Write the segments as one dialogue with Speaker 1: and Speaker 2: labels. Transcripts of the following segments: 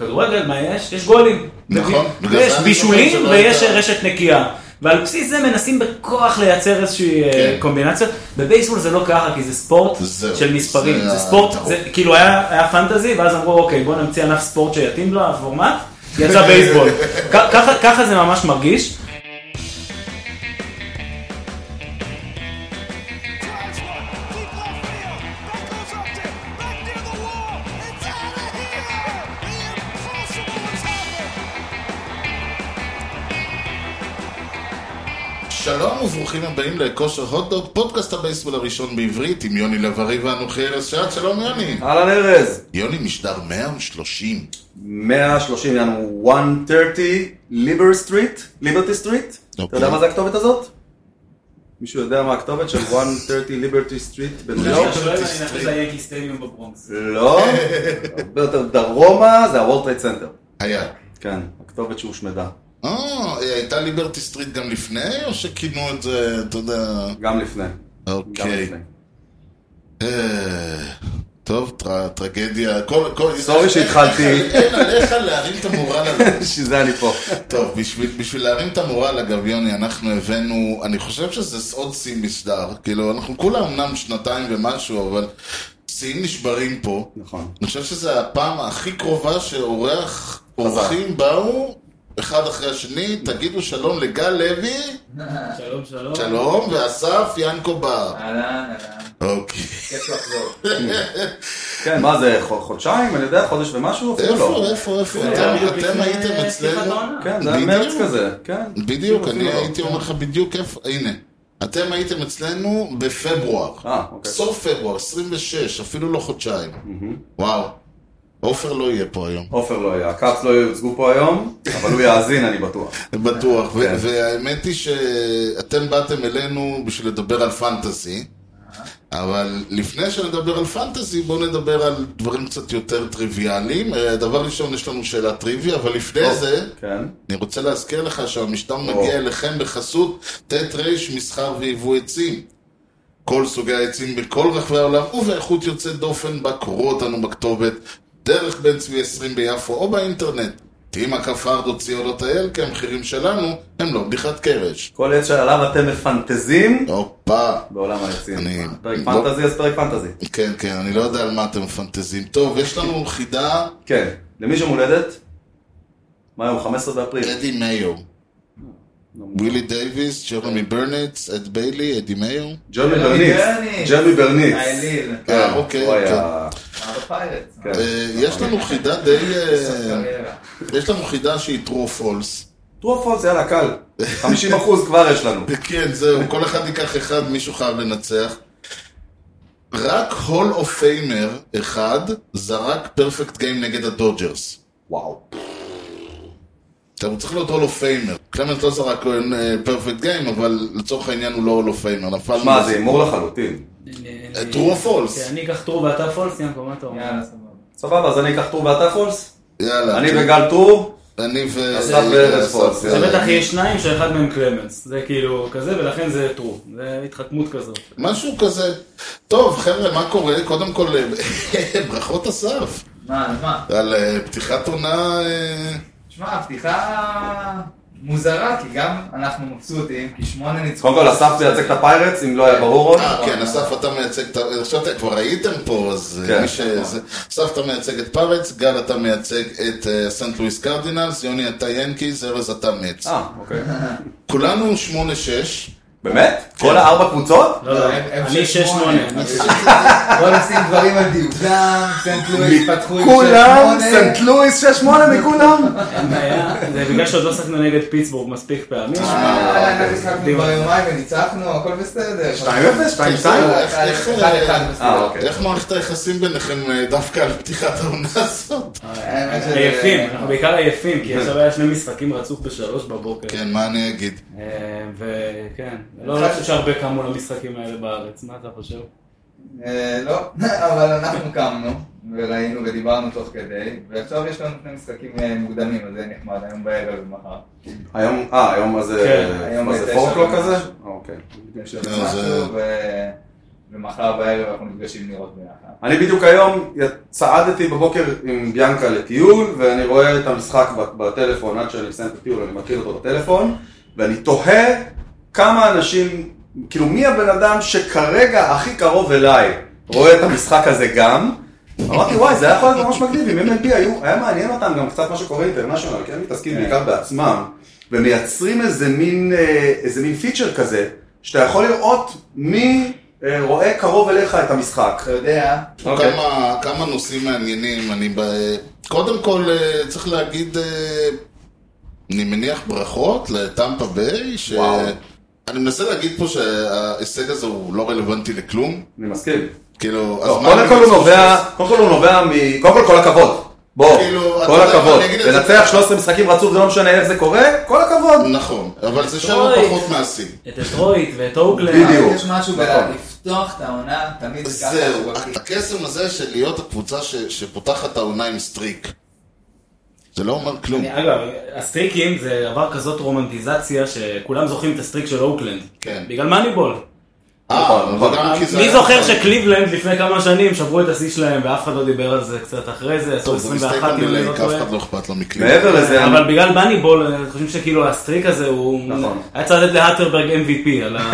Speaker 1: בכדורגל, מה יש? יש גולים.
Speaker 2: נכון, בגלל זה
Speaker 1: יש
Speaker 2: אני לא זוכר
Speaker 1: בישולים
Speaker 2: שלא
Speaker 1: ויש
Speaker 2: הייתה-
Speaker 1: רשת נקייה. ועל בסיס זה מנסים בכוח לייצר איזושהי אה,
Speaker 2: כן.
Speaker 1: קומבינציה. בבייסבול זה לא ככה, כי זה ספורט
Speaker 2: זהו,
Speaker 1: של מספרים.
Speaker 2: זה
Speaker 1: זה ספורט,
Speaker 2: הטעות.
Speaker 1: זה כאילו היה היה פנטזי, ואז אמרו, אוקיי, בוא נמציא ענף ספורט שיתאים לו, הפורמט, יצא בייסבול. כ- ככה- ככה זה ממש מרגיש.
Speaker 3: Drives one, deep left field. That goes up there, back near the wall. It's out of here. The impossible has happened.
Speaker 2: שלום וברוכים הבאים לכושר הוטדוג, פודקאסט הבייסבול הראשון בעברית עם יוני לב-ארי ואנוכי ארז שעד, שלום יוני.
Speaker 4: אהלן ארז,
Speaker 2: יוני משדר 130.
Speaker 4: 130 יענו 130 ליבר סטריט, ליברטי סטריט, אתה
Speaker 2: אוקיי.
Speaker 4: יודע מה זה הכתובת הזאת? מישהו יודע מה הכתובת של 130 ליברטי סטריט
Speaker 1: לא.
Speaker 4: בניו יורק?
Speaker 2: לא, אתה שואל, אני נכנס
Speaker 1: ליאנקי סטדיום בברונקס.
Speaker 4: לא, הרבה יותר דרומה זה הוולד טרייד סנטר,
Speaker 2: היה.
Speaker 4: כן, הכתובת שהושמדה,
Speaker 2: אה, הייתה ליברטי סטריט גם לפני, או שכינו את זה, אתה יודע...
Speaker 4: גם לפני, גם
Speaker 2: אוקיי.
Speaker 4: לפני.
Speaker 2: אה, טוב, טר- טרגדיה. כל- כל-
Speaker 4: סורי שהתחלתי.
Speaker 2: אין עליך להרים את המורל הזה.
Speaker 4: בשביל זה אני פה,
Speaker 2: טוב, בשביל, בשביל להרים את המורל, אגב, יוני, אנחנו הבאנו, אני חושב שזה עוד שיא מסדר. כאילו, אנחנו כולה אמנם שנתיים ומשהו, אבל שיאים נשברים פה.
Speaker 4: נכון,
Speaker 2: אני חושב שזו הפעם הכי קרובה שאורח, אורחים באו, אחד אחרי השני, תגידו שלום לגל לוי,
Speaker 1: שלום, שלום.
Speaker 2: שלום, ואסף ינקו בר.
Speaker 5: אהלן, אהלן,
Speaker 2: אוקיי.
Speaker 5: כיף לחזור.
Speaker 4: כן מה זה חו- חודשיים, אני יודע, חודש ומשהו, אפילו
Speaker 2: איפה,
Speaker 4: לא,
Speaker 2: איפה, איפה?
Speaker 1: זה היה
Speaker 2: אתם
Speaker 1: בדיוק
Speaker 2: אתם
Speaker 1: לפני
Speaker 2: הייתם
Speaker 1: פתיחת
Speaker 2: אצלנו?
Speaker 1: העונה.
Speaker 4: כן זה היה מרץ
Speaker 2: בדיוק.
Speaker 4: כזה, כן,
Speaker 2: בדיוק,
Speaker 4: אפילו
Speaker 2: אני
Speaker 4: לא.
Speaker 2: הייתי אומר לך בדיוק איפה, הנה. אתם הייתם אצלנו בפברואר.
Speaker 4: אה, אוקיי.
Speaker 2: סוף פברואר, 26, אפילו לא חודשיים. וואו. עופר לא יהיה פה היום,
Speaker 4: עופר לא היה, הקאפס לא יוצגו פה היום, אבל הוא יאזין אני בטוח.
Speaker 2: בטוח. ו-
Speaker 4: כן.
Speaker 2: והאמת היא שאתם באתם אלינו בשביל לדבר על פנטזי, אבל לפני שנדבר על פנטזי, בואו נדבר על דברים קצת יותר טריוויאליים. אה, דבר ראשון, יש לנו שאלת טריוויה, אבל לפני זה...
Speaker 4: כן.
Speaker 2: אני רוצה להזכיר לך שהמשטר
Speaker 4: או.
Speaker 2: מגיע אליכם בחסות ט' ר' מסחר ויבוא עצים. כל סוגי העצים בכל רחבי העולם ובאיכות יוצאת דופן בה קוראו אותנו בכתובת דרך בן צבי 20 ביפו או באינטרנט. תהיי מקף ארדו ציונות האל לא כי המחירים שלנו הם לא בדיחת קרש.
Speaker 4: כל עץ שעליו אתם מפנטזים
Speaker 2: הופה.
Speaker 4: בעולם העצים.
Speaker 2: אני-
Speaker 4: פרק
Speaker 2: לא-
Speaker 4: פנטזי אז פרק פנטזי.
Speaker 2: כן, כן, אני לא יודע על מה אתם מפנטזים. טוב, יש לנו חידה,
Speaker 4: כן. למי שם הולדת? מה היום? 15 באפריל.
Speaker 2: אדי מאיו. ווילי דייוויס, ג'רמי ברנץ, אד ביילי, אדי מאיו.
Speaker 4: ג'רמי
Speaker 5: ג'רמי
Speaker 4: ברניץ.
Speaker 5: ברניץ.
Speaker 2: כן.
Speaker 4: ג'רמי ברניץ.
Speaker 5: האליל,
Speaker 2: אה, אוקיי.
Speaker 4: כן, הוא
Speaker 2: כן.
Speaker 4: היה...
Speaker 5: אמר בפיירטס.
Speaker 4: כן.
Speaker 2: אה, יש לנו חידה די...
Speaker 5: סוף
Speaker 2: אה,
Speaker 5: קריירה.
Speaker 2: יש לנו חידה שהיא true or false.
Speaker 4: טרו פולס, יאללה, קל. 50 אחוז כבר יש לנו.
Speaker 2: כן, זהו, כל אחד ייקח אחד, מישהו חייב לנצח. רק הול אוף פיימר אחד זרק פרפקט גיים נגד הדודג'רס.
Speaker 4: וואו.
Speaker 2: עכשיו, הוא צריך להיות הול אוף פיימר. קלמנט לא זרק פרפקט גיים, אבל לצורך העניין הוא לא הול אוף פיימר. נפל...
Speaker 4: מה, זה הימור לחלוטין.
Speaker 2: true or false?
Speaker 1: אה, כן, אני אקח טרו ואתה פולס, ינקו, מה אתה אומר?
Speaker 5: יאללה, סבבה.
Speaker 4: סבבה, אז אני אקח טור ואתה פולס?
Speaker 2: יאללה.
Speaker 4: אני
Speaker 2: כן.
Speaker 4: וגל טור?
Speaker 2: אני ו... אה,
Speaker 4: אסף וארז פולס,
Speaker 1: זה
Speaker 2: יאללה.
Speaker 1: בטח יהיה שניים שאחד מהם קלמנס, זה כאילו כזה ולכן זה טרו, זה התחכמות כזאת.
Speaker 2: משהו כזה. טוב, חבר'ה, מה קורה? קודם כל, אה, ברכות אסף.
Speaker 5: מה, אז מה?
Speaker 2: על אה, פתיחת עונה... אה,
Speaker 5: שמע, הפתיחה מוזרה, כי גם אנחנו מבסוטים, כי שמונה
Speaker 4: קודם
Speaker 5: ניצחונות.
Speaker 4: כל, אסף זה יצג את הפיירטס, אם לא היה ברור עוד.
Speaker 2: אה, כן, אסף אתה מייצג את... ה- עכשיו אתם כבר הייתם פה, אז אה,
Speaker 4: כן.
Speaker 2: מי ש... זה- אסף אתה מייצג את פארץ, גל אתה מייצג את אה, סנט לואיס קרדינלס, יוני אתה ינקיז, ארז אתה מצ.
Speaker 4: אה, אוקיי.
Speaker 2: כולנו 8-6.
Speaker 4: באמת? כל הארבע קבוצות?
Speaker 1: לא, לא,
Speaker 5: הם- הם
Speaker 1: אני
Speaker 5: שש
Speaker 1: 6-8.
Speaker 5: שמונה.
Speaker 1: אני-
Speaker 5: בוא נשים דברים על דיוקם, סנט לואיס פתחו עם
Speaker 4: כולם,
Speaker 5: שש שמונה.
Speaker 4: סנט לואיס 6-8 מכולם.
Speaker 1: אין בעיה, זה בגלל שעוד לא שחקנו נגד פיטסבורג מספיק פעמים.
Speaker 5: אה, אנחנו שיחקנו כבר יומיים וניצחנו, הכל בסדר. אה,
Speaker 4: 2-0? 2-2?
Speaker 2: איך-
Speaker 5: אחד,
Speaker 2: איך,
Speaker 5: אחד,
Speaker 2: אה,
Speaker 5: אחד, בסדר.
Speaker 4: אה, אוקיי.
Speaker 2: איך מערכת היחסים ביניכם אה, דווקא על פתיחת העונה הזאת?
Speaker 4: אוקיי.
Speaker 5: האמת אה, שזה-
Speaker 1: עייפים, אה,
Speaker 5: אה.
Speaker 1: אנחנו בעיקר עייפים, כי עכשיו היה שני משחקים רצוף בשלוש בבוקר.
Speaker 2: כן, מה אני אגיד?
Speaker 1: אה, וכן, לא לא חושב שהרבה קמו למשחקים האלה בארץ, מה אתה חושב?
Speaker 5: אה, לא, אבל אנחנו קמנו, וראינו ודיברנו תוך כדי, ועכשיו יש לנו שני משחקים אה, מוקדמים, אז זה נחמד, היום בערב ומחר.
Speaker 4: היום, אה, היום אז זה,
Speaker 1: כן.
Speaker 4: מה
Speaker 5: היום כן.
Speaker 4: זה
Speaker 5: בתשע
Speaker 4: פורקלו
Speaker 5: בבוקר.
Speaker 4: כזה? אוקיי.
Speaker 2: לא, זה-
Speaker 5: ו- ומחר בערב אנחנו נפגשים לראות ביחד.
Speaker 4: אני בדיוק היום י- צעדתי בבוקר עם ביאנקה לטיול, ואני רואה את המשחק ב- בטלפון עד שאני מסיים את הטיול, אני מכיר אותו בטלפון, ואני תוהה כמה אנשים, כאילו מי הבן אדם שכרגע הכי קרוב אליי רואה את המשחק הזה גם. אמרתי וואי זה היה יכול להיות ממש מגניב אם MLB היו, היה מעניין אותם גם קצת מה שקורה אינטרנשיונל, כי הם מתעסקים
Speaker 5: כן.
Speaker 4: בעיקר בעצמם, ומייצרים איזה מין, אה, איזה מין פיצ'ר כזה, שאתה יכול לראות מי אה, רואה קרוב אליך את המשחק.
Speaker 5: אתה יודע,
Speaker 4: אוקיי.
Speaker 2: כמה, כמה נושאים מעניינים, אני ב... קודם כל אה, צריך להגיד, אה, אני מניח ברכות לטמפה ביי, ש...
Speaker 4: וואו.
Speaker 2: אני מנסה להגיד פה שההישג הזה הוא לא רלוונטי לכלום,
Speaker 4: אני מסכים.
Speaker 2: כאילו,
Speaker 4: לא,
Speaker 2: מה
Speaker 4: קודם
Speaker 2: אני
Speaker 4: כל הוא
Speaker 2: מפספס?
Speaker 4: נובע, קודם כל הוא נובע מ... קודם כל כל הכבוד. בוא,
Speaker 2: כאילו, אתה
Speaker 4: כל
Speaker 2: יודע,
Speaker 4: הכבוד.
Speaker 2: אני אגיד את זה.
Speaker 4: לנצח 13 משחקים רצוף זה לא משנה איך זה קורה, כל הכבוד.
Speaker 2: נכון, אבל זה שם
Speaker 1: אוי.
Speaker 2: פחות מהשיא.
Speaker 1: את דטרויט ואת אוגלנד.
Speaker 4: בדיוק.
Speaker 5: יש משהו
Speaker 4: נכון.
Speaker 5: בלפתוח את העונה, תמיד זה ככה.
Speaker 2: זהו,
Speaker 5: אבל-
Speaker 2: הקסם הזה של להיות הקבוצה ש- שפותחת את העונה עם סטריק. זה לא אומר כלום.
Speaker 1: אגב, הסטריקים זה עבר כזאת רומנטיזציה שכולם זוכרים את הסטריק של אוקלנד.
Speaker 2: כן.
Speaker 1: בגלל מאניבול.
Speaker 2: אה,
Speaker 4: נכון,
Speaker 2: אבל
Speaker 4: נכון.
Speaker 2: גם כי זה
Speaker 1: מי
Speaker 2: היה-
Speaker 1: זוכר שקליבלנד לפני כמה שנים שברו את השיא שלהם ואף אחד לא דיבר על זה קצת אחרי זה, עשו
Speaker 2: טוב, זה מסתייג
Speaker 1: 21 אם אני
Speaker 2: בדיליי,
Speaker 1: לא
Speaker 2: כי אף
Speaker 1: טועה.
Speaker 2: אחד לא אכפת לו מכלום.
Speaker 4: מעבר לזה,
Speaker 1: אבל בגלל מאניבול, אני חושב שכאילו הסטריק הזה הוא...
Speaker 4: נכון.
Speaker 1: היה צריך לתת להטרברג MVP על ה-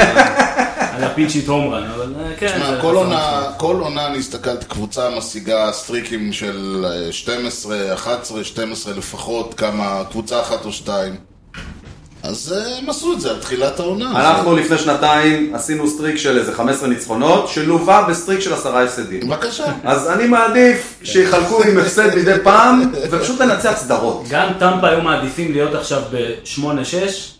Speaker 1: על הפיצ'יט הומרן, אבל אה, כן.
Speaker 2: תשמע,
Speaker 1: זה-
Speaker 2: כל
Speaker 1: זה-
Speaker 2: עונה- כל עונה אני הסתכלתי, קבוצה משיגה סטריקים של אה, 12, 11, 12 לפחות, כמה, קבוצה אחת או שתיים. אז אה, הם עשו את זה על תחילת העונה. אה,
Speaker 4: אנחנו לפני שנתיים עשינו סטריק של איזה 15 ניצחונות, שלווה בסטריק של עשרה הפסדים.
Speaker 2: אז- בבקשה.
Speaker 4: אז אני מעדיף שיחלקו עם הפסד מדי פעם, ופשוט לנצח סדרות.
Speaker 1: גם טמפה היו מעדיפים להיות עכשיו ב-8-6,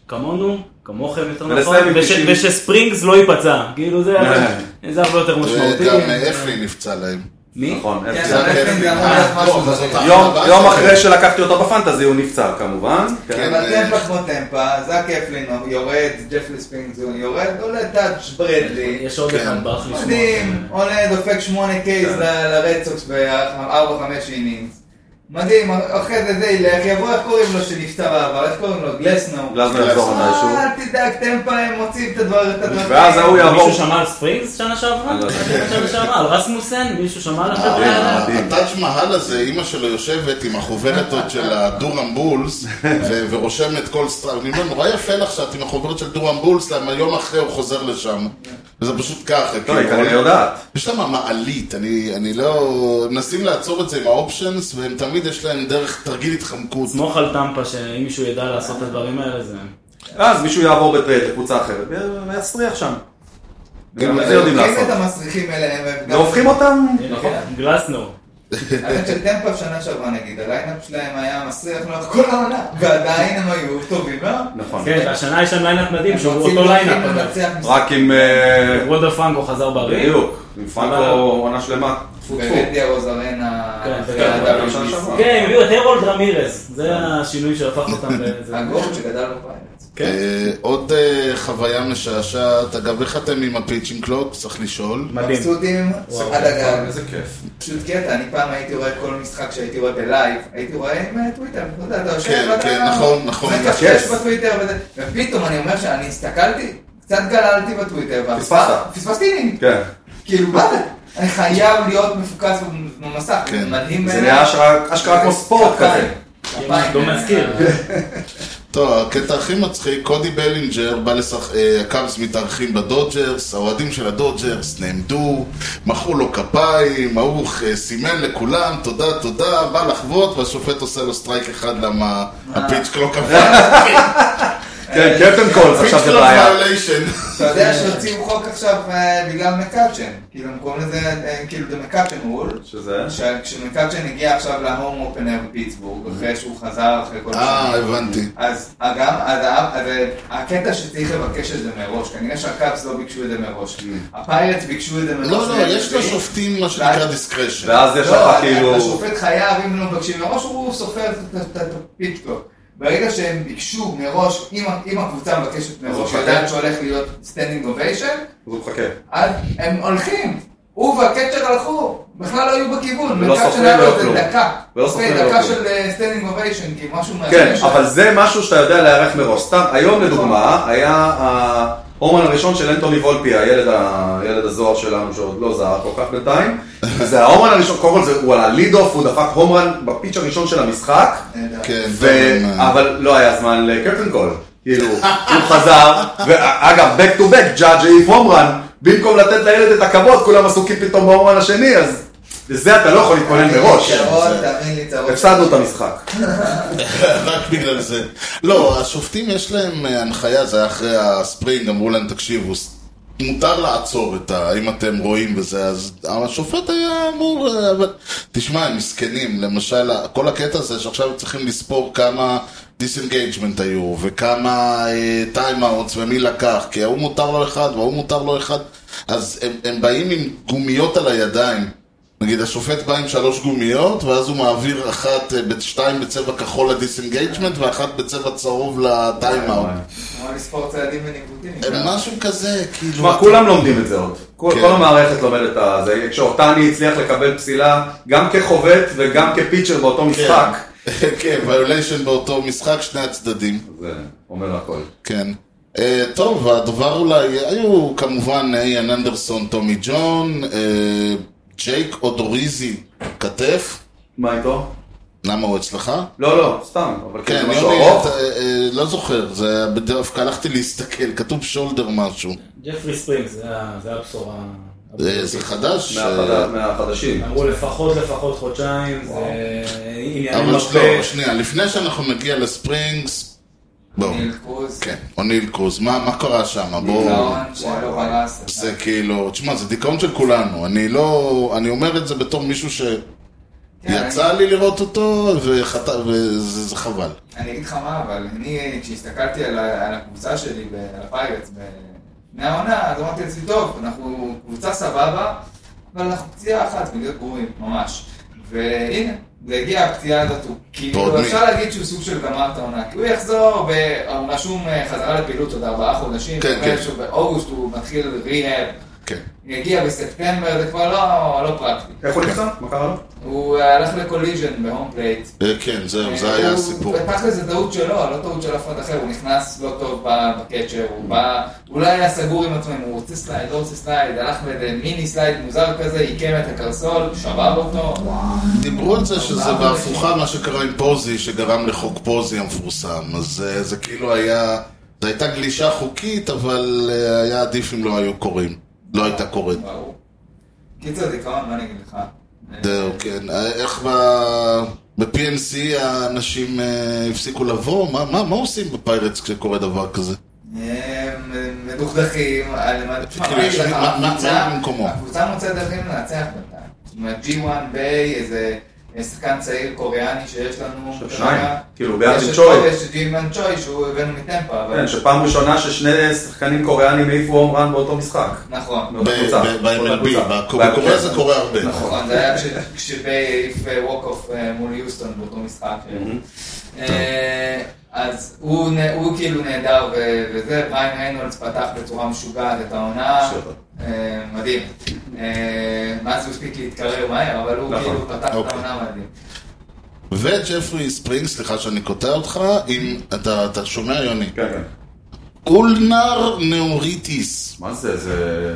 Speaker 1: כמונו, כמוכם יותר נכון,
Speaker 4: ולסיים עם נכון.
Speaker 1: וש-
Speaker 4: 90.
Speaker 1: ושספרינגס לא ייפצע, כאילו זה זה הרבה יותר משמעותי.
Speaker 2: וגם אה, אפלי נפצע להם.
Speaker 1: מי?
Speaker 4: נכון,
Speaker 5: כן,
Speaker 4: אפס.
Speaker 2: זה
Speaker 5: אבל בעצם
Speaker 2: הכיף.
Speaker 5: זה אמור
Speaker 2: אה,
Speaker 5: להיות משהו
Speaker 2: טוב, אז
Speaker 5: זריק.
Speaker 2: אותה-
Speaker 4: יום-
Speaker 2: אבל-
Speaker 4: יום אחרי שלקחתי אותו בפנטזי הוא נפצע כמובן.
Speaker 2: כן.
Speaker 5: אבל טמפה כמו טמפה, זאק אפלין יורד, ג'פלי ספינגזון יורד, עולה טאץ' ברדלי,
Speaker 1: יש עוד
Speaker 2: כן.
Speaker 1: אחד ברח לשמוע.
Speaker 5: מדהים, עולה, דופק שמונה
Speaker 4: כן.
Speaker 5: קייס לרדסוקס ב-4-5 אינינגס. מדהים, אחרי זה זה ילך, יבוא איך קוראים לו שנפטר בעבר, איך קוראים לו? גלסנו.
Speaker 4: גלזנו יחזור
Speaker 5: אה,
Speaker 4: מתישהו.
Speaker 5: אל תדאג, טמפה הם מוצאים את הדבר, את הדבר.
Speaker 4: לא. ואז ההוא יעבור.
Speaker 1: מישהו שמע על ספרינגס שנה שעברה?
Speaker 4: אני לא יודע. אה,
Speaker 1: שנה שעברה? על רסמוסן? מישהו שמע על החבר'ה
Speaker 4: מדהים,
Speaker 1: האלה?
Speaker 4: מדהים.
Speaker 2: הטאג' מהל הזה, אימא שלו יושבת עם החוברת עוד של הדורם בולס ו- ורושמת כל סטראפ. אני אומר, נורא יפה לך שאת עם החוברת של דורם בולס, למה יום אחרי הוא חוזר לשם. וזה פשוט ככה.
Speaker 4: טוב, לא, היא
Speaker 2: כאילו,
Speaker 4: כנראה יודעת.
Speaker 2: יש להם מעלית, אני, אני לא... מנסים לעצור את זה עם האופשנס, והם תמיד יש להם דרך תרגיל התחמקות.
Speaker 1: סמוך על טמפה שאם מישהו ידע לעשות את הדברים האלה זה...
Speaker 4: ואז מישהו יעבור בטרייד לקבוצה אחרת ו- ויסריח שם. גם את כן. זה יודעים
Speaker 5: לוקחים
Speaker 4: לעשות. לא
Speaker 5: את המסריחים אליהם, הם גם-
Speaker 4: והופכים אותם,
Speaker 5: נכון.
Speaker 1: גלסנו.
Speaker 5: האמת שטמפה שנה שעברה נגיד, הליינאפ שלהם היה מסריח לאורך כל העונה, ועדיין הם היו טובים מאוד.
Speaker 4: נכון,
Speaker 1: כן, והשנה יש להם ליינאפ מדהים שהוא
Speaker 5: הם רוצים-
Speaker 1: אותו ליינאפ.
Speaker 5: רוצים
Speaker 1: אגב.
Speaker 5: לנצח משחק.
Speaker 4: רק עם... אה,
Speaker 1: רודה פרנקו חזר בריא.
Speaker 4: בדיוק, עם פרנקו עונה שלמה. טפו, טפו.
Speaker 5: ורנדי הרוזרנה,
Speaker 1: כן,
Speaker 5: אחרי
Speaker 1: כן,
Speaker 5: ה-
Speaker 4: בשנה
Speaker 5: WBC.
Speaker 4: שעברה.
Speaker 1: כן, הם הביאו את הרולד רמירז. זה השינוי שהפך אותם לזה.
Speaker 5: הגורם שגדל בפיירטס.
Speaker 1: כן.
Speaker 2: אה, עוד אה, חוויה משעשעת, אגב, איך אתם עם הפיצ'ינג קלוק? צריך לשאול.
Speaker 1: מדהים.
Speaker 5: מבסוטים
Speaker 1: וואו,
Speaker 5: עד הגג.
Speaker 4: איזה כיף.
Speaker 5: פשוט קטע, אני פעם הייתי רואה כל משחק שהייתי רואה בלייב, הייתי רואה עם אה, טוויטר, אתה יודע, אתה יושב
Speaker 2: כן,
Speaker 5: ואתה...
Speaker 2: כן, נכון, נכון,
Speaker 5: מקשקש
Speaker 4: yes.
Speaker 5: בטוויטר וזה, ופתאום אני אומר שאני הסתכלתי, קצת גללתי בטוויטר, ואז-
Speaker 4: פספסת.
Speaker 5: פספסתי לי,
Speaker 4: כן.
Speaker 5: כאילו מה זה? אני חייב להיות מפוקס במסך,
Speaker 2: כן.
Speaker 5: מדהים
Speaker 4: זה
Speaker 5: בעיניי.
Speaker 4: נהיה אשכרה- אשכרה כמו ספורט כזה.
Speaker 5: כפיים.
Speaker 1: לא מזכיר.
Speaker 2: טוב, הקטע הכי מצחיק, קודי בלינג'ר בא לשחק, אה, הקאבס מתארחים בדודג'רס, האוהדים של הדודג'רס נעמדו, מחאו לו כפיים, ההוא אה, סימן לכולם, תודה, תודה, בא לחבוט, והשופט עושה לו סטרייק אחד למה הפיץ'
Speaker 4: אה.
Speaker 2: קלוק עבר,
Speaker 4: כן, קפטן קולס,
Speaker 2: הפיץ'
Speaker 4: עכשיו זה
Speaker 2: קלוק
Speaker 4: בעיה.
Speaker 2: ויוליישן.
Speaker 5: אתה יודע שהוציאו חוק עכשיו אה, בגלל מקאצ'ן, כאילו הם קוראים לזה, אה, כאילו זה מקאצ'ן רול,
Speaker 4: שזה?
Speaker 5: כשמקאצ'ן הגיע עכשיו להום אופנר בפיטסבורג, אחרי שהוא חזר אחרי כל
Speaker 2: אה,
Speaker 5: השנים.
Speaker 2: הבנתי.
Speaker 5: אז גם, אז ה- אז הקטע שצריך לבקש את זה מראש, כנראה שהקאפס לא ביקשו את זה מראש, הפיירטס ביקשו את זה מראש.
Speaker 2: כן. לא, לא, יש
Speaker 5: מה-MVP.
Speaker 2: לשופטים מה שנקרא
Speaker 4: אה,
Speaker 2: דיסקרשן.
Speaker 4: ואז יש
Speaker 5: לא,
Speaker 4: לך
Speaker 5: אתה-
Speaker 4: כאילו...
Speaker 5: השופט חייב, אם לא מבקשים מראש, הוא סופר את- את- את הפיצ'קוק. ברגע שהם ביקשו מראש, אם ה- אם הקבוצה מבקשת מראש,
Speaker 4: מחכה.
Speaker 5: יודעת שהולך להיות סטנדינג אוביישן,
Speaker 4: אז הוא מחכה.
Speaker 5: אז הם הולכים. הוא והקצ'ר הלכו, בכלל לא היו בכיוון.
Speaker 4: ולא
Speaker 5: בקאצ'
Speaker 4: סופרים
Speaker 5: היה לו
Speaker 4: לא
Speaker 5: איזה
Speaker 4: כלום.
Speaker 5: דקה.
Speaker 4: ולא
Speaker 5: אוקיי,
Speaker 4: סופרים לא
Speaker 5: דקה
Speaker 4: כלום.
Speaker 5: של סטנדינג אוביישן, כי משהו מעניין
Speaker 4: כן,
Speaker 5: שם.
Speaker 4: אבל זה משהו שאתה יודע להיערך מראש. סתם, היום לדוגמה, היה ה- הומן הראשון של אנטוני וולפי, הילד, ה... הילד הזוהר שלנו שעוד לא זהה כל כך בינתיים. זה ההומן הראשון, קודם כל זה, הוא עלה ליד אוף, הוא דפק הומרן בפיץ' הראשון של המשחק.
Speaker 2: כן,
Speaker 4: ו...
Speaker 2: טוב, אה,
Speaker 4: אבל לא היה זמן לקרטן קול. כאילו, הוא חזר, ואגב, back to back, ג'אג' העיף הומרן, במקום לתת לילד את הכבוד, כולם עסוקים פתאום בהומרן השני, אז לזה אתה לא יכול להתכונן מראש.
Speaker 5: צרות, כן,
Speaker 2: כן.
Speaker 5: תאמין לי, צרות.
Speaker 4: הפסדנו את המשחק.
Speaker 2: רק בגלל זה. לא, השופטים יש להם אה, הנחיה, זה היה אחרי הספרינג, אמרו להם, תקשיבו, ס- מותר לעצור את ה... אם אתם רואים וזה, אז השופט היה אמור... אה, אבל... תשמע, הם מסכנים, למשל, כל הקטע הזה שעכשיו צריכים לספור כמה דיסנגייג'מנט היו, וכמה טיימאוטס ומי לקח, כי ההוא מותר לו אחד וההוא מותר לו אחד, אז הם, הם באים עם גומיות על הידיים. נגיד השופט בא עם שלוש גומיות, ואז הוא מעביר אחת, אה, ב- שתיים בצבע כחול לדיסנגייג'מנט, ואחת בצבע צהוב לטיימאוט.
Speaker 5: כמו לספור צעדים וניגודים.
Speaker 2: אה, משהו כזה, כאילו...
Speaker 4: תשמע, כולם לומדים את זה עוד. כל
Speaker 2: כן.
Speaker 4: כל המערכת לומדת את זה. כשאותני הצליח לקבל פסילה, גם כחובט וגם כפיצ'ר באותו משחק,
Speaker 2: כן. כן, ויוליישן באותו משחק, שני הצדדים.
Speaker 4: זה אומר הכל.
Speaker 2: כן. אה, טוב, הדבר אולי, היו כמובן איאן אנדרסון, טומי ג'ון, אה, ג'ייק אודוריזי, כתף.
Speaker 4: מה איתו?
Speaker 2: למה הוא אצלך?
Speaker 4: לא, לא, סתם, אבל כאילו
Speaker 2: כן,
Speaker 4: זה משהו
Speaker 2: יוני,
Speaker 4: ארוך.
Speaker 2: אתה, אה, אה, לא זוכר, זה דווקא הלכתי להסתכל, כתוב שולדר משהו.
Speaker 1: ג'פרי ספרינגס, זה ה- זה הבשורה.
Speaker 2: אה, זה חדש,
Speaker 4: מהחד- מהחדשים.
Speaker 1: אמרו לפחות לפחות חודשיים, זה עניינים
Speaker 2: אבל
Speaker 1: הרבה.
Speaker 2: לא, שנייה, לפני שאנחנו נגיע לספרינגס, בואו,
Speaker 5: ניל קרוז.
Speaker 2: כן, אוניל קרוז, מה מה קרה שם? בואו,
Speaker 5: גאון, שלא פרס.
Speaker 2: זה כאילו, תשמע, זה דיכאון של כולנו, אני לא, אני אומר את זה בתור מישהו
Speaker 5: כן,
Speaker 2: שיצא לי לראות אותו, וחטא- וזה זה חבל.
Speaker 5: אני אגיד לך מה, אבל אני, כשהסתכלתי על ה- על הקבוצה שלי, ב- על הפיירטס, לפני העונה, אז אמרתי לעצמי, טוב, אנחנו קבוצה סבבה, אבל אנחנו פציעה אחת מלהיות גרועים, ממש. והנה, זה הגיע הפציעה הזאת, הוא
Speaker 2: ועוד
Speaker 5: כאילו
Speaker 2: מי.
Speaker 5: אפשר להגיד שהוא סוג של גמר את העונה, כי הוא יחזור, והוא רשום אה, חזרה לפעילות עוד ארבעה חודשים,
Speaker 2: כן,
Speaker 5: זאת
Speaker 2: כן.
Speaker 5: אומרת שבאוגוסט הוא מתחיל ריהאב,
Speaker 2: כן.
Speaker 5: יגיע בספטמבר, זה כבר לא- לא פרקטי.
Speaker 4: איך הוא נפצע? מה קרה לו?
Speaker 5: הוא אה, הלך לקוליז'ן בהום פלייט,
Speaker 2: אה, כן, זהו, זה היה
Speaker 5: הוא-
Speaker 2: הסיפור.
Speaker 5: תכל'ס זה טעות שלו, לא טעות של אף אחד אחר, הוא נכנס לא טוב ב- בקצ'ר, הוא בא, הוא לא היה סגור עם עצמו אם הוא רוצה סלייד, לא רוצה סלייד, הלך באיזה מיני סלייד מוזר כזה, עיקם את הקרסול, שבב אותו,
Speaker 2: דיברו על זה שזה
Speaker 5: ארבעה
Speaker 2: בהפוכה מה שקרה עם פוזי, שגרם לחוק פוזי המפורסם, אז אה, זה כאילו היה, זו הייתה גלישה חוקית, אבל אה, היה עדיף אם לא היו קוראים, לא הייתה קורית.
Speaker 5: ברור. קיצר דיכאון, מה אני אגיד לך?
Speaker 2: זהו, כן. אה, איך ב- ב-PNC האנשים אה, הפסיקו לבוא? מה- מה מה עושים בפיירטס כשקורה דבר כזה?
Speaker 5: הם הם מדוכדכים, על מה... תשמע,
Speaker 2: כאילו,
Speaker 5: מה אני
Speaker 2: יש
Speaker 5: אגיד לך,
Speaker 2: מי- מה- מה-
Speaker 5: הקבוצה-
Speaker 2: מה במקומו?
Speaker 5: הקבוצה מוצאת דרכים לנצח בינתיים. זאת אומרת, G1 ביי, איזה שחקן צעיר קוריאני שיש לנו.
Speaker 2: אה,
Speaker 4: עכשיו
Speaker 5: כרגע.
Speaker 4: שניים. כאילו, ביחד
Speaker 5: יש
Speaker 4: עם
Speaker 5: את-
Speaker 4: צ'וי.
Speaker 2: אוקיי.
Speaker 5: יש את ג'ימן צ'וי שהוא הבאנו מטמפה, אבל...
Speaker 4: כן, שפעם ראשונה ששני שחקנים קוריאנים העיפו הומרן באותו משחק.
Speaker 5: נכון.
Speaker 4: באותה
Speaker 2: ב-
Speaker 4: קבוצה.
Speaker 2: ב-
Speaker 4: באותה
Speaker 2: ב-MLB,
Speaker 4: קבוצה.
Speaker 2: בקור-
Speaker 4: כן.
Speaker 2: בקוריאה זה קורה הרבה.
Speaker 5: נכון, זה היה כש- כשביי העיף ווק אוף מול יוסטון באותו משחק. אה, אז הוא נ- הוא כאילו נהדר ו- וזה, בריין ריינולדס פתח בצורה משוגעת את העונה.
Speaker 4: שבע.
Speaker 5: אה, מדהים. אה, מאז הוא הספיק להתקרר מהר, אבל הוא
Speaker 4: נכון.
Speaker 5: כאילו פתח את
Speaker 2: אוקיי.
Speaker 5: העונה מדהים.
Speaker 2: וג'פרי ספרינג, סליחה שאני קוטע אותך, אם אתה אתה שומע יוני?
Speaker 4: כן, כן.
Speaker 2: אולנר נאוריטיס.
Speaker 4: מה זה, זה...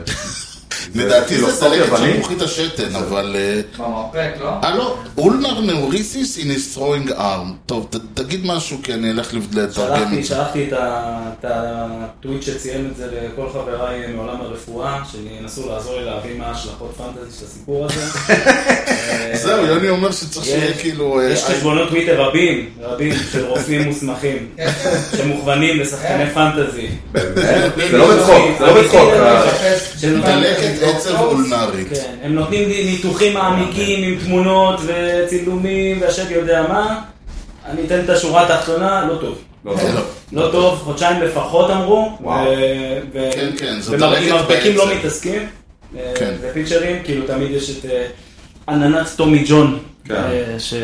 Speaker 2: לדעתי זה
Speaker 4: פילוסופיה
Speaker 2: סלקת של
Speaker 4: בנים?
Speaker 2: מוחית השתן, אבל... אה,
Speaker 5: במרפק, לא?
Speaker 2: אה לא, אולנר נאוריסיס in his throwing arm. טוב, ת- תגיד משהו כי אני אלך לתרגם
Speaker 1: שלחתי,
Speaker 2: את זה.
Speaker 1: שלחתי את ה- את הטוויט שציין את זה לכל חבריי מעולם הרפואה, שינסו לעזור לי להבין מה ההשלכות פנטזי של הסיפור הזה. אה,
Speaker 2: זהו, יוני אומר שצריך שיהיה
Speaker 1: יש-
Speaker 2: כאילו... אה,
Speaker 1: יש חשבונות טוויטר רבים, רבים של רופאים מוסמכים,
Speaker 5: Uh,
Speaker 1: שמוכוונים לשחקני פנטזי.
Speaker 4: זה לא בצחוק, זה לא בצחוק.
Speaker 1: של
Speaker 2: דלקת עצב אולנרית.
Speaker 1: כן, הם נותנים לי ניתוחים מעמיקים עם תמונות וצילומים והשד יודע מה. אני אתן את השורה התחתונה, לא טוב.
Speaker 4: לא,
Speaker 2: לא.
Speaker 1: לא טוב, חודשיים לפחות אמרו.
Speaker 4: וואו.
Speaker 1: ו- ו-
Speaker 2: כן, כן, זה
Speaker 1: ומר-
Speaker 2: דלקת
Speaker 1: עם מרפקים לא
Speaker 2: בעצם.
Speaker 1: מתעסקים. אה,
Speaker 2: כן.
Speaker 1: ופיצ'רים, כאילו תמיד יש את אה, עננת טומי ג'ון.
Speaker 4: כן.
Speaker 1: אה, ש...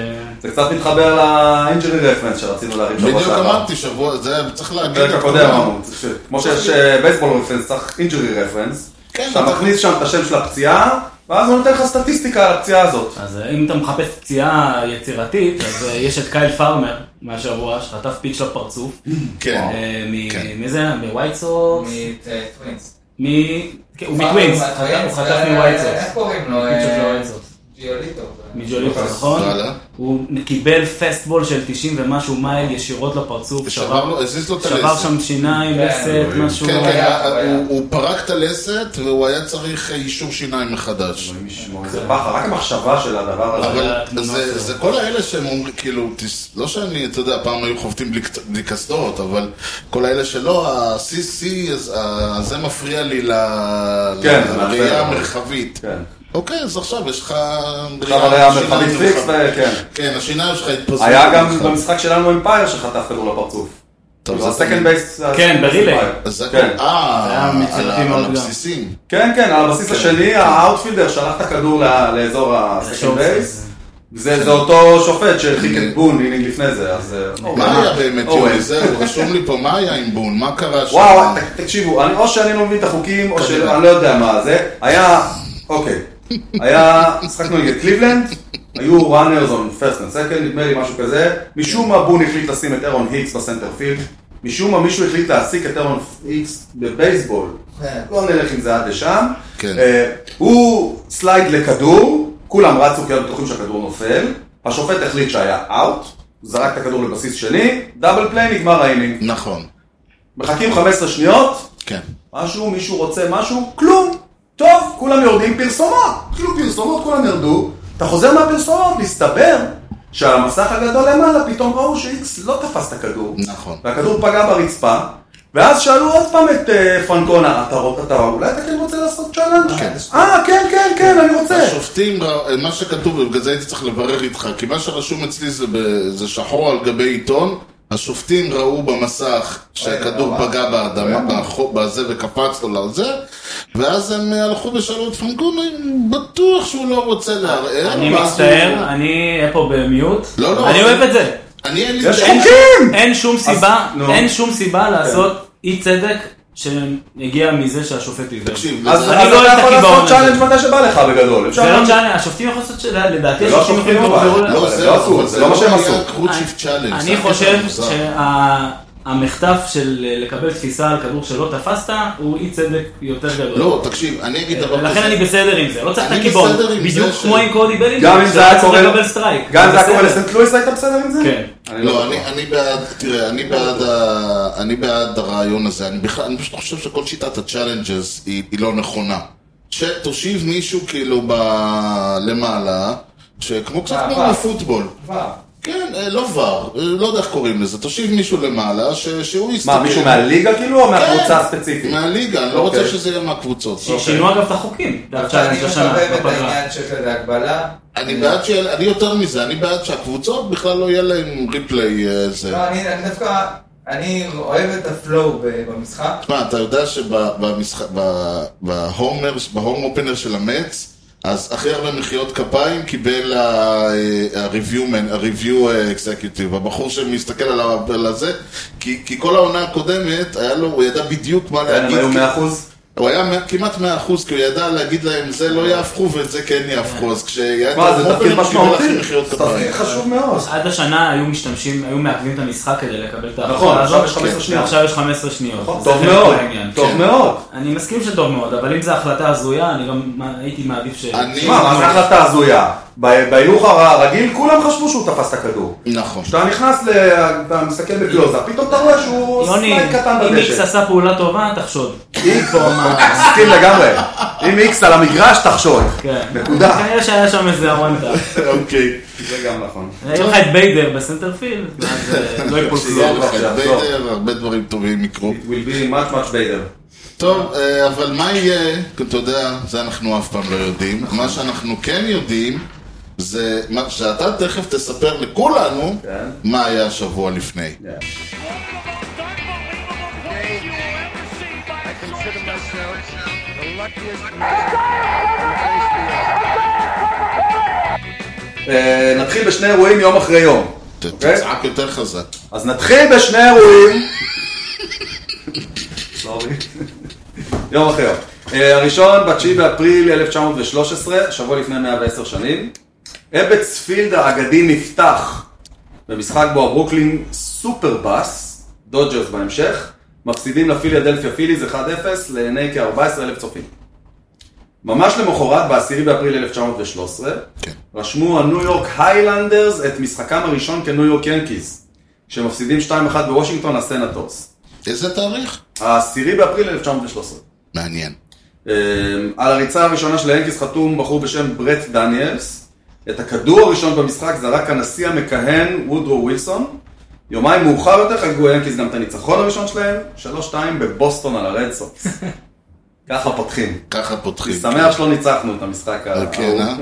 Speaker 4: זה קצת מתחבר לאינג'רי רפרנס שרצינו להרים
Speaker 2: בדיוק אמרתי שבוע, זה צריך להגיד.
Speaker 4: לא בפרק
Speaker 2: את
Speaker 4: הקודם
Speaker 2: כולם.
Speaker 4: אמרנו, ש- כמו שיש אה, בייסבול רפרנס, צריך אינג'רי רפרנס.
Speaker 2: כן,
Speaker 4: אתה
Speaker 2: אתה-
Speaker 4: מכניס שם את השם של הפציעה, ואז הוא נותן לך סטטיסטיקה על הפציעה הזאת.
Speaker 1: אז אה, אם אתה מחפש פציעה יצירתית, אז אה, יש את קייל פארמר. מהשבוע, שחטף פיץ' לפרצוף.
Speaker 2: כן.
Speaker 1: אה, מ-
Speaker 2: כן.
Speaker 1: מי זה היה? מווייט סוקס?
Speaker 5: uh, מטווינס.
Speaker 1: מ... כן, הוא מטווינס. אה, חטף- הוא חטף מווייט
Speaker 5: איך
Speaker 1: סוקס.
Speaker 5: קוראים לו?
Speaker 1: פיץ' של
Speaker 5: אה,
Speaker 1: ווייט סוקס.
Speaker 5: ג'יוליטו.
Speaker 1: מג'וליטו, נכון?
Speaker 2: הלאה.
Speaker 1: הוא קיבל פסטבול של 90 ומשהו מייל ישירות לפרצוף,
Speaker 2: שבר לו, הזיז לו את
Speaker 1: שבר
Speaker 2: הלסת.
Speaker 1: שם שיניים,
Speaker 5: כן,
Speaker 1: לסת,
Speaker 4: אלוהים.
Speaker 1: משהו. לא-
Speaker 2: כן, כן,
Speaker 5: היה-
Speaker 2: הוא-
Speaker 5: היה.
Speaker 2: הוא פרק את הלסת והוא היה צריך אישור שיניים מחדש.
Speaker 4: אלוהים ישמור, זה פחד, רק המחשבה של הדבר
Speaker 1: זה
Speaker 4: הזה.
Speaker 2: כן. אבל
Speaker 1: התמונה
Speaker 2: זה-
Speaker 1: שלו.
Speaker 2: זה כל האלה שהם אומרים, כאילו, תס- לא שאני, אתה יודע, פעם היו חובטים בלי קצ- בלי קסדות, אבל כל האלה שלא, ה-CC, אז, אה, זה מפריע לי ל-
Speaker 4: כן, זה מעצבן.
Speaker 2: לראייה המרחבית.
Speaker 4: כן.
Speaker 2: אוקיי, אז עכשיו יש לך...
Speaker 4: עכשיו היה
Speaker 2: שיניים
Speaker 4: מרחבים
Speaker 2: שלך-
Speaker 4: פיקס, וכן.
Speaker 2: כן, השיניים שלך התפזרו.
Speaker 4: היה גם
Speaker 2: ממך.
Speaker 4: במשחק שלנו אמפייר שחטף כדור לפרצוף.
Speaker 2: טוב,
Speaker 4: זה
Speaker 2: זה
Speaker 4: הסקנד
Speaker 2: תמיד-
Speaker 4: בייס.
Speaker 1: כן, ברילי.
Speaker 2: אז זה
Speaker 4: כן.
Speaker 2: הכל- אה,
Speaker 1: זה היה
Speaker 2: על ה-
Speaker 1: מציאותי
Speaker 2: על
Speaker 1: מאוד גם.
Speaker 2: הבסיסים.
Speaker 4: כן, כן, על הבסיס השני, האאוטפילדר שלח את הכדור ל- לאזור הסקנד
Speaker 1: שוב,
Speaker 4: בייס.
Speaker 1: זה-
Speaker 4: זה זה אותו שופט שהרחיק את בון אינינג לפני זה, אז... אה,
Speaker 2: מה היה באמת,
Speaker 4: אורן.
Speaker 2: יוני? זהו, רשום לי פה, מה היה עם בון? מה קרה שם?
Speaker 4: וואו, אה, ת- תקשיבו, אני- או שאני לא מבין את החוקים, או
Speaker 2: כנראה.
Speaker 4: שאני לא יודע מה זה. היה, אוקיי, היה, משחקנו נגד קליבלנד, היו runners on first and second, נדמה לי משהו כזה. משום מה בון החליט לשים את אירון היקס בסנטר פילד. משום מה מישהו החליט להעסיק את אירון היקס בבייסבול.
Speaker 5: כן.
Speaker 4: לא נלך עם זה עד לשם.
Speaker 2: כן.
Speaker 4: אה, הוא סלייד לכדור, כולם רצו כי היו בטוחים שהכדור נופל. השופט החליט שהיה אאוט, זרק את הכדור לבסיס שני, דאבל פליי נגמר האינינג.
Speaker 2: נכון,
Speaker 4: מחכים 15 שניות,
Speaker 2: כן.
Speaker 4: משהו, מישהו רוצה משהו, כלום. טוב, כולם יורדים פרסומות. כאילו פרסומות כולם ירדו. אתה חוזר מהפרסומות, מסתבר שעל המסך הגדול למעלה פתאום ראו שאיקס לא תפס את הכדור.
Speaker 2: נכון.
Speaker 4: והכדור פגע ברצפה, ואז שאלו עוד פעם את אה, פרנקונה, אתה רוצה, אתה אולי אתה כן רוצה לעשות צ'אלנג'?
Speaker 2: כן.
Speaker 4: אה, כן, כן, כן, אני רוצה.
Speaker 2: השופטים, ראו- מה שכתוב, ובגלל זה הייתי צריך לברר איתך, כי מה שרשום אצלי זה, ב- זה שחור על גבי עיתון, השופטים ראו במסך שהכדור
Speaker 4: אה,
Speaker 5: אוי,
Speaker 2: פגע באדמה, בחו- בזה וקפץ לו לזה, ואז הם אה, הלכו ושאלו את פרנקונה, "אם בטוח שהוא לא רוצה לערער.
Speaker 1: אני
Speaker 2: ואז
Speaker 1: מצטער,
Speaker 2: הוא-
Speaker 1: אני אהיה פה במיוט.
Speaker 2: אה, לא, לא.
Speaker 1: אני אוהב את זה.
Speaker 2: אני אין לי...
Speaker 4: יש
Speaker 1: לא
Speaker 2: אין-
Speaker 4: חוקים!
Speaker 1: אין שום סיבה,
Speaker 4: נו.
Speaker 1: אין שום סיבה לעשות אי צדק שהגיע מזה שהשופט עיוור.
Speaker 2: תקשיב,
Speaker 4: אז
Speaker 2: לדעתי-
Speaker 1: אני
Speaker 4: אז
Speaker 1: לא אוהב את
Speaker 4: אתה יכול
Speaker 1: הקיבעון
Speaker 4: לעשות
Speaker 1: הזה.
Speaker 4: צ'אלנג' מתי שבא לך בגדול. אפשר
Speaker 1: זה לא
Speaker 4: לעשות-
Speaker 1: משנה, השופטים יכולים לעשות, ש- לדעתי
Speaker 4: זה לא
Speaker 1: השופטים
Speaker 4: שופטים,
Speaker 1: יכולים
Speaker 4: אבל-
Speaker 1: לעבור ל-
Speaker 4: לא,
Speaker 2: לא,
Speaker 4: זה
Speaker 2: זה
Speaker 4: לא
Speaker 2: לא
Speaker 4: אסור,
Speaker 2: אבל
Speaker 4: זה לא מה שהם עשו.
Speaker 2: היה קרוט שיפט צ'אלנג'.
Speaker 1: אני
Speaker 2: זה
Speaker 1: חושב
Speaker 2: היה מוזר.
Speaker 1: שהמחטף של לקבל תפיסה על כדור שלא תפסת, הוא אי צדק יותר גדול.
Speaker 2: לא, תקשיב, אני אגיד דבר כזה.
Speaker 1: ולכן אני בסדר עם זה, לא צריך את
Speaker 2: אני
Speaker 1: הקיבעון,
Speaker 2: בסדר עם
Speaker 1: בדיוק
Speaker 2: זה
Speaker 1: כמו
Speaker 2: ש-
Speaker 1: עם קודי בלינגר,
Speaker 4: גם אם זה היה קורה...
Speaker 1: לקבל סטרייק.
Speaker 4: גם אם זה היה קורה
Speaker 1: בסדר.
Speaker 4: לסנט לואיס היית בסדר עם זה?
Speaker 1: כן.
Speaker 4: אני
Speaker 2: לא,
Speaker 4: בטוח.
Speaker 2: אני, אני בעד, תראה, אני בעד, ה, אני בעד הרעיון הזה, אני בכלל, אני פשוט חושב שכל שיטת הצ'אלנג'ס היא, היא לא נכונה. שתושיב מישהו כאילו ב... למעלה, שכמו קצת
Speaker 5: בעבר.
Speaker 2: כמו בפוטבול.
Speaker 5: כבר.
Speaker 2: כן, אה, לא ור, אה, לא יודע איך קוראים לזה, תושיב מישהו למעלה, ש, שהוא יסתכל.
Speaker 4: מה, מישהו מהליגה כאילו, או
Speaker 2: כן,
Speaker 4: מהקבוצה הספציפית?
Speaker 2: מהליגה, אני לא
Speaker 4: אוקיי.
Speaker 2: רוצה שזה יהיה מהקבוצות.
Speaker 1: שינו אגב את החוקים, זה
Speaker 5: אני
Speaker 1: הצ'אלנג' השנה,
Speaker 5: מחבב את
Speaker 1: בפגרה.
Speaker 5: העניין של כזה הגבלה.
Speaker 2: אני בעד ש... אני יותר מזה, אני בעד שהקבוצות בכלל לא יהיה להם ריפליי אה, זה.
Speaker 5: לא, אני אני דווקא, אני אוהב את הפלואו ב- במשחק.
Speaker 2: תשמע, אתה יודע שבהומר, בהום אופנר של המץ, אז הכי הרבה מחיאות כפיים קיבל אה, ה-review אה, executive, הבחור שמסתכל על ה- על הזה, כי כי כל העונה הקודמת, היה לו, הוא ידע בדיוק מה
Speaker 4: כן, הם
Speaker 2: להגיד.
Speaker 4: היו
Speaker 2: כי-
Speaker 4: 100%?
Speaker 2: הוא היה מאה- כמעט 100%, כי הוא ידע להגיד להם, זה לא יהפכו ואת זה כן יהפכו, אז כשהיה את
Speaker 4: מה, זה
Speaker 2: ההום אופנר,
Speaker 4: תפקיד
Speaker 2: קיבל הכי
Speaker 4: משמעותי?
Speaker 2: מחיאות
Speaker 4: זה
Speaker 2: כפיים.
Speaker 4: תפקיד חשוב מאוד.
Speaker 1: עד השנה היו משתמשים, היו מעכבים את המשחק כדי לקבל את ההחלטה
Speaker 4: נכון, עכשיו
Speaker 1: הזאת,
Speaker 4: יש 15
Speaker 1: כן,
Speaker 4: שניות. נכון,
Speaker 1: ועכשיו יש 15 שניות. זה
Speaker 4: טוב
Speaker 1: חלק
Speaker 4: מאוד,
Speaker 1: מהעניין.
Speaker 4: טוב
Speaker 2: כן.
Speaker 4: מאוד.
Speaker 1: אני מסכים שטוב מאוד, אבל אם זו החלטה הזויה, אני גם מה- הייתי מעדיף ש...
Speaker 2: אני-
Speaker 4: מה, מה זה החלטה הזויה? ב- בהילוך הרגיל כולם חשבו שהוא תפס את הכדור.
Speaker 2: נכון.
Speaker 4: כשאתה נכנס, ל- אתה מסתכל בקלוזה, פתאום אתה רואה שהוא
Speaker 1: יוני,
Speaker 4: סלייד קטן
Speaker 1: אם איקס
Speaker 4: בדשא.
Speaker 1: עשה פעולה טובה, תחשוד.
Speaker 4: איקס, מסכים לגמרי. אם איקס על המגרש, תחשוד.
Speaker 1: כן.
Speaker 4: נקודה.
Speaker 1: כנראה שהיה שם איזה הוונטה.
Speaker 2: אוקיי.
Speaker 4: זה גם נכון.
Speaker 1: היה לך את ביידר בסנטרפילד, ואז אה, לא יפול
Speaker 2: שיהיה
Speaker 1: כלום.
Speaker 2: לך
Speaker 4: עכשיו,
Speaker 2: הרבה
Speaker 4: טוב.
Speaker 2: דרך, הרבה דברים טובים יקרו.
Speaker 4: It will be much much better.
Speaker 2: טוב, אה, אבל מה יהיה, כי אתה יודע, זה אנחנו אף פעם לא יודעים.
Speaker 4: נכון.
Speaker 2: מה שאנחנו כן יודעים, זה מה שאתה תכף תספר לכולנו,
Speaker 4: כן.
Speaker 2: מה היה השבוע לפני.
Speaker 6: I consider myself the luckiest man.
Speaker 4: אה, נתחיל בשני אירועים יום אחרי יום.
Speaker 2: ת-
Speaker 4: אוקיי.
Speaker 2: תצעק יותר חזק.
Speaker 4: אז נתחיל בשני אירועים. סורי. יום אחרי יום. אה, הראשון, ב-9 באפריל 1913, שבוע לפני 110 שנים, אבץ פילד האגדי נפתח במשחק בו הברוקלין סופרבאס, דודג'רס בהמשך, מפסידים לפילדלפיה פיליז 1-0 לעיני כ-14,000 צופים. ממש למחרת, ב-10 באפריל 1913,
Speaker 2: כן.
Speaker 4: רשמו הניו יורק היילנדרס את משחקם הראשון כניו יורק ינקיז, שמפסידים 2-1 בוושינגטון לסנטורס.
Speaker 2: איזה תאריך?
Speaker 4: ה-10 באפריל 1913.
Speaker 2: מעניין.
Speaker 4: אמ, על הריצה הראשונה של ינקיס חתום בחור בשם ברט דניאלס. את הכדור הראשון במשחק זרק הנשיא המכהן וודרו ווילסון. יומיים מאוחר יותר חגגו ינקיס גם את הניצחון הראשון שלהם, 3-2 בבוסטון על הרד סוקס. ככה פותחים.
Speaker 2: ככה פותחים.
Speaker 4: אני שמח שלא ניצחנו את המשחק
Speaker 2: אה, כן,
Speaker 4: ההוא.
Speaker 2: אה?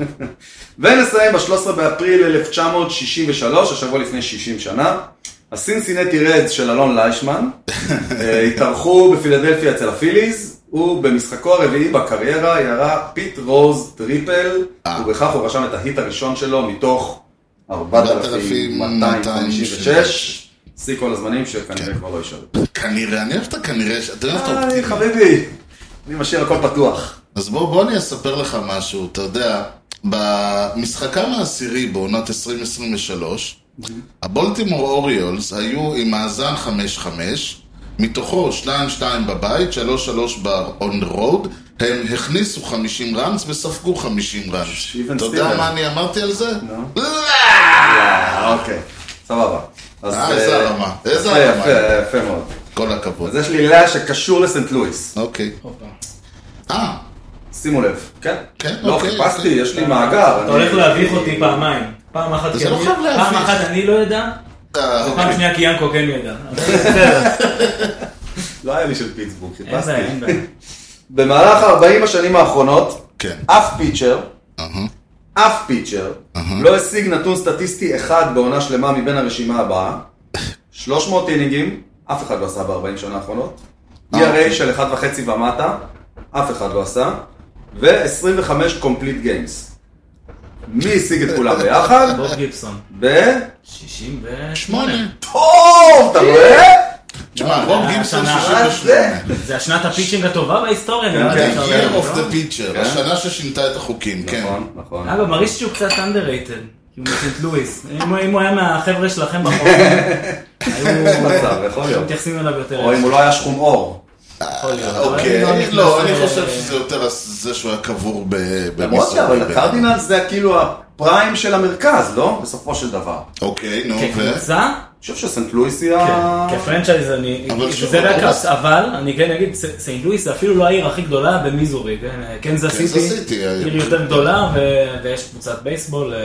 Speaker 4: ונסיים ב-13 באפריל 1963, השבוע לפני 60 שנה. הסינסינטי רדס של אלון ליישמן אה, התארחו בפילדלפיה אצל הפיליז, ובמשחקו הרביעי בקריירה ירה פיט רוז טריפל,
Speaker 2: אה.
Speaker 4: ובכך הוא רשם את ההיט הראשון שלו מתוך 4,256,
Speaker 2: 4,256.
Speaker 4: שיא כל הזמנים
Speaker 2: כן.
Speaker 4: שכנראה כבר לא ישאלו.
Speaker 2: כנראה, אני אוהב את הכנראה, ש- אתה יודע איך אתה
Speaker 4: היי
Speaker 2: אופטימי.
Speaker 4: חביבי, אני משאיר הכל פתוח.
Speaker 2: אז בוא, בוא אני אספר לך משהו, אתה יודע, במשחקם העשירי בעונת 2023,
Speaker 1: Mm-hmm.
Speaker 2: הבולטימור אוריולס היו עם מאזן 5-5, מתוכו 2-2 בבית, 3-3 ב-on the road, הם הכניסו 50 ראנס וספגו 50 ראנס.
Speaker 4: שיבן
Speaker 2: אתה יודע
Speaker 4: סטילר.
Speaker 2: מה אני אמרתי על זה? לא!
Speaker 4: נו. אה, אוקיי, סבבה. אז,
Speaker 2: אה, איזה
Speaker 4: אה,
Speaker 2: הרמה, איזה
Speaker 4: יפה,
Speaker 2: הרמה.
Speaker 4: יפה, יפה מאוד.
Speaker 2: כל הכבוד.
Speaker 4: אז יש לי לה שקשור לסנט לואיס.
Speaker 2: אוקיי. אה,
Speaker 4: שימו לב. כן?
Speaker 2: כן,
Speaker 4: לא,
Speaker 2: אוקיי,
Speaker 4: חיפשתי,
Speaker 2: אוקיי.
Speaker 4: יש לי מאגר.
Speaker 1: אתה
Speaker 4: אני-
Speaker 1: הולך להביך אותי פעמיים. פעם אחת
Speaker 2: זה
Speaker 1: כי
Speaker 2: לא
Speaker 1: אני-
Speaker 2: חייב להביך.
Speaker 1: פעם אחת אני לא יודע,
Speaker 2: אה,
Speaker 1: ופעם שנייה כי ינקו כן ידע. אבל בסדר,
Speaker 4: לא היה לי של פיטסבורג,
Speaker 1: אין
Speaker 4: חיפשתי.
Speaker 1: בעיה, אין בעיה.
Speaker 4: במהלך 40 השנים האחרונות,
Speaker 2: כן.
Speaker 4: אף פיצ'ר,
Speaker 2: אהה.
Speaker 4: אף פיצ'ר, לא השיג נתון סטטיסטי אחד בעונה שלמה מבין הרשימה הבאה. 300 אינינגים, אף אחד לא עשה ב-40 שנה האחרונות.
Speaker 2: אה, אוקיי.
Speaker 4: ERA של 1.5 ומטה, אף אחד לא עשה. ו-25 קומפליט גיימס. מי השיג את כולם ביחד?
Speaker 1: בוב גיבסון.
Speaker 4: ב...
Speaker 1: 68.
Speaker 2: שמונה.
Speaker 4: טוב, אתה רואה?
Speaker 2: תשמע,
Speaker 1: לא,
Speaker 2: רוב
Speaker 1: זה
Speaker 2: גיבסון
Speaker 1: השנה.
Speaker 2: 68.
Speaker 1: זה השנת הפיצ'ינג הטובה בהיסטוריה, נראה לי.
Speaker 4: כן,
Speaker 1: אפשר
Speaker 2: Year
Speaker 1: להגיד,
Speaker 2: of
Speaker 1: לא?
Speaker 2: the Pitcher,
Speaker 4: כן.
Speaker 2: השנה ששינתה את החוקים, כן.
Speaker 4: נכון, נכון.
Speaker 1: אגב, מרגיש שהוא קצת underrated. כי הוא מסנט לואיס. אם הוא- אם הוא היה מהחבר'ה שלכם בחור,
Speaker 4: אין מצב, יכול
Speaker 1: היו
Speaker 4: להיות.
Speaker 1: מתייחסים אליו יותר.
Speaker 4: או אם הוא לא היה שחום עור.
Speaker 1: יכול להיות.
Speaker 2: אוקיי,
Speaker 1: אבל
Speaker 2: אני- לא, אני
Speaker 1: נכנס,
Speaker 2: חושב
Speaker 1: אה,
Speaker 2: שזה יותר הס- זה שהוא היה קבור ב-
Speaker 4: למרות
Speaker 2: במשחק.
Speaker 4: שאבל הקרדינלס זה כאילו הפריים של המרכז, לא? בסופו של דבר.
Speaker 2: אוקיי, נו,
Speaker 4: כן,
Speaker 2: ו...
Speaker 1: כקבוצה,
Speaker 4: אני חושב שסנט לואיס היא ה...
Speaker 1: כן, כפרנצ'ייז אני,
Speaker 2: אבל שוב, אוקיי.
Speaker 1: זה רק,
Speaker 2: אבל-
Speaker 1: הס- אבל אני כן אגיד, ס- סנט לואיס זה אפילו לא העיר הכי גדולה במיזורי, כן? קנזס
Speaker 2: קנזס
Speaker 1: סיטי,
Speaker 2: סיטי, אה,
Speaker 1: עיר
Speaker 2: העיר.
Speaker 1: יותר גדולה ו- ויש קבוצת בייסבול, אה,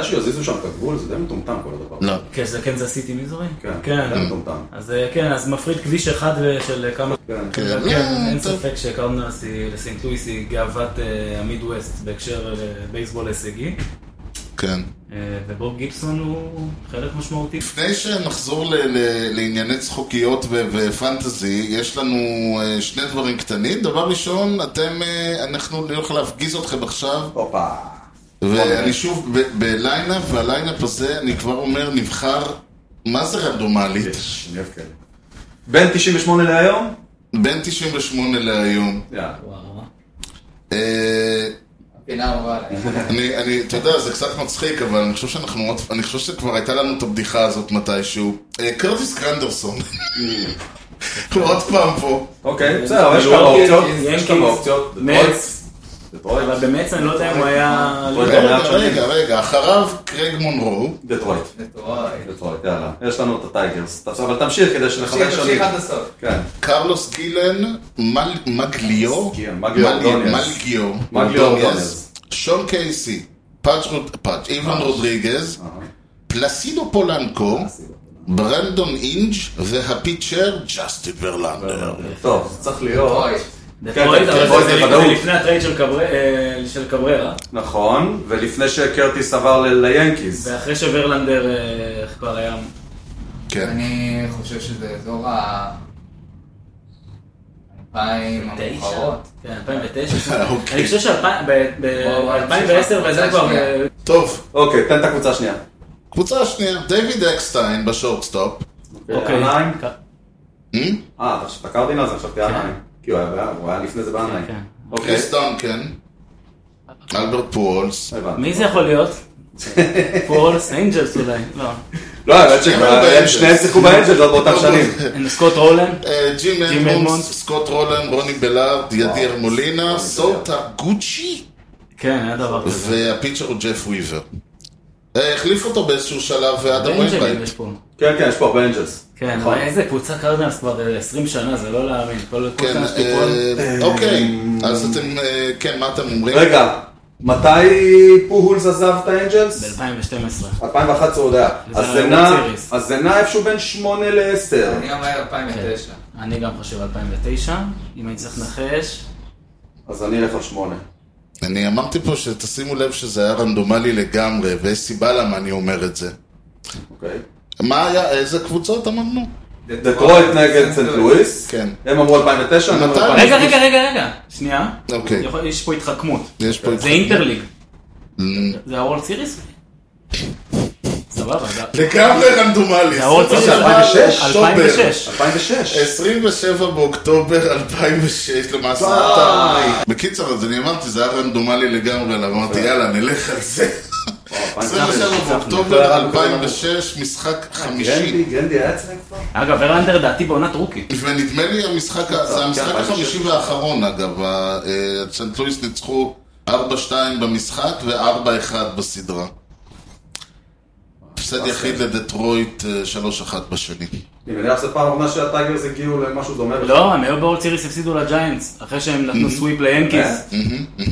Speaker 4: מתי שיזיזו שם את הגבול זה די מטומטם כל הדבר.
Speaker 2: לא.
Speaker 1: כן, זה קנזס סיטי מיזורי?
Speaker 2: נכון.
Speaker 1: לא.
Speaker 4: כן, די מטומטם.
Speaker 1: אז אה, כן, אז מפריד כביש אחד אה, של כמה...
Speaker 4: כן.
Speaker 2: Mm. כן,
Speaker 1: אבל
Speaker 2: לא,
Speaker 1: כן, אין
Speaker 2: טוב.
Speaker 1: ספק שקרדינלס היא- לסנט לואיס היא גאוות אה, המידווסט בהקשר אה, לבייסבול הישגי,
Speaker 2: כן.
Speaker 1: אה, ובוב גיבסון הוא חלק משמעותי.
Speaker 2: לפני שנחזור ל- ל- לענייני צחוקיות ו- ופנטזי, יש לנו אה, שני דברים קטנים. דבר ראשון, אתם, אה, אנחנו נלך להפגיז אתכם עכשיו
Speaker 4: הופה. אוקיי.
Speaker 2: ואני שוב, ב- בליינאפ, והליינאפ הזה, אני כבר אומר, נבחר, מה זה רנדומלית?
Speaker 4: יש, אני אוהב כאלה. בין 98 להיום?
Speaker 2: בין 98 להיום.
Speaker 4: יאללה.
Speaker 1: וואו.
Speaker 2: אה,
Speaker 5: הפינה אהובה עליי.
Speaker 2: אני, אני, אתה יודע, זה קצת מצחיק, אבל אני חושב שאנחנו, עוד- אני חושב שכבר הייתה לנו את הבדיחה הזאת מתישהו. אה, קרטיס קרנדרסון. הוא עוד פעם פה.
Speaker 1: כן.
Speaker 4: אוקיי, בסדר, אבל יש כמה אופציות. יש כמה אופציות.
Speaker 1: כאילו מץ.
Speaker 4: דטרויט.
Speaker 1: כן. אבל במץ אני לא יודע אם הוא היה... לא-
Speaker 4: הוא יודע.
Speaker 2: רגע,
Speaker 4: מעט שנים.
Speaker 2: רגע, רגע, אחריו קרייג מונרו.
Speaker 4: דטרויט.
Speaker 5: מטורף.
Speaker 4: דטרויט, יאללה. יש לנו את הטייגרס. תפס- אבל תמשיך כדי שנחבר שנים.
Speaker 5: תמשיך עד הסוף.
Speaker 4: כן.
Speaker 2: קרלוס גילן, מל, מגליו,
Speaker 4: כן, מגליו
Speaker 2: מל-
Speaker 4: אורדוניאס.
Speaker 2: מלגיו,
Speaker 4: מגליו
Speaker 2: אורדוניאס,
Speaker 4: אורדוניאס.
Speaker 2: שון קייסי, פאץ' רוד- פאץ', איוון רודריגז,
Speaker 4: אהה.
Speaker 2: פלסידו פולנקו, ברנדון אינג' והפיצ'ר ג'סטי ברלנדר.
Speaker 4: טוב, זה צריך להיות.
Speaker 5: אוי.
Speaker 1: דטרויט,
Speaker 4: כן,
Speaker 1: אבל
Speaker 4: דטרויט
Speaker 1: זה-
Speaker 4: זה
Speaker 1: זה
Speaker 4: ודאות.
Speaker 1: לפני הטרייד של קבררה- אה, של קבררה,
Speaker 4: נכון, ולפני שקרטיס עבר ל- ליאנקיז.
Speaker 1: ואחרי שוורלנדר אה, כבר היה...
Speaker 2: כן.
Speaker 5: אני חושב שזה אזור ה... אלפיים המאוחרות.
Speaker 1: כן, 2009.
Speaker 2: אוקיי.
Speaker 1: אני חושב
Speaker 5: וואו, וואו,
Speaker 1: שב-2010 וזה
Speaker 5: שנייה.
Speaker 1: כבר...
Speaker 2: טוב,
Speaker 4: אוקיי, תן את הקבוצה השנייה.
Speaker 2: קבוצה שנייה, דיוויד אקסטיין בשורטסטופ.
Speaker 1: אוקיי.
Speaker 4: עניים?
Speaker 2: אה?
Speaker 4: אה, את הקרדינלס, עכשיו תהיה עניים. כי הוא היה בעיה, הוא היה לפני זה בעניים.
Speaker 1: כן.
Speaker 4: אוקיי,
Speaker 2: קריס דונקן, אלברט פוולס,
Speaker 4: הבנתי.
Speaker 1: מי זה יכול להיות? For All Angels אולי, לא.
Speaker 4: לא, האמת
Speaker 2: שניהם היו באנג'לס.
Speaker 4: שהם שניהם שיחקו באנג'ל עוד באותם שנים.
Speaker 1: And סקוט רולנד,
Speaker 2: אה, ג'ים
Speaker 1: ג'ים
Speaker 2: אדמונס,
Speaker 1: אדמונס.
Speaker 2: סקוט רולן, רוני בלארד, ידיר מולינה, סוטה גוצ'י,
Speaker 1: כן, היה דבר כזה.
Speaker 2: והפיצ'ר הוא ג'ף וויבר. אה, החליף אותו באיזשהו שלב, ואדם
Speaker 1: אנג'לים
Speaker 2: ווינברג.
Speaker 1: יש פה.
Speaker 4: כן, כן, יש פה הרבה אנג'לס.
Speaker 1: כן,
Speaker 4: נכון.
Speaker 1: וואי, איזה קבוצה קרדינלס כבר אה, 20 שנה, זה לא להאמין. כל כל
Speaker 2: כן,
Speaker 1: שנה שתיפול.
Speaker 2: אה, אוקיי, אז אתם, אה, כן, מה אתם אומרים?
Speaker 4: רגע, מתי פוהולס עזב את האנג'לס?
Speaker 1: ב-2012.
Speaker 4: 2011 עוד היה.
Speaker 1: זה לא
Speaker 4: אז
Speaker 1: היה
Speaker 4: זה
Speaker 1: World
Speaker 4: נע-
Speaker 1: Series.
Speaker 4: אז זה נע איפשהו בין 8 ל-10.
Speaker 5: אני אומר 2009.
Speaker 1: אני גם חושב 2009, אם אני צריך לנחש.
Speaker 4: אז אני אלך על 8.
Speaker 2: אני אמרתי פה שתשימו לב שזה היה רנדומלי לגמרי, ויש סיבה למה אני אומר את זה.
Speaker 4: אוקיי.
Speaker 2: מה היה, איזה קבוצות אמרנו?
Speaker 4: דטרויט נגד סנט לואיס.
Speaker 2: כן.
Speaker 4: הם אמרו 2009, אני אומר
Speaker 2: מתי?
Speaker 4: 2009.
Speaker 1: רגע, רגע, רגע, רגע. שנייה.
Speaker 2: אוקיי.
Speaker 1: יכול- יש פה התחכמות.
Speaker 2: יש פה
Speaker 1: זה
Speaker 2: התחכמות.
Speaker 1: אינטרליג.
Speaker 2: אמ,
Speaker 1: זה הוולד סיריס? סבבה, זה-
Speaker 2: לגמרי רנדומלי.
Speaker 1: זה הוולד סיריס.
Speaker 4: זה 2006?
Speaker 1: 2006.
Speaker 4: 2006.
Speaker 2: 27 באוקטובר 2006, למעשה אתה... בקיצר, אז אני אמרתי, זה היה רנדומלי לגמרי, אבל אמרתי, יאללה, נלך על זה. 27 באוקטובר 2006, משחק
Speaker 1: כן,
Speaker 2: חמישי.
Speaker 4: גרנדי, גרנדי היה אצלם כבר?
Speaker 1: אגב, ורנדר דעתי בעונת רוקי.
Speaker 2: ונדמה לי, המשחק,
Speaker 1: כן,
Speaker 2: זה המשחק
Speaker 4: 2006.
Speaker 2: החמישי והאחרון, אגב. ה- אה, סנט לואיס ניצחו 4-2 במשחק ו-4-1 בסדרה. הפסד
Speaker 1: אוקיי.
Speaker 2: יחיד לדטרויט, אה, 3-1 בשני.
Speaker 4: אני מניח שזו פעם אחרונה שהטייגרס הגיעו למשהו דומה.
Speaker 1: לא, הם היו בורד סיריס, הפסידו לג'יינטס, אחרי שהם נתנו סוויפ ליאנקיס.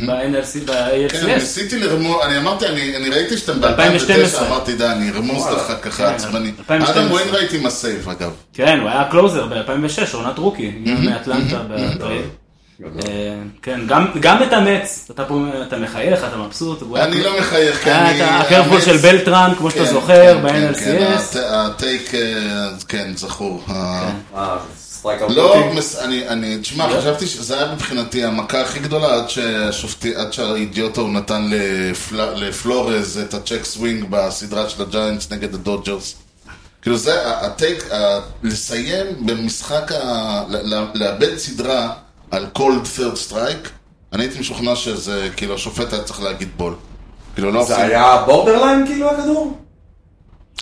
Speaker 1: ב-NLC,
Speaker 2: אה? כן,
Speaker 1: ב-AFCS.
Speaker 2: ניסיתי לרמוז, אני אמרתי, אני אני ראיתי שאתם ב-2009,
Speaker 1: ב-2012.
Speaker 2: אמרתי, די, אני ארמוז
Speaker 4: וואלה.
Speaker 2: לך ככה
Speaker 1: כן,
Speaker 2: עצבני.
Speaker 1: 2012.
Speaker 2: אדם ווינרייט עם הסייב, אגב.
Speaker 1: כן, הוא היה קלוזר ב-2006, עונת רוקי, מאטלנטה בטרייד. אה, כן, גם- גם את המץ, אתה פה, אתה מחייך, אתה מבסוט. הוא היה
Speaker 2: אני
Speaker 1: קלוזר.
Speaker 2: לא מחייך, כי
Speaker 1: היה
Speaker 2: אני...
Speaker 1: את הקרפול
Speaker 2: האמת-
Speaker 1: של בלטרן, כמו שאתה
Speaker 2: כן,
Speaker 1: זוכר,
Speaker 2: כן, כן,
Speaker 1: ב-NLCS.
Speaker 2: הט- הטייק, אה, כן, זכור. ה-
Speaker 4: אה, סטרייק אאוט.
Speaker 2: לא, מס- אני, אני, תשמע,
Speaker 4: לא.
Speaker 2: חשבתי שזה היה מבחינתי המכה הכי גדולה עד שהשופטי, עד שהאידיוטו נתן לפל- לפלורז את הצ'ק סווינג בסדרה של הג'יינטס נגד הדודג'רס. כאילו זה, ה- הטייק, ה- לסיים במשחק, ה- ל- ל- לאבד סדרה על cold third strike, אני הייתי משוכנע שזה, כאילו, השופט היה צריך להגיד בול. כאילו, לא
Speaker 4: זה
Speaker 2: עושים-
Speaker 4: היה בורדרליין כאילו הכדור?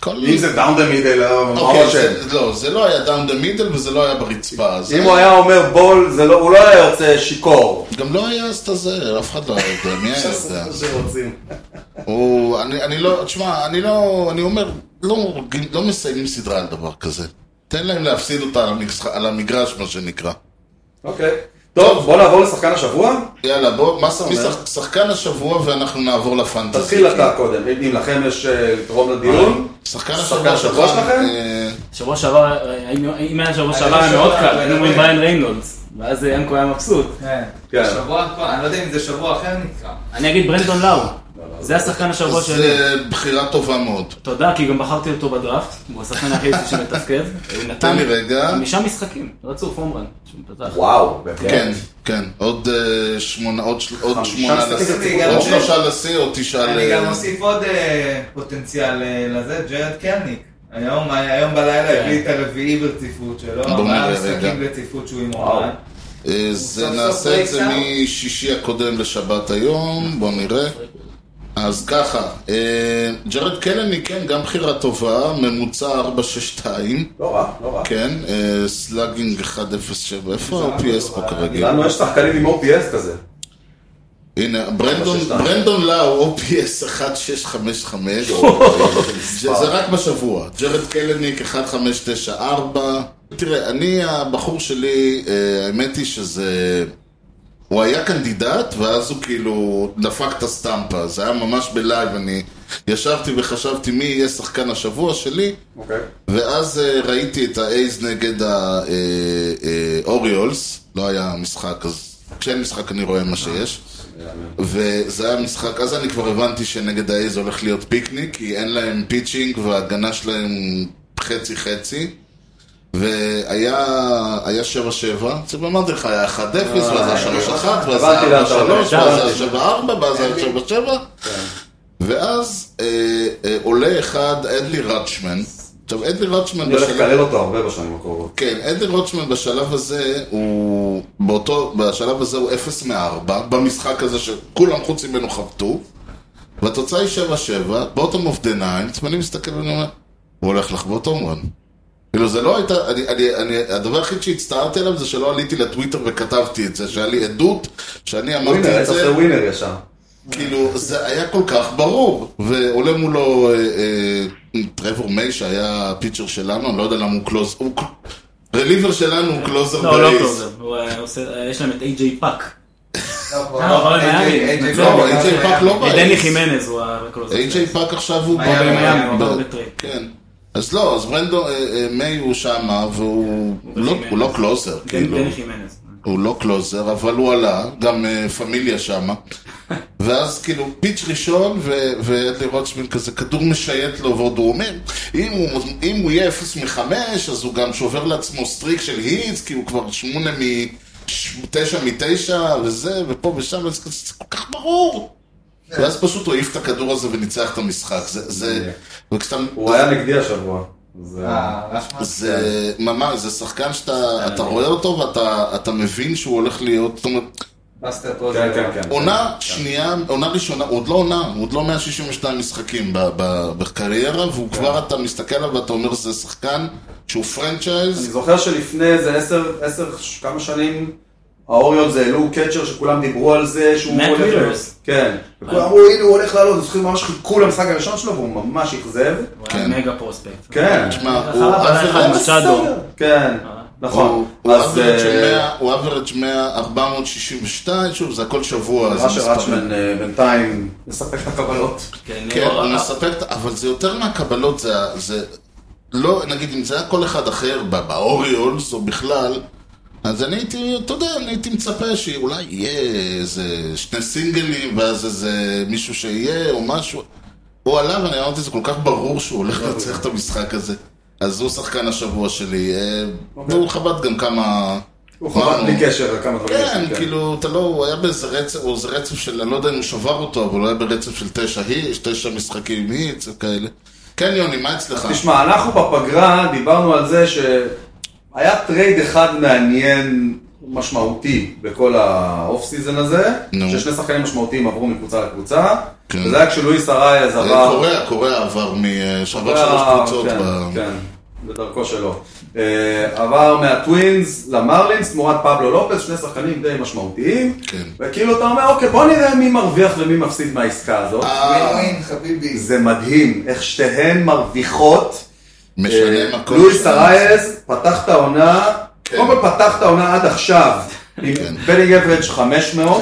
Speaker 2: כל-
Speaker 4: אם זה דאון דה מידל, מה הוא
Speaker 2: אוקיי,
Speaker 4: אשם?
Speaker 2: זה- לא, זה לא היה down the middle וזה לא היה ברצפה. אז-
Speaker 4: אם הוא היה אומר בול, זה לא- הוא לא היה יוצא שיכור.
Speaker 2: גם לא היה אז את הזה, אף אחד לא היה יודע, מי היה יודע?
Speaker 4: שרוצים.
Speaker 2: הוא, אני, אני לא, תשמע, אני לא, אני אומר, לא, הורגים- לא מסיימים סדרה על דבר כזה. תן להם להפסיד אותה על, המשח, על המגרש, מה שנקרא.
Speaker 4: אוקיי. טוב, בוא נעבור לשחקן השבוע.
Speaker 2: יאללה, בוא, מה
Speaker 4: אומר?
Speaker 2: שחק, שחקן השבוע ואנחנו נעבור לפנטזי.
Speaker 4: תתחיל אתה
Speaker 2: כן.
Speaker 4: קודם, אם לכם יש אה, לתרום לדיון.
Speaker 2: שחקן
Speaker 4: שחקן
Speaker 2: השבוע
Speaker 4: השבוע
Speaker 2: שלך,
Speaker 4: שלכם?
Speaker 2: אה,
Speaker 1: שבוע שעבר, היינו- אם היה שבוע שעבר היה
Speaker 5: שבוע
Speaker 1: מאוד
Speaker 5: שעבר,
Speaker 1: קל, היינו
Speaker 5: היה
Speaker 1: אומרים
Speaker 5: הרבה.
Speaker 1: בריין ריינולדס, ואז אה, ינקו היה מבסוט.
Speaker 5: כן.
Speaker 4: כן.
Speaker 5: שבוע כבר, אני לא יודע אם זה שבוע אחר נקרא.
Speaker 1: אני אגיד ברנדון לאו, זה השחקן השבוע
Speaker 2: אז
Speaker 1: שלי.
Speaker 2: אה, בחירה טובה מאוד.
Speaker 1: תודה, כי גם בחרתי אותו בדראפט, הוא השחקן הכי יפה שמתפקד. הוא
Speaker 2: תן
Speaker 1: נתן
Speaker 2: לי רגע.
Speaker 1: חמישה משחקים, רצוף הומרן, שהוא פתח.
Speaker 4: וואו, באמת.
Speaker 2: כן, כן, עוד אה, שמונה, עוד של- עוד
Speaker 4: חמישה
Speaker 2: שמונה
Speaker 4: משחקים
Speaker 2: לשיא,
Speaker 5: לציבור.
Speaker 2: עוד שלושה
Speaker 4: לא-
Speaker 2: לשיא, עוד תשעה
Speaker 5: אני
Speaker 2: ל-
Speaker 5: גם אוסיף עוד אה, פוטנציאל אה, לזה, ג'רד קלניק. היום היום בלילה הביא את הרביעי ברציפות שלו,
Speaker 2: בוא
Speaker 5: ארבעה
Speaker 2: נראה רגע.
Speaker 5: משחקים ברציפות שהוא עם
Speaker 4: וואו.
Speaker 5: אורן.
Speaker 2: אה, זה
Speaker 5: סוף סוף
Speaker 2: נעשה את זה
Speaker 5: breakdown.
Speaker 2: משישי הקודם לשבת היום, בואו נראה. אז ככה, אה, ג'רד קלני, כן, גם בחירה טובה, ממוצע 462,
Speaker 4: לא רע, לא רע.
Speaker 2: כן, אה, סלאגינג 107, איפה ה-OPS פה כרגיל?
Speaker 4: לנו יש שחקנים עם OPS כזה.
Speaker 2: הנה, ברנדון,
Speaker 4: 462.
Speaker 2: ברנדון לאו, OPS 1655, זה זה רק בשבוע, ג'רד קלניק 1594, תראה, אני, הבחור שלי, אה, האמת היא שזה... הוא היה קנדידט, ואז הוא כאילו דפק את הסטמפה, זה היה ממש בלייב, אני ישבתי וחשבתי מי יהיה שחקן השבוע שלי,
Speaker 4: אוקיי.
Speaker 2: ואז אה, ראיתי את האייז נגד האוריולס, לא היה משחק, אז כשאין משחק אני רואה מה שיש. וזה היה משחק, אז אני כבר הבנתי שנגד האייז הולך להיות פיקניק, כי אין להם פיצ'ינג וההגנה שלהם חצי-חצי. והיה היה 7-7, זה אמרתי לך, היה 1-0,
Speaker 4: אה,
Speaker 2: ואז היה 3-1, ואז
Speaker 4: הבנתי לאן
Speaker 2: היה
Speaker 4: אתה
Speaker 2: 4-3,
Speaker 4: הולך,
Speaker 2: ואז היה 7-4, ואז היה 7-7, ואז אה, אה, עולה אחד, אדלי רצ'מן. עכשיו, אדלי רצ'מן
Speaker 4: אני הולך
Speaker 2: בשלב
Speaker 4: לקלל אותו הרבה בשנים הקרובות.
Speaker 2: כן, אדי רוטשמן בשלב הזה הוא באותו, בשלב הזה הוא 0 מ-4, במשחק הזה שכולם חוץ ממנו חבטו, והתוצאה היא 7-7, בוטום אוף דה ניינס, ואני מסתכל ואני אומר, הוא הולך לחוות הומרן. כאילו זה לא הייתה, אני, אני, אני, הדבר היחיד שהצטערתי עליו זה שלא עליתי לטוויטר וכתבתי את זה, שהיה לי עדות שאני
Speaker 4: ווינר,
Speaker 2: אמרתי את
Speaker 4: רצח
Speaker 2: זה,
Speaker 4: זה ווינר ישר.
Speaker 2: כאילו זה היה כל כך ברור, ועולה מולו אה, אה, טרוור מיי שהיה הפיצ'ר שלנו, אני לא יודע למה הוא קלוז, הוא רליבר שלנו הוא קלוזר
Speaker 1: לא, לא
Speaker 2: בייס.
Speaker 1: קלוזר, הוא, אה, עושה- אה, יש להם את איי-ג'יי פאק.
Speaker 5: לא,
Speaker 1: אבל
Speaker 5: AJ
Speaker 1: מיאמי,
Speaker 5: AJ
Speaker 1: מצוין.
Speaker 2: לא, AJ פאק לא
Speaker 1: אה,
Speaker 2: בייס.
Speaker 1: דני חימנז הוא הקלוזר.
Speaker 2: AJ פאק עכשיו הוא... ב-
Speaker 5: היה במיאמי,
Speaker 2: ב-
Speaker 1: הוא עבר בטרייד.
Speaker 2: כן. אז לא, אז ברנדו, אה, אה, מיי הוא שמה, והוא לא-
Speaker 1: חימנז.
Speaker 2: הוא לא קלוזר,
Speaker 1: כן, דני
Speaker 2: כאילו.
Speaker 1: דני חימנז.
Speaker 2: הוא לא קלוזר, אבל הוא עלה, גם אה, פמיליה שמה. ואז כאילו פיץ' ראשון, ו- ואדלי רוטשמן כזה, כדור משייט לו, ועוד הוא אומר, אם הוא, אם הוא יהיה 0 מ-5, אז הוא גם שובר לעצמו סטריק של היטס, כי הוא כבר 8 מ... 9 מ-9, וזה, ופה ושם, וזה כזה, זה כל כך ברור. ואז פשוט הוא העיף את הכדור הזה וניצח את המשחק. זה... זה... וכשאתה...
Speaker 4: הוא היה נגדי השבוע. זה-
Speaker 5: אה, רחמן.
Speaker 2: זה ממש, זה שחקן שאתה אתה רואה אותו ואתה אתה מבין שהוא הולך להיות, זאת אומרת,
Speaker 5: בסטר פה
Speaker 4: כן,
Speaker 5: זה...
Speaker 4: כן, כן.
Speaker 2: עונה שנייה, עונה ראשונה, הוא עוד לא עונה, הוא עוד לא 162 משחקים ב- ב- בקריירה, והוא
Speaker 4: כן.
Speaker 2: כבר אתה מסתכל עליו ואתה אומר זה שחקן שהוא
Speaker 4: אני
Speaker 2: פרנצ'ייז,
Speaker 4: זוכר שלפני איזה עשר, עשר, ש- כמה שנים, האוריונס העלו קצ'ר שכולם דיברו על זה שהוא
Speaker 1: מאט
Speaker 4: הולך...
Speaker 1: מילרס.
Speaker 4: כן. וכולם אמרו, הנה הוא הולך לעלות, זוכרים ממש חיכו למשחק הראשון שלו והוא ממש אכזב.
Speaker 1: הוא היה
Speaker 2: כן.
Speaker 1: מגה פרוספקט.
Speaker 4: כן.
Speaker 2: תשמע, הוא
Speaker 1: אחריו היה אחד
Speaker 2: average-
Speaker 1: מצ'אדו.
Speaker 4: "אה, כן, נכון.
Speaker 2: הוא
Speaker 4: אז
Speaker 2: average של
Speaker 4: אה,
Speaker 2: 100, הוא average 100, 462, שוב, זה הכל שבוע, אז
Speaker 4: אשר
Speaker 2: מספרים.
Speaker 4: רצ'מן אה, בינתיים מספק את הקבלות.
Speaker 1: כן,
Speaker 2: כן,
Speaker 1: הוא-
Speaker 2: הוא מספק, את- אבל זה יותר מהקבלות, זה, ה- זה לא, נגיד אם זה היה כל אחד אחר, ב- באוריולס או בכלל, אז אני הייתי, אתה יודע, אני הייתי מצפה שאולי יהיה איזה שני סינגלים, ואז איזה מישהו שיהיה, או משהו. הוא עלה, ואני אמרתי, זה כל כך ברור שהוא הולך לנצח את המשחק הזה. אז הוא שחקן השבוע שלי, אה, והוא חבט גם כמה...
Speaker 4: הוא חבל בלי קשר לכמה דברים. יש
Speaker 2: אוקיי. כן,
Speaker 4: לי,
Speaker 2: כאילו, אתה לא, הוא היה באיזה רצף, הוא איזה רצף של, אני לא יודע אם הוא שבר אותו, אבל הוא היה ברצף של תשע היץ', תשע משחקים היץ' וכאלה. כן, יוני, מה אצלך?
Speaker 4: תשמע, אנחנו בפגרה דיברנו על זה שהיה טרייד אחד מעניין, משמעותי, בכל האוף סיזן הזה,
Speaker 2: נו.
Speaker 4: ששני שחקנים משמעותיים עברו מקבוצה לקבוצה,
Speaker 2: כן.
Speaker 4: וזה היה כשלואיס ארייז
Speaker 2: אה,
Speaker 4: עבר...
Speaker 2: קוריאה, קוריאה עבר משבר שלוש
Speaker 4: אה,
Speaker 2: קבוצות.
Speaker 4: כן,
Speaker 2: ב-
Speaker 4: כן, בדרכו שלו. אה, עבר מהטווינס למרלינס תמורת פבלו לופס, שני שחקנים די משמעותיים,
Speaker 2: כן.
Speaker 4: וכאילו אתה אומר, אוקיי, בוא נראה מי מרוויח ומי מפסיד מהעסקה הזאת.
Speaker 2: אה,
Speaker 5: ווין ווין, חביבי.
Speaker 4: זה מדהים, איך שתיהן מרוויחות.
Speaker 2: משנה מקום.
Speaker 4: אה, לואיס ארייז פתח את העונה,
Speaker 2: כן.
Speaker 4: קודם כל פתח את העונה עד עכשיו, עם בלינג אברג' 500,
Speaker 5: 500.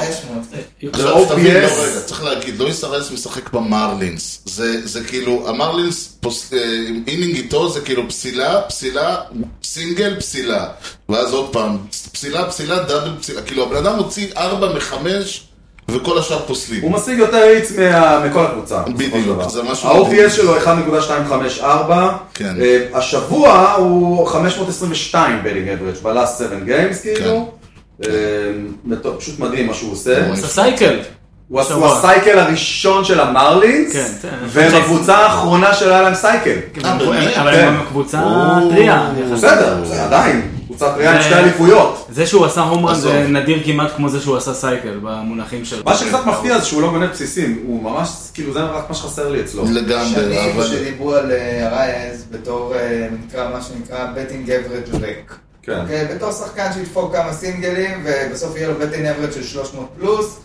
Speaker 2: עכשיו תבין, לא,
Speaker 4: ב-OPS.
Speaker 2: רגע, צריך להגיד, לואיס ארז משחק במרלינס. זה, זה כאילו, המרלינס, פוס, אה, עם אינינג איתו זה כאילו פסילה, פסילה, סינגל, פסילה. ואז עוד פעם, פסילה, פסילה, דאבל, פסילה. כאילו, הבן אדם הוציא ארבע מחמש, וכל השאר פוסלים.
Speaker 4: הוא משיג יותר איץ מה- מכל הקבוצה. בסופו של
Speaker 2: בדיוק,
Speaker 4: דבר.
Speaker 2: זה משהו מדהים.
Speaker 4: ה-OPS שלו 1.254,
Speaker 2: כן.
Speaker 4: אה, השבוע הוא 522 בלינג אברג' בלאסט 7 גיימס,
Speaker 2: כן.
Speaker 4: כאילו. אה, מטו- פשוט מדהים מה שהוא עושה.
Speaker 1: הוא עשה סייקל.
Speaker 4: הוא עשה- הוא
Speaker 1: שבוע.
Speaker 4: הסייקל הראשון של המרלינס,
Speaker 1: כן, כן.
Speaker 4: והם הקבוצה האחרונה שלא היה להם סייקל.
Speaker 2: אה, באמת?
Speaker 1: אבל
Speaker 4: כן.
Speaker 1: הם קבוצה
Speaker 2: או.
Speaker 1: טריה. יחסית.
Speaker 4: בסדר, זה עדיין, קבוצה טריה עם
Speaker 1: זה-
Speaker 4: שתי אליפויות.
Speaker 1: זה שהוא עשה הומרן
Speaker 2: עזוב.
Speaker 1: זה נדיר כמעט כמו זה שהוא עשה סייקל במונחים של...
Speaker 4: מה שקצת מפתיע זה שהוא לא בונה בסיסים, הוא ממש, כאילו זה רק מה שחסר לי אצלו.
Speaker 2: לגמרי,
Speaker 5: שנים
Speaker 2: אבל...
Speaker 5: שדיברו על אה, הרייז בתור, אה, נקרא, מה שנקרא, בטינג אברג' ריק.
Speaker 4: כן.
Speaker 5: אוקיי, בתור שחקן שידפוק כמה סינגלים, ובסוף יהיה לו בטינג אברג' של 300 פלוס,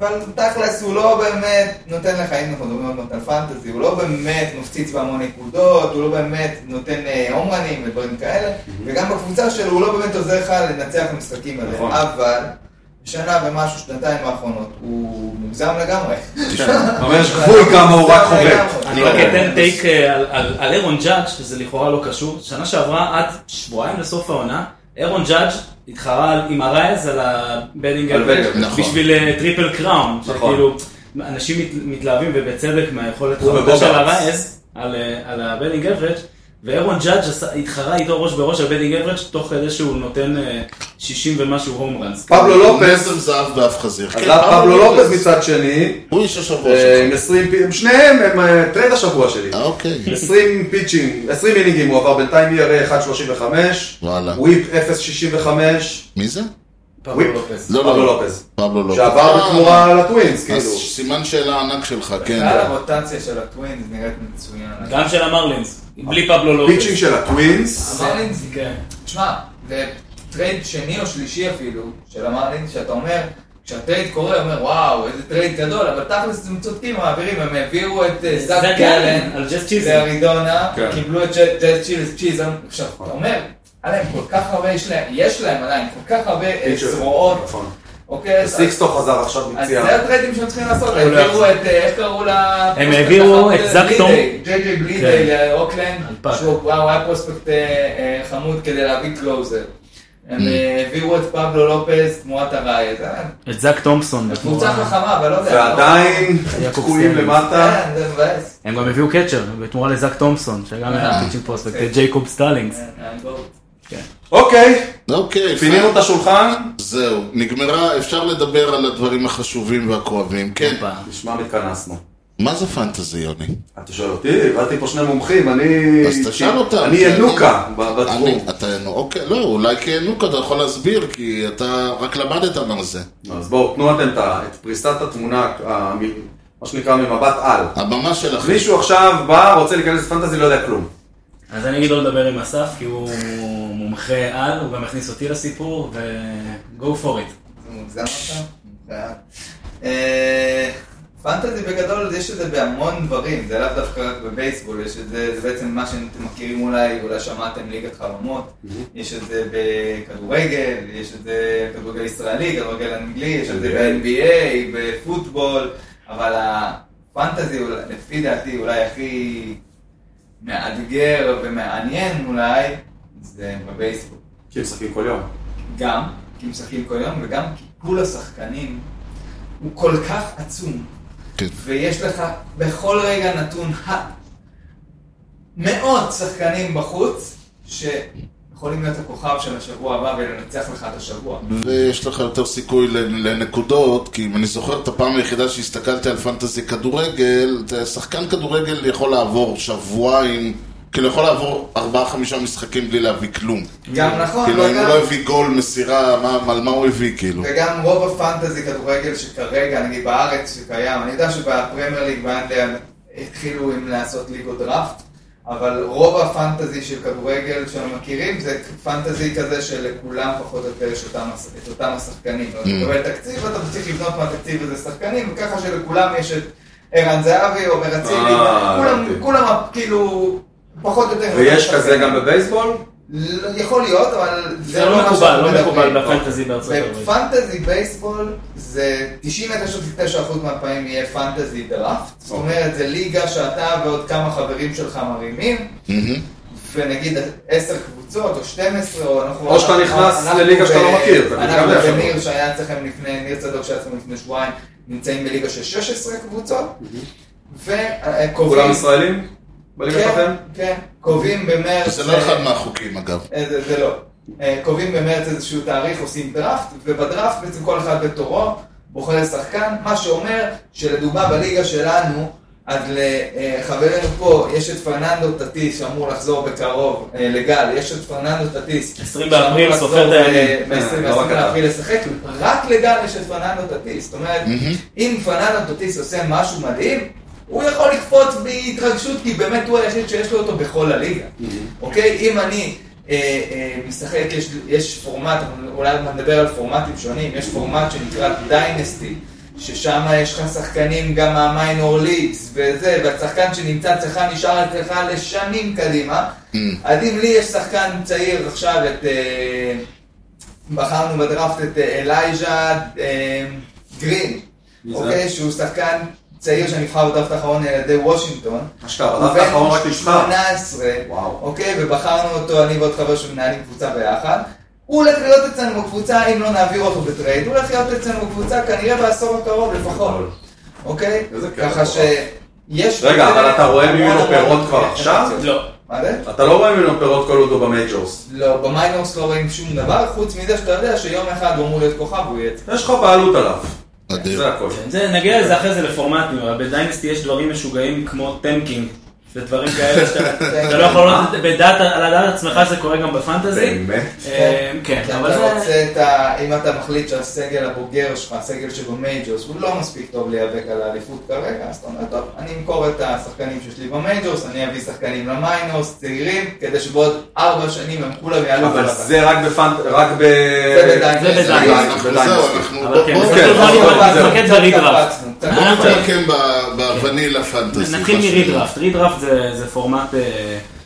Speaker 5: אבל תכלס הוא לא באמת נותן לך, אם אנחנו מדברים עוד מעט על פנטזי, הוא לא באמת מפציץ בהמון נקודות, הוא לא באמת נותן אה, הומרנים ודברים כאלה, וגם בקבוצה שלו הוא לא באמת עוזר לך לנצח את המשחקים האלה.
Speaker 4: נכון.
Speaker 5: אבל, שנה ומשהו, שנתיים האחרונות, הוא מוגזם לגמרי.
Speaker 4: אבל יש גבול כמה הוא רק חובק.
Speaker 1: אני רק אתן טייק אה, על- על על אירון ג'אדג', שזה לכאורה לא קשור. שנה שעברה, עד שבועיים לסוף העונה, אירון ג'אדג' התחרה על- עם הרייז על הבדינג
Speaker 4: על
Speaker 1: אלברג,
Speaker 4: בדינג,
Speaker 2: נכון.
Speaker 1: בשביל אה, טריפל קראון.
Speaker 4: נכון.
Speaker 1: שכאילו, אנשים מת- מתלהבים, ובצדק, מהיכולת
Speaker 4: הוא
Speaker 1: החלטה של
Speaker 4: ובוגרץ.
Speaker 1: הרייז על, אה, על הבדינג אלברג. ואירון ג'אדג' עשה- התחרה איתו ראש בראש על בדינג אלברג, תוך כדי שהוא נותן אה, 60 ומשהו הום ראנס.
Speaker 4: פבלו לופס,
Speaker 2: נזם זהב באף חזיר. כן,
Speaker 4: עזב פבלו לופס מצד שני,
Speaker 2: הוא איש השבוע
Speaker 4: אה,
Speaker 2: שלך.
Speaker 4: עם 20, פי- הם שניהם הם אה, טרייד השבוע שלי.
Speaker 2: אה, אוקיי.
Speaker 4: 20 פיצ'ים, 20 אינינגים E הוא עבר בינתיים ERA 1.35,
Speaker 2: וואלה.
Speaker 4: וויפ 0.65,
Speaker 2: מי זה?
Speaker 1: פבלו
Speaker 4: וויפ.
Speaker 1: לופס.
Speaker 2: לא,
Speaker 4: פבלו
Speaker 2: לא,
Speaker 4: לופז.
Speaker 2: פבלו לופז.
Speaker 4: שעבר
Speaker 2: אה,
Speaker 4: בתמורה אה, לטווינס,
Speaker 2: אז
Speaker 4: כאילו.
Speaker 2: סימן שאלה ענק שלך, כן.
Speaker 5: בכלל הרוטציה של הטווינס נראית מצוין.
Speaker 1: גם של המרלינס, בלי פבלו לופס.
Speaker 4: פיצ'ינג של הטווינס,
Speaker 5: המרלינס,
Speaker 1: כן.
Speaker 5: תשמע, זה טרייד שני או שלישי אפילו, של המרלינס, שאתה אומר, כשהטרייד קורה, אומר, וואו, איזה טרייד גדול, אבל תכלס הם צודקים, מעבירים, הם העבירו את אה,
Speaker 1: זאק
Speaker 5: זאק
Speaker 1: אלן,
Speaker 5: גלן
Speaker 1: כן, על ג'ס צ'יזל.
Speaker 5: לארידונה,
Speaker 4: כן.
Speaker 5: קיבלו את ג'ט ג'ט צ'יז צ'יזם, עכשיו, אתה אומר, היה להם כל כך הרבה, יש להם- יש להם עדיין כל כך הרבה אה,
Speaker 4: פיצ'ר.
Speaker 5: זרועות,
Speaker 4: נכון.
Speaker 5: אוקיי? אז-
Speaker 4: סיקסטו חזר עכשיו
Speaker 5: אז
Speaker 4: מפציעה.
Speaker 5: זה הטריידים שהם צריכים לעשות,
Speaker 1: הוא לא
Speaker 5: העבירו
Speaker 1: יכול.
Speaker 5: את, אה, איך קראו לה? אה,
Speaker 1: הם העבירו את זאק תום.
Speaker 5: ג'יי ג'יי
Speaker 1: כן.
Speaker 5: בלידיי לאוקלנד,
Speaker 1: אלפק.
Speaker 5: שהוא וואו, היה פרוספקט אה, אה, חמוד כדי להביא קלוזר. הם אה, העבירו את פבלו לופז תמורת הראיה, זה
Speaker 1: את זאק תומפסון.
Speaker 5: קבוצה חכמה, אבל לא יודע.
Speaker 4: ועדיין
Speaker 1: יעקב
Speaker 4: תקועים
Speaker 1: סטנלי.
Speaker 4: למטה.
Speaker 5: כן, זה מבאס.
Speaker 1: הם גם הביאו קצ'ר, בתמורה לזאק תומפסון, שגם היה
Speaker 5: אה.
Speaker 1: פיצ'ינג פרוספקט, את ג'ייקוב סטלינגס.
Speaker 5: אה, בואו.
Speaker 4: אוקיי,
Speaker 2: אוקיי,
Speaker 4: פינינו את השולחן.
Speaker 2: זהו, נגמרה, אפשר לדבר על הדברים החשובים והכואבים, כן.
Speaker 1: הופה.
Speaker 4: בשמם התכנסנו.
Speaker 2: מה זה פנטזי, יוני?
Speaker 4: אתה שואל אותי, הבאתי פה שני מומחים, אני...
Speaker 2: אז תשאל אותם.
Speaker 4: אני
Speaker 2: כי
Speaker 4: ינוקה
Speaker 2: אני-
Speaker 4: ב- בתחום.
Speaker 2: אני- אתה ינוקה, אוקיי, לא, אולי כינוקה אתה יכול להסביר, כי אתה רק למדת מה זה.
Speaker 4: אז בואו, תנו אתם את ה- את פריסת התמונה, ה- מ- מה שנקרא ממבט על.
Speaker 2: הבמה שלכם.
Speaker 4: מישהו עכשיו בא, רוצה להיכנס לפנטזי, לא יודע כלום.
Speaker 1: אז אני אגיד לו לדבר עם אסף, כי הוא מומחה על, הוא גם הכניס אותי לסיפור, ו-go for it.
Speaker 5: זה מוגזם עכשיו? אה, פנטזי בגדול יש את זה בהמון דברים, זה לאו דווקא רק בבייסבול, יש את זה, זה בעצם מה שאתם מכירים אולי, אולי שמעתם ליגת חלומות, יש את זה בכדורגל, יש את זה כדורגל ישראלי, כדורגל אנגלי, יש את זה ב-NBA, בפוטבול, אבל הפנטזי אולי- לפי דעתי אולי הכי מאתגר ומעניין אולי, זה בבייסבול.
Speaker 4: כי הם משחקים כל יום.
Speaker 5: גם כי משחקים כל יום, וגם כי פול השחקנים הוא כל כך עצום,
Speaker 2: כן.
Speaker 5: ויש לך בכל רגע נתון ה... מאות שחקנים בחוץ, שיכולים להיות הכוכב של השבוע הבא ולנצח לך את השבוע.
Speaker 2: ויש לך יותר סיכוי לנ- לנקודות, כי אם אני זוכר את הפעם היחידה שהסתכלתי על פנטזי כדורגל, זה שחקן כדורגל יכול לעבור שבועיים, כאילו יכול לעבור ארבעה-חמישה משחקים בלי להביא כלום.
Speaker 5: גם נכון,
Speaker 2: כאילו, אם הוא
Speaker 5: וגם-
Speaker 2: לא הביא גול, מסירה, מה- על מה הוא הביא, כאילו?
Speaker 5: וגם רוב הפנטזי כדורגל שכרגע, נגיד בארץ שקיים, אני יודע שבפרמייר ליג באנגליה התחילו עם לעשות ליגות דראפט, אבל רוב הפנטזי של כדורגל שאנחנו מכירים זה פנטזי כזה שלכולם פחות או יותר יש אותם- את אותם השחקנים.
Speaker 4: Mm.
Speaker 5: אתה מקבל תקציב, אתה צריך לבנות מהתקציב הזה שחקנים, וככה שלכולם יש את ערן זהבי, עומר אצילי,
Speaker 4: אה,
Speaker 5: כולם,
Speaker 4: הבנתי.
Speaker 5: כולם כאילו פחות או יותר...
Speaker 4: ויש כזה גם בבייסבול?
Speaker 5: לא, יכול להיות, אבל
Speaker 1: זה לא
Speaker 5: מה אוקיי.
Speaker 1: מקובל,
Speaker 5: שאנחנו
Speaker 1: לא
Speaker 5: מדברים
Speaker 1: מקובל
Speaker 5: פה.
Speaker 1: בפנטזי בארצות
Speaker 4: לא,
Speaker 1: הברית.
Speaker 5: בפנטזי בייסבול זה 99.9% מהפעמים יהיה פנטזי דראפט. זאת
Speaker 4: אוקיי.
Speaker 5: אומרת, זה ליגה שאתה ועוד כמה חברים שלך מרימים,
Speaker 2: מהמם.
Speaker 5: ונגיד 10 קבוצות או 12, או אנחנו...
Speaker 4: או שאתה נכנס
Speaker 5: אנחנו
Speaker 4: לליגה
Speaker 5: ב-
Speaker 4: שאתה לא מכיר, זה גם
Speaker 5: אנחנו
Speaker 4: אפשרות.
Speaker 5: וניר שהיה אצלכם לפני, ניר צדוק שהיה אצלכם לפני שבועיים, נמצאים בליגה של 16 קבוצות, וקובעים...
Speaker 4: כולם ישראלים? בליגה שלכם?
Speaker 5: כן, קובעים במרץ...
Speaker 2: זה לא אחד מהחוקים, אגב.
Speaker 5: אה, זה, זה לא. אה, קובעים במרץ איזשהו תאריך, עושים דראפט, ובדראפט בעצם כל אחד בתורו בוחר שחקן, מה שאומר שלדוגמה בליגה שלנו, אז לחברנו פה יש את פרננדו טטיס שאמור לחזור בקרוב אה, לגל, יש את פרננדו טטיס.
Speaker 1: 20 באפריל, סופר את הימים.
Speaker 4: אה, לא רק
Speaker 5: ב-20
Speaker 4: אתה.
Speaker 5: באפריל לשחק, רק לגל יש את פרננדו טטיס. זאת אומרת, אם פרננדו טטיס עושה משהו מדהים, הוא יכול לקפוץ בהתרגשות, כי באמת הוא היחיד שיש לו אותו בכל הליגה. אוקיי? אם אני אה, אה, משחק, יש, יש פורמט, אבל אולי נדבר על פורמטים שונים, יש פורמט שנקרא דיינסטי, ששם יש לך שחקנים גם מהמיינור ליגס וזה, והשחקן שנמצא אצלך נשאר אצלך לשנים קדימה. אז אם לי יש שחקן צעיר עכשיו את... אה, בחרנו בדראפט את אה, אלייז'ה אה, גרין,
Speaker 4: מי זה?
Speaker 5: אוקיי? שהוא שחקן צעיר שנבחר בדראפט האחרון על ידי וושינגטון.
Speaker 4: אשכרה,
Speaker 5: הוא
Speaker 4: בדף האחרון רק
Speaker 5: בן
Speaker 4: נשחק.
Speaker 5: 18,
Speaker 4: וואו.
Speaker 5: אוקיי, ובחרנו אותו, אני ועוד חבר שמנהלים קבוצה ביחד. הוא הולך להיות אצלנו בקבוצה, אם לא נעביר אותו בטרייד, הוא הולך להיות אצלנו בקבוצה כנראה בעשור הקרוב לפחות, אוקיי?
Speaker 4: איזה כיף,
Speaker 5: ככה
Speaker 4: מטורף.
Speaker 5: שיש...
Speaker 4: רגע, אבל אתה רואה
Speaker 5: המון
Speaker 4: ממנו
Speaker 5: המון
Speaker 4: פירות כבר עכשיו?
Speaker 1: לא.
Speaker 5: מה זה?
Speaker 4: אתה לא רואה ממנו פירות כל עוד הוא במייג'ורס.
Speaker 5: לא, במיינורס לא רואים שום דבר, חוץ מזה שאתה יודע שיום אחד הוא אמור להיות כוכב, הוא יהיה...
Speaker 4: יש לך בעלות עליו.
Speaker 2: אדיר.
Speaker 4: זה הכל.
Speaker 1: זה, נגיע לזה אחרי זה לפורמטים, אבל בדיינסטי יש דברים משוגעים כמו טנקינג. ודברים כאלה שאתה אתה לא יכול לעלות בדעת, על הדעת עצמך שזה קורה גם בפנטזי.
Speaker 4: באמת?
Speaker 1: אה, כן,
Speaker 5: כי
Speaker 1: אבל
Speaker 5: אתה
Speaker 1: זה...
Speaker 5: רוצה את ה... אם אתה מחליט שהסגל הבוגר שלך, הסגל שבמייג'ורס, הוא לא מספיק טוב להיאבק על האליפות כרגע, אז אתה אומר, טוב, אני אמכור את השחקנים שיש לי במייג'ורס, אני אביא שחקנים למיינורס, צעירים, כדי שבעוד ארבע שנים הם כולם יעלו.
Speaker 4: אבל
Speaker 5: בלבן."
Speaker 4: זה רק בפאנט... רק ב...
Speaker 5: זה בדיינג.
Speaker 1: זה נכון. בדיינג.
Speaker 2: רגע, אנחנו
Speaker 4: בליינס.
Speaker 2: זהו, אנחנו...
Speaker 1: אבל כן,
Speaker 2: בואו-
Speaker 1: אז
Speaker 4: אוקיי,
Speaker 1: אנחנו
Speaker 4: אוקיי,
Speaker 1: לא
Speaker 4: אוקיי.
Speaker 1: נתמקד ברידראפט.
Speaker 5: קפצנו, קצת
Speaker 1: אנחנו-
Speaker 5: קפצנו.
Speaker 2: נתמקם ב- בוונילה פנטסי.
Speaker 1: נתחיל
Speaker 2: מה ש-
Speaker 1: מרידראפט. רידראפט זה- זה פורמט אה,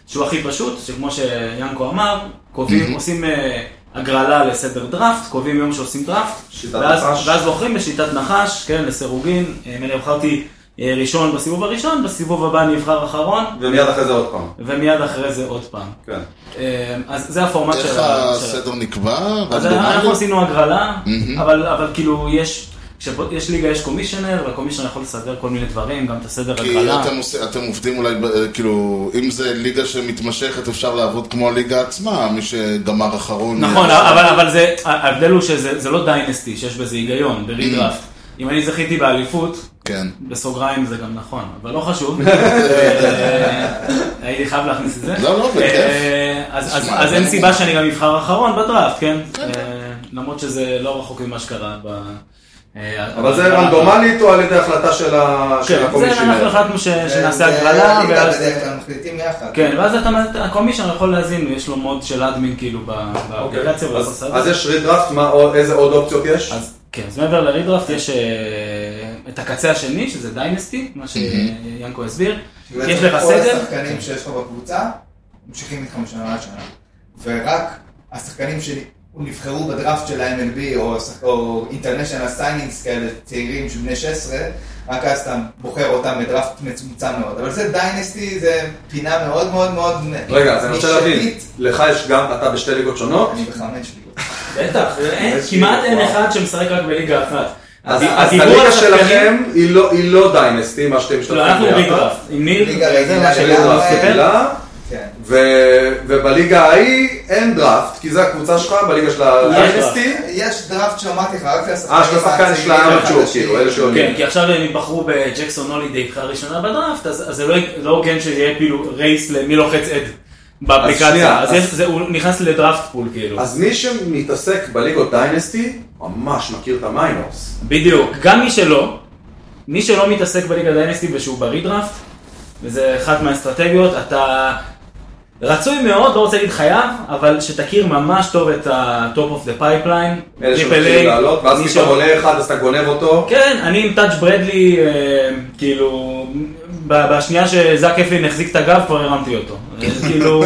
Speaker 1: שהוא הכי פשוט, שכמו שיאנקו אמר, קובעים, עושים אה, הגרלה לסדר דראפט, קובעים יום שעושים דראפט,
Speaker 4: שיטת
Speaker 1: ואז
Speaker 4: נחש.
Speaker 1: ואז בוחרים בשיטת נחש, כן, לסירוגין. אה, אני בחרתי אה, ראשון בסיבוב הראשון, בסיבוב הבא אני אבחר אחרון,
Speaker 4: ומיד אחרי זה עוד פעם.
Speaker 1: ומיד אחרי זה עוד פעם.
Speaker 4: כן.
Speaker 1: אה, אז זה הפורמט של
Speaker 2: איך
Speaker 1: ה- של ה-
Speaker 2: הסדר נקבע?
Speaker 1: אז
Speaker 2: רנדומלי?
Speaker 1: אנחנו עשינו הגרלה, אבל אבל כאילו יש, כשיש ליגה יש קומישיונר, והקומישיונר יכול לסדר כל מיני דברים, גם את הסדר
Speaker 2: כי
Speaker 1: הגרלה.
Speaker 2: אתם, עושים- אתם עובדים אולי, ב- כאילו, אם זה ליגה שמתמשכת, אפשר לעבוד כמו הליגה עצמה, מי שגמר אחרון.
Speaker 1: נכון, אבל אבל זה, ההבדל הוא שזה זה לא דיינסטי, שיש בזה היגיון, ברידראפט. אם אני זכיתי באליפות,
Speaker 2: כן.
Speaker 1: בסוגריים זה גם נכון, אבל לא חשוב. אה, הייתי חייב להכניס את זה.
Speaker 2: לא, לא, בכיף.
Speaker 1: אה, אז- אז
Speaker 2: תשמע,
Speaker 1: אז אין
Speaker 2: זה
Speaker 1: סיבה
Speaker 2: ממש-
Speaker 1: שאני גם אבחר אחרון בדראפט, כן? אה, למרות שזה לא רחוק ממה שקרה ב... אה,
Speaker 4: אבל זה רנדומלית או על ידי החלטה של ה- של
Speaker 1: כן, זה אנחנו
Speaker 4: הקומישיונר?
Speaker 1: החלטנו ש- שנעשה
Speaker 4: כן,
Speaker 5: זה-
Speaker 1: הגרלה,
Speaker 5: ליגה
Speaker 1: ואז...
Speaker 5: בדרך כלל מחליטים יחד.
Speaker 1: כן, ואז אתה, הקומישיונר יכול להזין, יש לו מוד של אדמין כאילו ב-
Speaker 4: אוקיי.
Speaker 1: באפליקציה, והוא יכול
Speaker 4: אז-
Speaker 1: לעשות
Speaker 4: אז
Speaker 1: את זה.
Speaker 4: יש רידראפט, מה עוד- איזה עוד אופציות יש?
Speaker 1: אז כן, אז מעבר לרידרפט יש אה, את הקצה השני, שזה דיינסטי, מה שיאנקו הסביר.
Speaker 5: בעצם
Speaker 1: יש לך
Speaker 5: כאילו, כל
Speaker 1: סדר,
Speaker 5: השחקנים שיש לך בקבוצה, ממשיכים איתך משנה לשנה. ורק השחקנים שנבחרו בדראפט של ה-MLB, או, שח- או אינטרנשיונל סיינינגס כאלה, צעירים של בני 16, רק אז אתה בוחר אותם בדראפט מצומצם מאוד. אבל זה דיינסטי, זה פינה מאוד מאוד מאוד
Speaker 4: רגע, אז אני רוצה להבין,
Speaker 5: נישתית.
Speaker 4: לך יש גם, אתה בשתי ליגות שונות?
Speaker 5: אני בחמש כאילו. ליגות.
Speaker 1: בטח, אין-
Speaker 4: יש לי,
Speaker 1: כמעט אין
Speaker 4: וואו.
Speaker 1: אחד שמשחק רק בליגה אחת.
Speaker 4: אז
Speaker 1: הד-
Speaker 4: אז
Speaker 1: הדיבור על
Speaker 4: הליגה
Speaker 1: השחקנים-
Speaker 4: שלכם היא לא- היא לא דיינסטי, מה שאתם משתתפים
Speaker 1: לא, אנחנו רידרפט. עם ניר,
Speaker 5: ליגה
Speaker 1: זה
Speaker 5: רגילה
Speaker 1: מה
Speaker 5: של
Speaker 1: שרידרפט
Speaker 5: ליגה
Speaker 1: סיפר.
Speaker 4: רגילה,
Speaker 5: כן.
Speaker 4: ו- ובליגה ההיא אין דראפט, כי זה הקבוצה שלך, בליגה של
Speaker 1: לא
Speaker 4: הדיינסטי.
Speaker 5: יש דראפט שאמרתי לך, רק לשחקנים
Speaker 4: אה, של השחקן של האמצ'ור, כאילו, אלה
Speaker 1: כן,
Speaker 4: שעולים.
Speaker 1: כי עכשיו הם יבחרו בג'קסון הולידי בחירה ראשונה בדראפט, אז אז זה לא- לא הוגן שיהיה כאילו רייס למי לוחץ עד באפליקציה.
Speaker 4: שנייה,
Speaker 1: אז
Speaker 4: אז-
Speaker 1: יש- זה- הוא נכנס לדראפט פול כאילו.
Speaker 4: אז מי שמתעסק בליגות דיינסטי, ממש מכיר את המיינורס.
Speaker 1: בדיוק. גם מי שלא, מי שלא מתעסק בליגה דיינסטי ושהוא ברידראפט, וזה אחת מהאסטרטגיות, אתה רצוי מאוד, לא רוצה להגיד חייב, אבל שתכיר ממש טוב את ה-top of the pipeline, טריפל
Speaker 4: אלה שמתחילים
Speaker 1: איי,
Speaker 4: לעלות, ואז
Speaker 1: מי
Speaker 4: פתאום
Speaker 1: ש-
Speaker 4: עולה אחד, אז אתה גונב אותו.
Speaker 1: כן, אני עם טאץ' ברדלי, אה, כאילו, ב- בשנייה שזאק אפלין החזיק את הגב, כבר הרמתי אותו. אה, כאילו,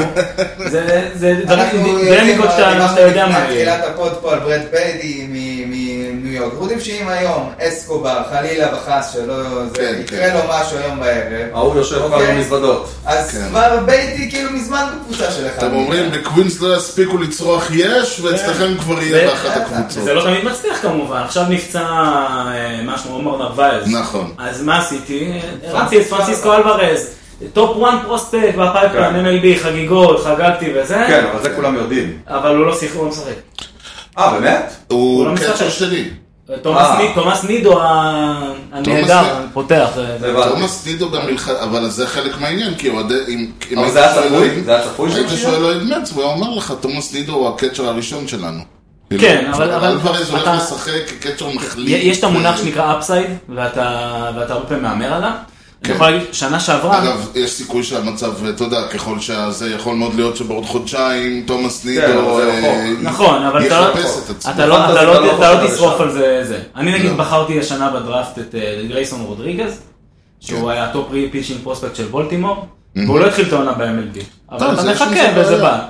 Speaker 1: זה זה
Speaker 5: אנחנו
Speaker 1: דינמיקות שאתה שאתה יודע מה
Speaker 5: לפני
Speaker 1: יהיה.
Speaker 5: תחילת הפוד פה על ברד פיידי מ- מניו יורק. אנחנו יודעים שאם היום אסקובר, חלילה וחס, שלא... זה
Speaker 2: כן,
Speaker 5: יקרה
Speaker 2: כן.
Speaker 5: לו משהו היום בערב,
Speaker 4: ההוא יושב כבר
Speaker 5: אוקיי.
Speaker 4: במזוודות.
Speaker 5: אז
Speaker 2: כן.
Speaker 5: כבר בייטי כאילו מזמן בקבוצה של אחד.
Speaker 2: אתם אומרים,
Speaker 1: אה.
Speaker 2: בקווינס לא יספיקו לצרוח יש, ואצלכם כבר יהיה
Speaker 1: זה-
Speaker 2: באחת הקבוצות.
Speaker 1: זה לא תמיד מצליח כמובן, עכשיו נפצע אה, מה שמו עומר נרווייז.
Speaker 2: נכון.
Speaker 1: אז מה עשיתי? הרמתי את פרנסיסקו אלוורז, טופ 1 פרוספקט בפייפלן, MLB, חגיגות, חגגתי וזה,
Speaker 4: כן, אבל זה כולם יודעים.
Speaker 1: אבל הוא לא שיחק, הוא לא משחק.
Speaker 4: אה, באמת?
Speaker 1: הוא לא
Speaker 2: הוא
Speaker 1: משחק.
Speaker 2: קצ'ר שלי.
Speaker 1: תומאס
Speaker 4: אה.
Speaker 1: ניד- תומאס נידו ה- הנהדר,
Speaker 2: ניד.
Speaker 1: פותח. אה,
Speaker 4: הבנתי.
Speaker 2: תומאס דידו גם נלחם, אבל זה חלק מהעניין, כי אוהדי... אם- אם
Speaker 4: אבל
Speaker 2: היית
Speaker 4: זה היה
Speaker 2: שואל
Speaker 4: צפוי?
Speaker 2: אם-
Speaker 4: זה היה צפוי
Speaker 2: היית
Speaker 4: שזה
Speaker 2: שואל לא לו את מרץ, הוא היה אומר לך, תומאס דידו הוא הקצ'ר הראשון שלנו. כאילו,
Speaker 1: כן, אבל- אבל-
Speaker 2: אלוורז הולך
Speaker 1: אתה-
Speaker 2: לשחק כקצ'ר מחליף.
Speaker 1: יש את המונח שנקרא אפסייד, ואתה ואתה הרבה פעמים מהמר עליו.
Speaker 4: כן.
Speaker 1: אני יכול להגיד, שנה שעברה,
Speaker 2: אגב, יש סיכוי שהמצב, אתה יודע, ככל שזה יכול מאוד להיות שבעוד חודשיים תומאס
Speaker 4: כן,
Speaker 2: נידו
Speaker 4: אבל זה
Speaker 2: אה,
Speaker 4: רחוק.
Speaker 1: נכון, אבל אתה לא-
Speaker 2: יחפש את עצמו.
Speaker 1: אתה לא- אתה
Speaker 4: פנטזי, אתה
Speaker 1: לא
Speaker 4: לא
Speaker 1: אתה לא
Speaker 4: חושב
Speaker 1: תשרוף
Speaker 4: לשם.
Speaker 1: על זה זה. אני נגיד
Speaker 2: לא.
Speaker 1: בחרתי השנה בדראפט את אה, גרייסון רודריגז, שהוא היה טופ פיצ'ינג פרוספקט של בולטימור, והוא לא התחיל את העונה ב-MLB.
Speaker 2: טוב,
Speaker 1: אבל אתה
Speaker 2: זה יש עם
Speaker 1: מחכה
Speaker 2: זה
Speaker 1: וזה
Speaker 2: בעיה.
Speaker 1: בא.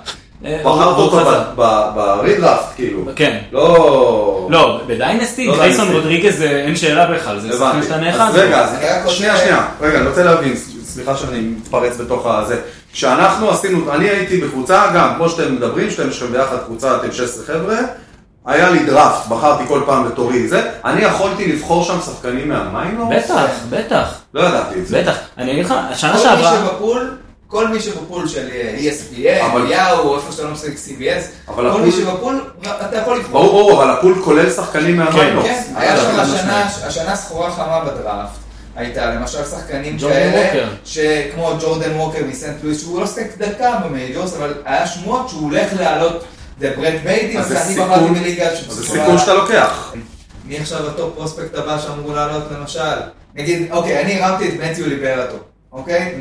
Speaker 1: אה,
Speaker 4: בחרת
Speaker 1: הוא- הוא
Speaker 4: אותו
Speaker 1: חזר.
Speaker 4: ב- ב- ברידראפט, כאילו.
Speaker 1: כן.
Speaker 4: לא...
Speaker 1: לא, בדיינסטי,
Speaker 4: לא
Speaker 1: גרייסון
Speaker 4: דיינסטי.
Speaker 1: רודריגז אה, אין שאלה בכלל, זה שחקן שאתה
Speaker 4: לא הבנתי.
Speaker 1: נאחז.
Speaker 4: אז רגע, אז
Speaker 5: אני רק רוצה-
Speaker 4: שנייה, שנייה. רגע, אני רוצה להבין, ס- סליחה שאני מתפרץ בתוך הזה. כשאנחנו עשינו, אני הייתי בקבוצה, גם, כמו שאתם מדברים, שאתם יש לכם ביחד קבוצה, אתם 16 חבר'ה, היה לי דראפט, בחרתי כל פעם בתורי זה, אני יכולתי לבחור שם שחקנים לא? מהמיינור?
Speaker 1: בטח, בטח,
Speaker 4: לא ידעתי את זה.
Speaker 1: בטח. אני אגיד לך, השנה
Speaker 5: כל מי
Speaker 1: שעברה...
Speaker 5: שבפול, כל מי שבפול של אה, ESPN,
Speaker 4: אבל-
Speaker 5: יאו, איפה שאתה לא משחק CBS,
Speaker 4: אבל
Speaker 5: כל מי
Speaker 4: הפול-
Speaker 5: שבפול, אתה יכול לבחור.
Speaker 4: ברור, ברור, אבל הפול כולל שחקנים מהמיינור.
Speaker 5: כן, היה שם השנה, השנה סחורה חמה בדראפט. הייתה, למשל שחקנים
Speaker 1: ג'ורדן
Speaker 5: כאלה,
Speaker 1: ווקר.
Speaker 5: שכמו ג'ורדן ווקר מסנט לואיס, שהוא לא שיחק דקה במייג'ורס, אבל היה שמועות שהוא הולך לעלות, זה ברט ביידי,
Speaker 4: אז זה
Speaker 5: אני
Speaker 4: סיכון-
Speaker 5: בחרתי בליגה
Speaker 4: אז זה
Speaker 5: שבשורה-
Speaker 4: סיכון שאתה לא- לוקח.
Speaker 5: מי עכשיו הטופ פרוספקט הבא שאמור לעלות למשל? נגיד, אוקיי, אני הרמתי את מתיו ליברטו, אוקיי?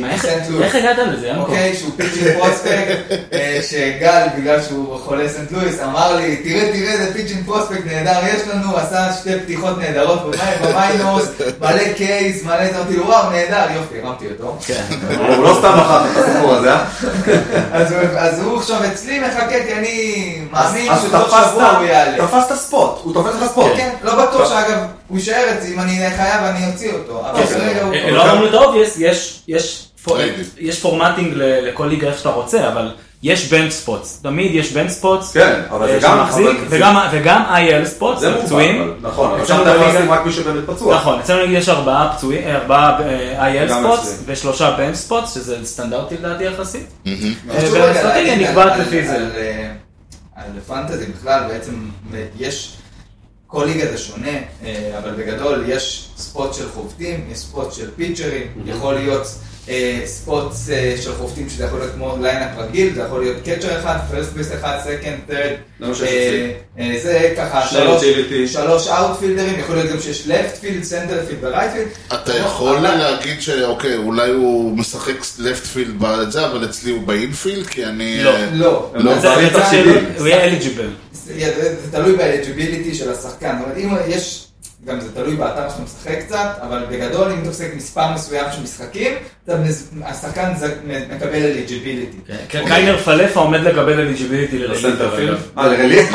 Speaker 1: מה, איך-
Speaker 5: מסנט לואיס.
Speaker 1: איך הגעת לזה, יעקב?
Speaker 5: אוקיי, שהוא פיצ'ינג פרוספקט, אה, שגל, בגלל שהוא חולה סנט לואיס, אמר לי, תראה, תראה, איזה פיצ'ינג פרוספקט נהדר יש לנו, עשה שתי פתיחות נהדרות במים- במיינוס, מלא קייס, מלא זה, אמרתי לו, וואו, נהדר, יופי, הרמתי אותו.
Speaker 1: כן.
Speaker 4: הוא לא סתם מכר את הסיפור הזה, אה?
Speaker 5: אז הוא- אז הוא עכשיו אצלי מחכה, כי אני מאמין
Speaker 4: אז
Speaker 5: שתוך
Speaker 4: תפסת-
Speaker 5: שבוע הוא יעלה.
Speaker 4: תפסת ספוט, הוא תופס לך ספוט.
Speaker 5: כן, לא בטוח שאגב, הוא יישאר אצלי אם אני חייב, אני אוציא אותו. אבל
Speaker 2: אוקיי.
Speaker 5: כרגע הוא...
Speaker 1: אה, לא אמרנו את האובייס, יש- יש פור-
Speaker 2: טריידים.
Speaker 1: יש פורמטינג ל- לכל ליגה איך שאתה רוצה, אבל יש בנץ' ספוטס, תמיד יש בנץ' ספוטס.
Speaker 4: כן, אבל זה
Speaker 1: אה,
Speaker 4: גם-
Speaker 1: שמחזיק,
Speaker 4: אבל זה-
Speaker 1: וגם- וגם IL ספוטס,
Speaker 4: זה מוגבל,
Speaker 1: פצועים.
Speaker 4: אבל- נכון, אבל
Speaker 1: אפשר
Speaker 4: שם אתה יכול
Speaker 1: בליגה-
Speaker 4: לשים רק מי שבאמת פצוע.
Speaker 1: נכון, אצלנו נגיד יש ארבעה פצועים, אה, ארבעה אה, IL
Speaker 4: גם
Speaker 1: ספוטס
Speaker 4: אצלי.
Speaker 1: ושלושה בנץ' ספוטס, שזה סטנדרטי לדעתי יחסית.
Speaker 5: חשוב
Speaker 1: אה,
Speaker 5: רגע
Speaker 1: והאסטרטגיה
Speaker 5: להגיד
Speaker 1: נקבעת
Speaker 5: על-
Speaker 1: לפי
Speaker 5: על-
Speaker 1: זה.
Speaker 5: על, אה, על פנטזי בכלל, בעצם יש, כל ליגה זה שונה, אה, אבל בגדול יש ספוט של חובטים, יש ספוט של פיצ'רים,
Speaker 1: Mhm.
Speaker 5: יכול להיות אה, ספוט אה, של חובטים שזה יכול להיות כמו ליינאפ רגיל, זה יכול להיות קצ'ר אחד, פרסט ביס אחד, סקנד, טרד.
Speaker 4: זה מה שיש אצלי.
Speaker 5: אה, זה ככה,
Speaker 4: שני
Speaker 5: שלוש-
Speaker 4: utility.
Speaker 5: שלוש אאוטפילדרים, יכול להיות גם שיש לפט פילד, סנטר פילד ורייט פילד.
Speaker 2: אתה יכול להגיד שאוקיי, אולי הוא משחק לפט פילד בזה, אבל אצלי הוא באינפילד, כי אני...
Speaker 1: לא.
Speaker 2: אה,
Speaker 5: לא.
Speaker 4: לא,
Speaker 1: זה-
Speaker 4: אבל
Speaker 1: זה
Speaker 4: אם
Speaker 1: צריך
Speaker 4: תחשבי-
Speaker 1: להיות- הוא יהיה אליג'יבל.
Speaker 5: זה זה תלוי באליג'יביליטי של השחקן, זאת אומרת, אם יש, גם זה תלוי באתר שאתה משחק קצת, אבל בגדול אם אתה משחק מספר מסוים של משחקים, אתה מנז- השחקן ז- מקבל אליג'יביליטי.
Speaker 1: קיינר פלאפה עומד לקבל אליג'יביליטי
Speaker 4: בסנטר
Speaker 1: לרליפ.
Speaker 4: אגב. אה, לרליף?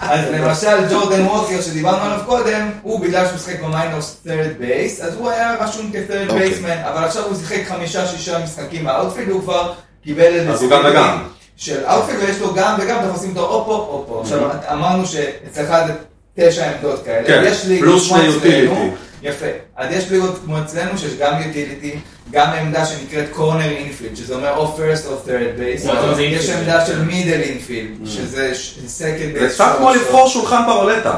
Speaker 5: אז למשל ג'ורדן ווקר שדיברנו עליו קודם, הוא בגלל שהוא משחק במיינוס third base, אז הוא היה רשום כ-third
Speaker 2: אוקיי.
Speaker 5: baseman, אבל עכשיו הוא שיחק חמישה-שישה משחקים באאוטפילד, הוא כבר קיבל אליג'יביליטי.
Speaker 4: אז הוא גם וגם.
Speaker 5: של אאוטפילד, ויש לו גם וגם, אנחנו עושים אותו או פה או פה. עכשיו, את- אמרנו שאצלך זה תשע עמדות כאלה.
Speaker 4: אוקיי. כן,
Speaker 5: יש ליגות
Speaker 4: פלוס
Speaker 5: כמו
Speaker 4: שני
Speaker 5: אצלנו,
Speaker 4: utility.
Speaker 5: יפה. אז יש ליגות כמו אצלנו, שיש גם יוטיליטי, גם עמדה שנקראת קורנר אינפילד, שזה אומר או first או third base.
Speaker 1: וואו,
Speaker 5: אבל
Speaker 1: זה
Speaker 5: יש
Speaker 1: infield.
Speaker 5: עמדה של מידל אינפילד, שזה סקנד
Speaker 4: Mm. זה קצת כמו לבחור שולחן ברולטה.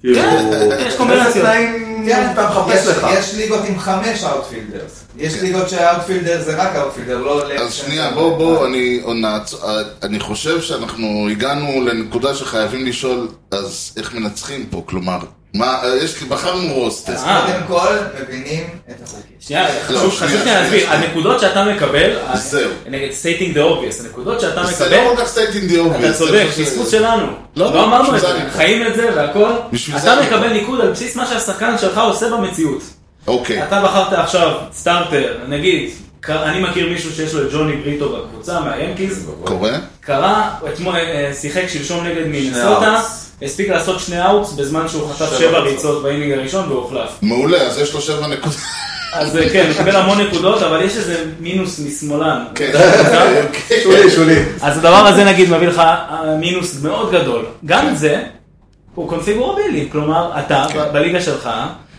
Speaker 4: כאילו,
Speaker 1: כן, יש קומבינציות.
Speaker 4: איזה תנאים
Speaker 5: כן,
Speaker 4: אתה מחפש
Speaker 5: יש-
Speaker 4: לך. כן.
Speaker 5: יש ליגות עם חמש אאוטפילדרס. יש ליגות שהאאוטפילדר זה רק אאוטפילדר, לא... אה.
Speaker 2: אז שנייה, בוא, בוא, אני, נעצ- אני חושב שאנחנו הגענו לנקודה שחייבים לשאול, אז איך מנצחים פה? כלומר, מה, יש לי, בחרנו רוסטר.
Speaker 5: אז
Speaker 1: אה.
Speaker 5: קודם כל, מבינים את החוקים.
Speaker 1: שנייה,
Speaker 2: לא,
Speaker 1: חשוב
Speaker 2: שנייה,
Speaker 1: חשוב
Speaker 2: שנייה,
Speaker 1: להסביר,
Speaker 2: שנייה.
Speaker 1: הנקודות שאתה מקבל,
Speaker 2: זהו.
Speaker 1: נגד סטייטינג דה אובייס, הנקודות שאתה
Speaker 2: זה לא
Speaker 1: מקבל,
Speaker 2: כל כך סטייט אין די אובייס.
Speaker 1: אתה צודק, פספוס שלנו,
Speaker 2: לא,
Speaker 1: לא אמרנו
Speaker 2: בשביל
Speaker 1: את
Speaker 2: זה
Speaker 1: זה,
Speaker 2: אני-
Speaker 1: חיים את זה והכל,
Speaker 2: בשביל זה
Speaker 1: אתה
Speaker 2: אני-
Speaker 1: מקבל ניקוד על בסיס מה שהשחקן שלך עושה במציאות.
Speaker 2: אוקיי,
Speaker 1: אתה בחרת עכשיו סטארטר, נגיד, ק- אני מכיר מישהו שיש לו את ג'וני בריטו בקבוצה מהיאנקיז,
Speaker 2: קורה?
Speaker 1: קרא, אתמול אה, שיחק שלשום נגד מינסוטה,
Speaker 4: outs.
Speaker 1: הספיק לעשות שני אאוטס בזמן שהוא חטף
Speaker 4: שבע
Speaker 1: שבע
Speaker 4: ריצות.
Speaker 1: ריצות באינינג הראשון והוחלף.
Speaker 2: מעולה, אז יש לו שבע נקודות.
Speaker 1: אז אה, כן, הוא קיבל המון נקודות, אבל יש איזה מינוס משמאלן.
Speaker 2: כן,
Speaker 4: שולי, שולי.
Speaker 1: אז הדבר הזה נגיד מביא לך אה, מינוס מאוד גדול. גם זה הוא קונפיגורבילי, כלומר אתה
Speaker 2: כן.
Speaker 1: ב- בליגה שלך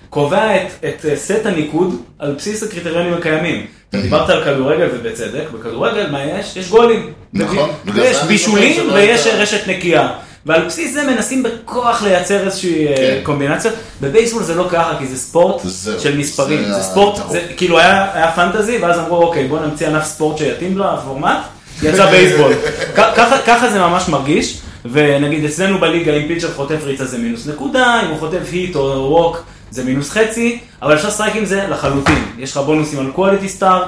Speaker 1: קובע את, את אה, סט הניקוד על בסיס הקריטריונים הקיימים. אתה דיברת על כדורגל ובצדק, בכדורגל מה יש? יש גולים.
Speaker 2: נכון, בגלל זה
Speaker 1: ויש
Speaker 2: אני
Speaker 1: בישולים
Speaker 2: זוכר שלא
Speaker 1: ויש
Speaker 2: הייתה-
Speaker 1: רשת נקייה. ועל בסיס זה מנסים בכוח לייצר איזושהי אה,
Speaker 2: כן.
Speaker 1: קומבינציה. בבייסבול זה לא ככה, כי זה ספורט
Speaker 2: זהו,
Speaker 1: של מספרים.
Speaker 2: זה
Speaker 1: זה ספורט,
Speaker 2: הטעות.
Speaker 1: זה כאילו היה היה פנטזי, ואז אמרו, אוקיי, בוא נמציא ענף ספורט שיתאים לו, הפורמט, יצא בייסבול. כ- ככה- ככה זה ממש מרגיש, ונגיד אצלנו בליגה, אם פיצ'ר חוטף ריצה זה מינוס נקודה, אם הוא חוטף היט או ווק זה מינוס חצי, אבל אפשר לשחק עם זה לחלוטין. יש לך בונוסים על quality סטארט,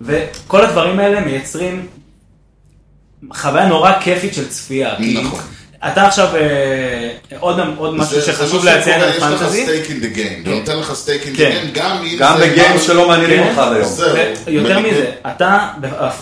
Speaker 1: וכל הדברים האלה מייצרים חוויה נורא כיפית של צפייה. כי
Speaker 2: נכון.
Speaker 1: אתה עכשיו, אה, עוד עוד משהו
Speaker 2: זה- זה
Speaker 1: שחשוב
Speaker 2: מה
Speaker 1: להציין
Speaker 2: שקורה,
Speaker 1: על
Speaker 2: יש
Speaker 1: פנטזי.
Speaker 2: לך סטייק אין דה גיים, זה נותן לך סטייק אין דה
Speaker 1: כן.
Speaker 2: גיים, גם אם
Speaker 4: גם
Speaker 2: זה-
Speaker 4: בגיים שלא מעניינים
Speaker 1: כן.
Speaker 4: אותך עד היום.
Speaker 2: זהו.
Speaker 1: יותר
Speaker 2: בניגוד-
Speaker 1: מזה, אתה,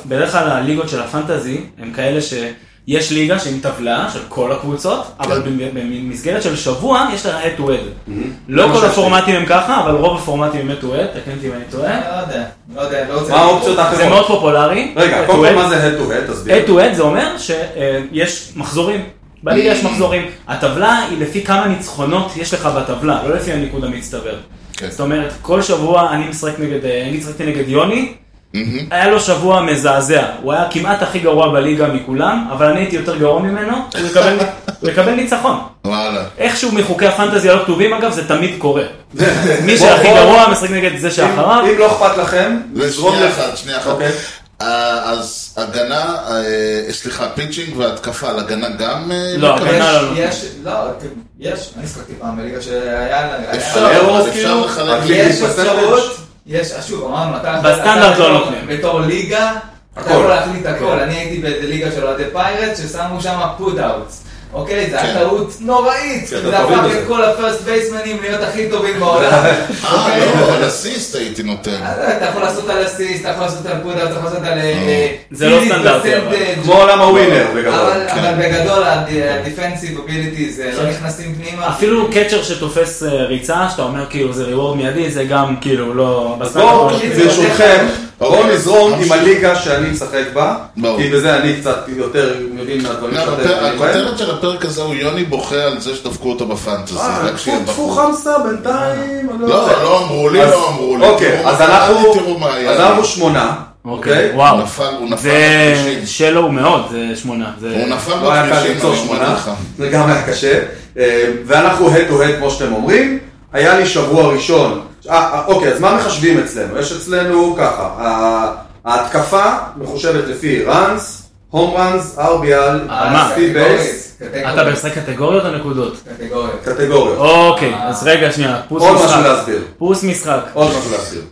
Speaker 1: בדרך כלל הליגות של הפנטזי, הם כאלה שיש ליגה שהיא עם טבלה של כל הקבוצות,
Speaker 4: כן.
Speaker 1: אבל במ- במסגרת של שבוע יש לך head to head. לא
Speaker 4: זה מה
Speaker 1: כל
Speaker 4: שיש
Speaker 1: הפורמטים הם ככה, אבל רוב הפורמטים הם head to head, תקן אותי אם אני טועה.
Speaker 5: לא יודע, לא יודע, לא רוצה...
Speaker 4: מה האופציות האחרות?
Speaker 1: זה מאוד פופולרי.
Speaker 4: רגע,
Speaker 1: head
Speaker 4: קודם
Speaker 1: to
Speaker 4: כל
Speaker 1: head.
Speaker 4: מה זה head to head, תסביר.
Speaker 1: head to head זה אומר שיש מחזורים. בליגה יש מחזורים. הטבלה היא לפי כמה ניצחונות יש לך בטבלה, לא לפי הניקוד המצטבר.
Speaker 2: כן.
Speaker 1: זאת אומרת, כל שבוע אני משחק נגד, אה, אני משחקתי נגד יוני,
Speaker 2: מהמם.
Speaker 1: היה לו שבוע מזעזע, הוא היה כמעט הכי גרוע בליגה מכולם, אבל אני הייתי יותר גרוע ממנו, הוא יקבל, הוא יקבל ניצחון.
Speaker 2: וואלה.
Speaker 1: איכשהו מחוקי הפנטזיה לא כתובים אגב, זה תמיד קורה. מי שהכי גרוע משחק נגד זה שאחריו.
Speaker 4: אם לא אכפת לכם, לזרום
Speaker 2: שנייה
Speaker 4: לך.
Speaker 2: אחת, שנייה אחת.
Speaker 4: אוקיי.
Speaker 2: אה, אז הגנה, אה, סליחה, פיצ'ינג והתקפה, על הגנה גם אה,
Speaker 1: לא,
Speaker 2: מקבל?
Speaker 4: כן,
Speaker 1: הגנה לא.
Speaker 5: יש, לא, יש, אני שחקתי פעם בליגה שהיה לה...
Speaker 2: אפשר,
Speaker 5: היה-
Speaker 2: אבל
Speaker 4: ארוז,
Speaker 2: אפשר
Speaker 4: כאילו,
Speaker 2: לחלק.
Speaker 4: אבל
Speaker 5: יש
Speaker 4: בסטנדרט.
Speaker 5: אפשרות, יש, אז שוב, אמרנו, אתה...
Speaker 1: בסטנדרט
Speaker 5: אתה
Speaker 1: לא
Speaker 5: בתור-
Speaker 1: נותנים.
Speaker 5: בתור ליגה, אתה
Speaker 4: הכל. כן.
Speaker 5: יכול להחליט הכל. אני הייתי באיזה ליגה של אוהדי פיירט, ששמו שם פוט אאוטס. אוקיי, זה
Speaker 2: כן.
Speaker 5: היה טעות נוראית.
Speaker 4: כן,
Speaker 5: זה
Speaker 4: אתה
Speaker 5: הפך
Speaker 4: טובים
Speaker 5: את
Speaker 4: בזה.
Speaker 5: כל הפרסט בייסמנים להיות הכי טובים בעולם.
Speaker 2: אה,
Speaker 4: אוקיי.
Speaker 2: לא, על אסיסט הייתי נותן.
Speaker 4: אה,
Speaker 5: אז אתה יכול לעשות על אסיסט, אתה יכול לעשות על פוט אאוטס, אתה יכול לעשות על... אה,
Speaker 1: זה לא
Speaker 5: פיזית
Speaker 1: סטנדרטי, אבל.
Speaker 5: פרסנטג'.
Speaker 4: כמו עולם הווינר בגדול. כן.
Speaker 5: אבל אבל בגדול הדיפנסיב אביליטי זה לא נכנסים פנימה.
Speaker 1: אפילו קצ'ר שתופס אה, ריצה, שאתה אומר כאילו זה ריוורד מיידי, זה גם כאילו לא...
Speaker 4: בואו,
Speaker 1: בסטנדרט לא-
Speaker 5: תגיד-
Speaker 4: ברשותכם, בואו
Speaker 2: אוקיי,
Speaker 4: נזרום עם
Speaker 2: נמשיך.
Speaker 4: הליגה שאני משחק בה,
Speaker 2: ברור.
Speaker 4: כי בזה אני קצת יותר מבין מהדברים
Speaker 2: גם
Speaker 4: שאתם
Speaker 2: הפר-
Speaker 4: מבינים בהם.
Speaker 2: הכותרת של הפרק הזה הוא יוני בוכה על זה שדפקו אותו בפנטזי.
Speaker 4: אה,
Speaker 2: רק שיהיה
Speaker 4: טפו, טפו
Speaker 2: ברור.
Speaker 4: חמסה בינתיים, אני
Speaker 2: לא,
Speaker 4: יודע.
Speaker 2: לא אמרו לי,
Speaker 4: אז-
Speaker 2: לא אמרו לי.
Speaker 4: אוקיי,
Speaker 2: תראו
Speaker 4: אז
Speaker 2: מה-
Speaker 4: אנחנו,
Speaker 2: תראו מה היה.
Speaker 4: אז אנחנו שמונה,
Speaker 1: אוקיי,
Speaker 4: אוקיי?
Speaker 1: וואו.
Speaker 2: הוא נפל, הוא נפל
Speaker 1: זה
Speaker 2: בכבישים.
Speaker 1: שלו הוא מאוד, זה שמונה. זה-
Speaker 2: הוא נפל
Speaker 4: לא היה קל
Speaker 2: בכבישים,
Speaker 4: למצוא
Speaker 2: אני אומר
Speaker 4: שמונה,
Speaker 2: לך.
Speaker 4: זה גם היה קשה. אה, ואנחנו הד טו הד, כמו שאתם אומרים. היה לי שבוע ראשון. אה, אה, אוקיי, אז מה מחשבים אצלנו? יש אצלנו ככה, ה- ההתקפה מחושבת לפי ראנס, הום ראנס, ארביאל,
Speaker 5: אה,
Speaker 1: מה?
Speaker 4: סטיל
Speaker 5: אוקיי.
Speaker 4: בייס,
Speaker 1: אתה במשחק קטגוריות או נקודות?
Speaker 5: קטגוריות.
Speaker 4: קטגוריות.
Speaker 1: אוקיי, אז רגע, שנייה, פוס
Speaker 4: עוד משהו
Speaker 1: משחק.
Speaker 4: להסביר.
Speaker 1: פוס משחק.
Speaker 4: עוד משהו להסביר.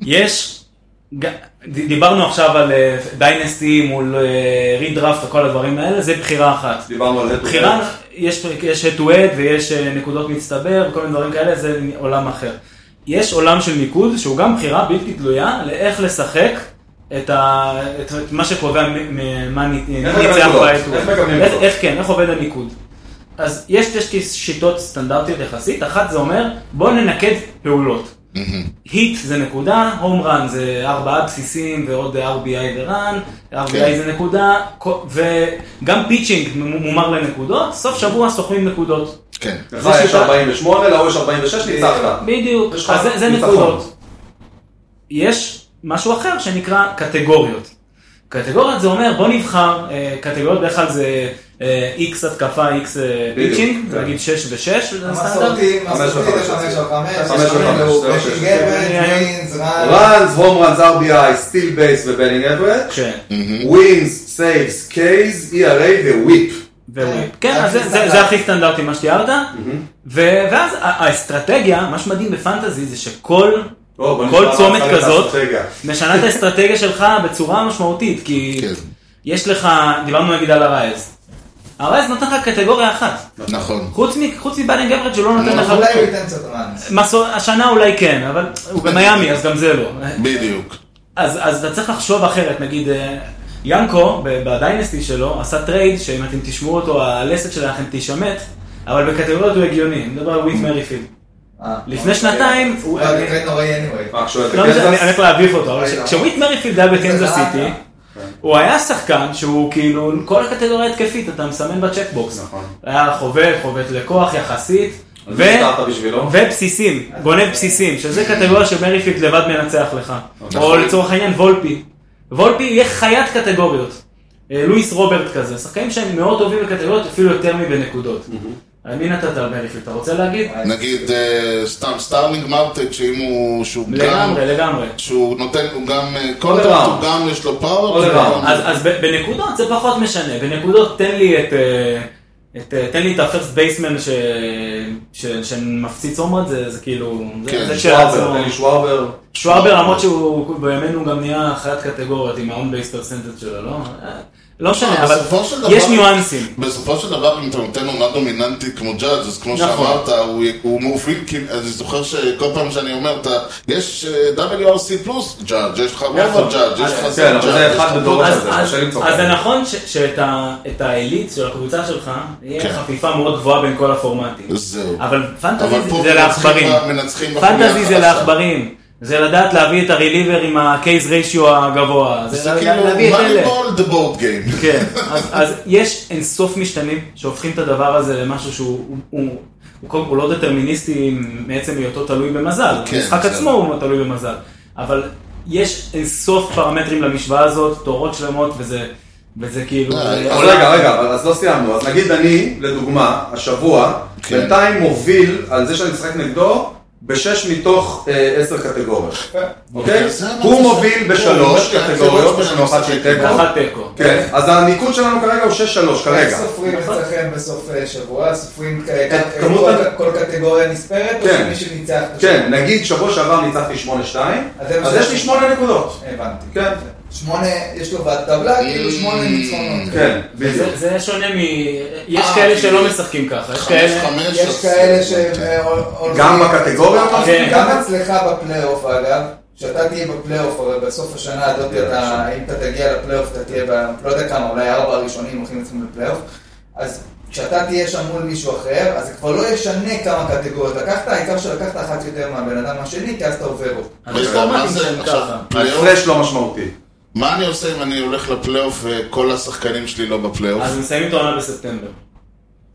Speaker 1: יש, ג- ד- דיברנו עכשיו על דיינסטי מול אה, רידראפט וכל הדברים האלה, זה בחירה אחת.
Speaker 4: דיברנו על הד טו הד.
Speaker 1: בחירה, יש יש head to head ויש אה, נקודות מצטבר וכל מיני דברים כאלה, זה עולם אחר. יש עולם של מיקוד שהוא גם בחירה בלתי תלויה לאיך לשחק את, ה, את, את מה שקובע מ- מ- מה נ-
Speaker 4: מקבלים
Speaker 1: ניצח ב-head
Speaker 4: נקודות?
Speaker 1: to
Speaker 4: איך
Speaker 1: head.
Speaker 4: מקבלים
Speaker 1: איך,
Speaker 4: נקודות?
Speaker 1: איך כן, איך עובד הניקוד. אז יש שתי שיטות סטנדרטיות יחסית, אחת זה אומר בואו ננקד פעולות. היט זה נקודה, הום רן זה ארבעה בסיסים ועוד RBI ורן, RBI
Speaker 2: כן.
Speaker 1: זה נקודה, כו- וגם פיצ'ינג מ- מומר לנקודות, סוף שבוע סוכמים נקודות.
Speaker 2: כן.
Speaker 4: לך יש 48, להוא יש 46, ניצחת.
Speaker 1: בדיוק,
Speaker 4: יש לך
Speaker 1: אז זה- זה
Speaker 4: ניצחון.
Speaker 1: נקודות. יש משהו אחר שנקרא קטגוריות. קטגוריות זה אומר בוא נבחר, אה, קטגוריות בדרך כלל זה אה, X התקפה, X אה,
Speaker 4: בדיוק,
Speaker 1: פיצ'ינג,
Speaker 4: כן.
Speaker 1: נגיד 6 ו-6,
Speaker 5: המסורתי, מסורתי זה חמש על חמש,
Speaker 4: חמש על
Speaker 5: יש לנו
Speaker 4: חמש, זה לא שש.
Speaker 5: בקינג אבן, ווינס, רן,
Speaker 4: ראנס, הום ראנס, RBI, סטיל בייס ובלינג אברג',
Speaker 1: כן,
Speaker 4: ווינס, סייבס, קייז, ERA וויפ.
Speaker 1: וויפ.
Speaker 5: כן,
Speaker 1: כן, אז זה- זה זה הכי סטנדרטי מה שתיארת, ו- ואז ה- האסטרטגיה, מה שמדהים בפנטזי זה שכל
Speaker 4: טוב, לא,
Speaker 1: כל
Speaker 4: בוא נשמע מה
Speaker 1: צומת
Speaker 4: צריך את
Speaker 1: כזאת.
Speaker 4: האסטרטגיה.
Speaker 1: משנה את האסטרטגיה שלך בצורה משמעותית, כי
Speaker 2: כן.
Speaker 1: יש לך, דיברנו נגיד על הרייז, הרייז נותן לך קטגוריה אחת,
Speaker 2: נכון.
Speaker 1: חוץ מ- חוץ מבאלינג אברג' הוא לא נותן לך,
Speaker 5: אולי הוא ייתן קצת ראנס.
Speaker 1: מסו- השנה אולי כן, אבל הוא במיאמי אז גם זה לא,
Speaker 2: בדיוק.
Speaker 1: אז, אז אתה צריך לחשוב אחרת, נגיד אה, ינקו ב- בדיינסטי שלו עשה טרייד, שאם אתם תשמעו אותו הלסת שלכם תישמט, אבל בקטגוריות הוא הגיוני, אני מדבר על וויט מריפילד.
Speaker 5: אה,
Speaker 1: לפני
Speaker 5: אוקיי.
Speaker 1: שנתיים, הוא-
Speaker 5: לא, זה טרנד נוראי anyway.
Speaker 4: מה, כשהוא
Speaker 1: לא
Speaker 4: היה
Speaker 1: משנה, אני
Speaker 4: בקנזס?
Speaker 1: הולך להביך אותו, אבל
Speaker 5: רגע.
Speaker 1: כש- כשוויט מריפילד היה בקנזס
Speaker 5: זה
Speaker 1: סיטי,
Speaker 5: רע.
Speaker 1: הוא היה שחקן שהוא כאילו, כל הקטגוריה התקפית אתה מסמן בצ'קבוקס.
Speaker 4: נכון.
Speaker 1: היה חובט, חובט לכוח יחסית,
Speaker 4: אז
Speaker 1: ו-
Speaker 4: ניצחת בשבילו?
Speaker 1: ובסיסים, גונב בסיסים, שזה קטגוריה שמריפילד לבד מנצח לך. או
Speaker 2: נכון.
Speaker 1: לצורך העניין וולפי. וולפי יהיה חיית קטגוריות. אה, לואיס רוברט כזה, שחקנים שהם מאוד טובים בקטגוריות, אפילו יותר מבנקודות. על מי נתת על מריפילד? אתה רוצה להגיד?
Speaker 2: נגיד, אה, סתם סטארלינג מרטק, שאם הוא, שהוא גם,
Speaker 1: לגמרי, לגמרי.
Speaker 2: שהוא נותן, הוא גם אה,
Speaker 4: around.
Speaker 2: קונטרקט, הוא גם יש לו פאוור.
Speaker 4: All
Speaker 2: וגם-
Speaker 4: around.
Speaker 1: אז, אז ב- בנקודות זה פחות משנה, בנקודות תן לי את, אה, את אה, תן לי את הפרסט בייסמן ש, ש, שמפציץ עומרד, זה, זה כאילו, זה,
Speaker 2: כן,
Speaker 1: זה
Speaker 4: שווארבר, תן לי שווארבר.
Speaker 1: שווארבר למרות שהוא בימינו גם נהיה חיית קטגוריות עם ההון בייס פרסנטד שלו, לא? אה, לא משנה, אבל
Speaker 2: בסופו של דבר-
Speaker 1: יש ניואנסים.
Speaker 2: בסופו של דבר, אם אתה נותן עונה דומיננטית כמו ג'אדג', אז כמו
Speaker 1: נכון.
Speaker 2: שאמרת, הוא- הוא מוביל, כי אני זוכר שכל פעם שאני אומר, אתה- יש אה, WRC פלוס ג'אדג', יש לך
Speaker 1: נכון.
Speaker 2: רובע ג'אדג', יש לך
Speaker 1: כן,
Speaker 2: זה
Speaker 4: אבל
Speaker 2: ג'אדג',
Speaker 4: זה
Speaker 2: יש לך
Speaker 4: אחד
Speaker 2: לא זה.
Speaker 4: בדור.
Speaker 1: אז,
Speaker 4: זה
Speaker 1: אז,
Speaker 4: קשה למצוא
Speaker 1: אז זה
Speaker 4: כאלה.
Speaker 1: נכון ש, שאת ה, את האליט של הקבוצה שלך, יהיה
Speaker 2: כן.
Speaker 1: חפיפה מאוד גבוהה בין כל הפורמטים.
Speaker 2: זהו.
Speaker 1: אבל
Speaker 2: אבל
Speaker 1: פנטזי
Speaker 2: פה
Speaker 1: זה לעכברים.
Speaker 2: מנצחים ב- מנצחים בחוליה
Speaker 1: פנטזי זה
Speaker 2: החלשה.
Speaker 1: לעכברים. זה לדעת להביא את הריליבר עם ה-case ratio הגבוה.
Speaker 2: זה
Speaker 1: לה-
Speaker 2: כאילו,
Speaker 1: להביא את אלה.
Speaker 2: מניבול דה בורד גיים.
Speaker 1: כן, אז, אז יש אינסוף משתנים שהופכים את הדבר הזה למשהו שהוא הוא, הוא, הוא, קודם- הוא לא דטרמיניסטי מעצם היותו תלוי במזל.
Speaker 2: כן,
Speaker 1: המשחק
Speaker 2: בסדר.
Speaker 1: עצמו הוא תלוי במזל. אבל יש אינסוף פרמטרים למשוואה הזאת, תורות שלמות, וזה וזה כאילו...
Speaker 2: אה,
Speaker 1: אה,
Speaker 4: אז רגע, רגע, אבל אז לא סיימנו. אז נגיד אני, לדוגמה, השבוע,
Speaker 2: כן.
Speaker 4: בינתיים מוביל על זה שאני משחק נגדו בשש מתוך אה, עשר קטגוריות. אוקיי?
Speaker 2: זה אמרתי
Speaker 4: הוא
Speaker 2: ש-
Speaker 4: מוביל בשלוש
Speaker 2: לא, יש
Speaker 4: קטגוריות,
Speaker 2: כאן
Speaker 4: יש לנו אחת שהיא תיקו.
Speaker 1: ואחת תיקו.
Speaker 4: כן, אז הניקוד שלנו כרגע הוא שש שלוש
Speaker 5: איך
Speaker 4: כרגע.
Speaker 5: סופרים אצלכם בסוף אה, שבוע? סופרים כ-
Speaker 4: את
Speaker 5: כ-
Speaker 4: כמות
Speaker 5: כל-
Speaker 4: ה-
Speaker 5: כל קטגוריה נספרת? או
Speaker 4: כן.
Speaker 5: שמי שניצח? את השבוע?
Speaker 4: כן, נגיד שבוע שעבר ניצחתי שמונה שתיים,
Speaker 5: אז זה
Speaker 4: אז
Speaker 5: מה
Speaker 4: יש
Speaker 5: ש-
Speaker 4: לי שמונה נקודות.
Speaker 5: הבנתי.
Speaker 4: כן.
Speaker 5: שמונה, יש לו בטבלה, כאילו שמונה ניצחונות.
Speaker 4: כן, בדיוק.
Speaker 1: זה- זה שונה מ... יש
Speaker 2: אה,
Speaker 1: כאלה
Speaker 2: כי-
Speaker 1: שלא משחקים ככה. יש
Speaker 2: חמש
Speaker 1: כאלה...
Speaker 2: חמש.
Speaker 5: יש כאלה שהם...
Speaker 2: כן.
Speaker 5: אה, הולכים-
Speaker 4: גם בקטגוריה?
Speaker 1: כן.
Speaker 5: גם אצלך בפלייאוף אגב, שאתה תהיה בפלייאוף, הרי בסוף השנה הזאת
Speaker 1: כן,
Speaker 5: אתה, אם אתה תגיע לפלייאוף, אתה תהיה, ב- לא יודע כמה, אולי ארבע הראשונים הולכים אצלם לפלייאוף, אז כשאתה תהיה שם מול מישהו אחר, אז זה כבר לא ישנה כמה קטגוריות לקחת, העיקר שלקחת אחת יותר מהבן אדם השני, כי אז אתה עובר אותו.
Speaker 1: אז
Speaker 2: רגע, אוקיי, מה
Speaker 1: הפורמטים
Speaker 2: זה?
Speaker 1: שלהם
Speaker 2: עכשיו,
Speaker 1: ככה.
Speaker 2: פלייאוף?
Speaker 4: ההפרש לא משמעותי.
Speaker 2: מה אני עושה אם אני הולך לפלייאוף וכל השחקנים שלי לא בפלייאוף?
Speaker 1: אז מסיימים את העונה בספטמבר.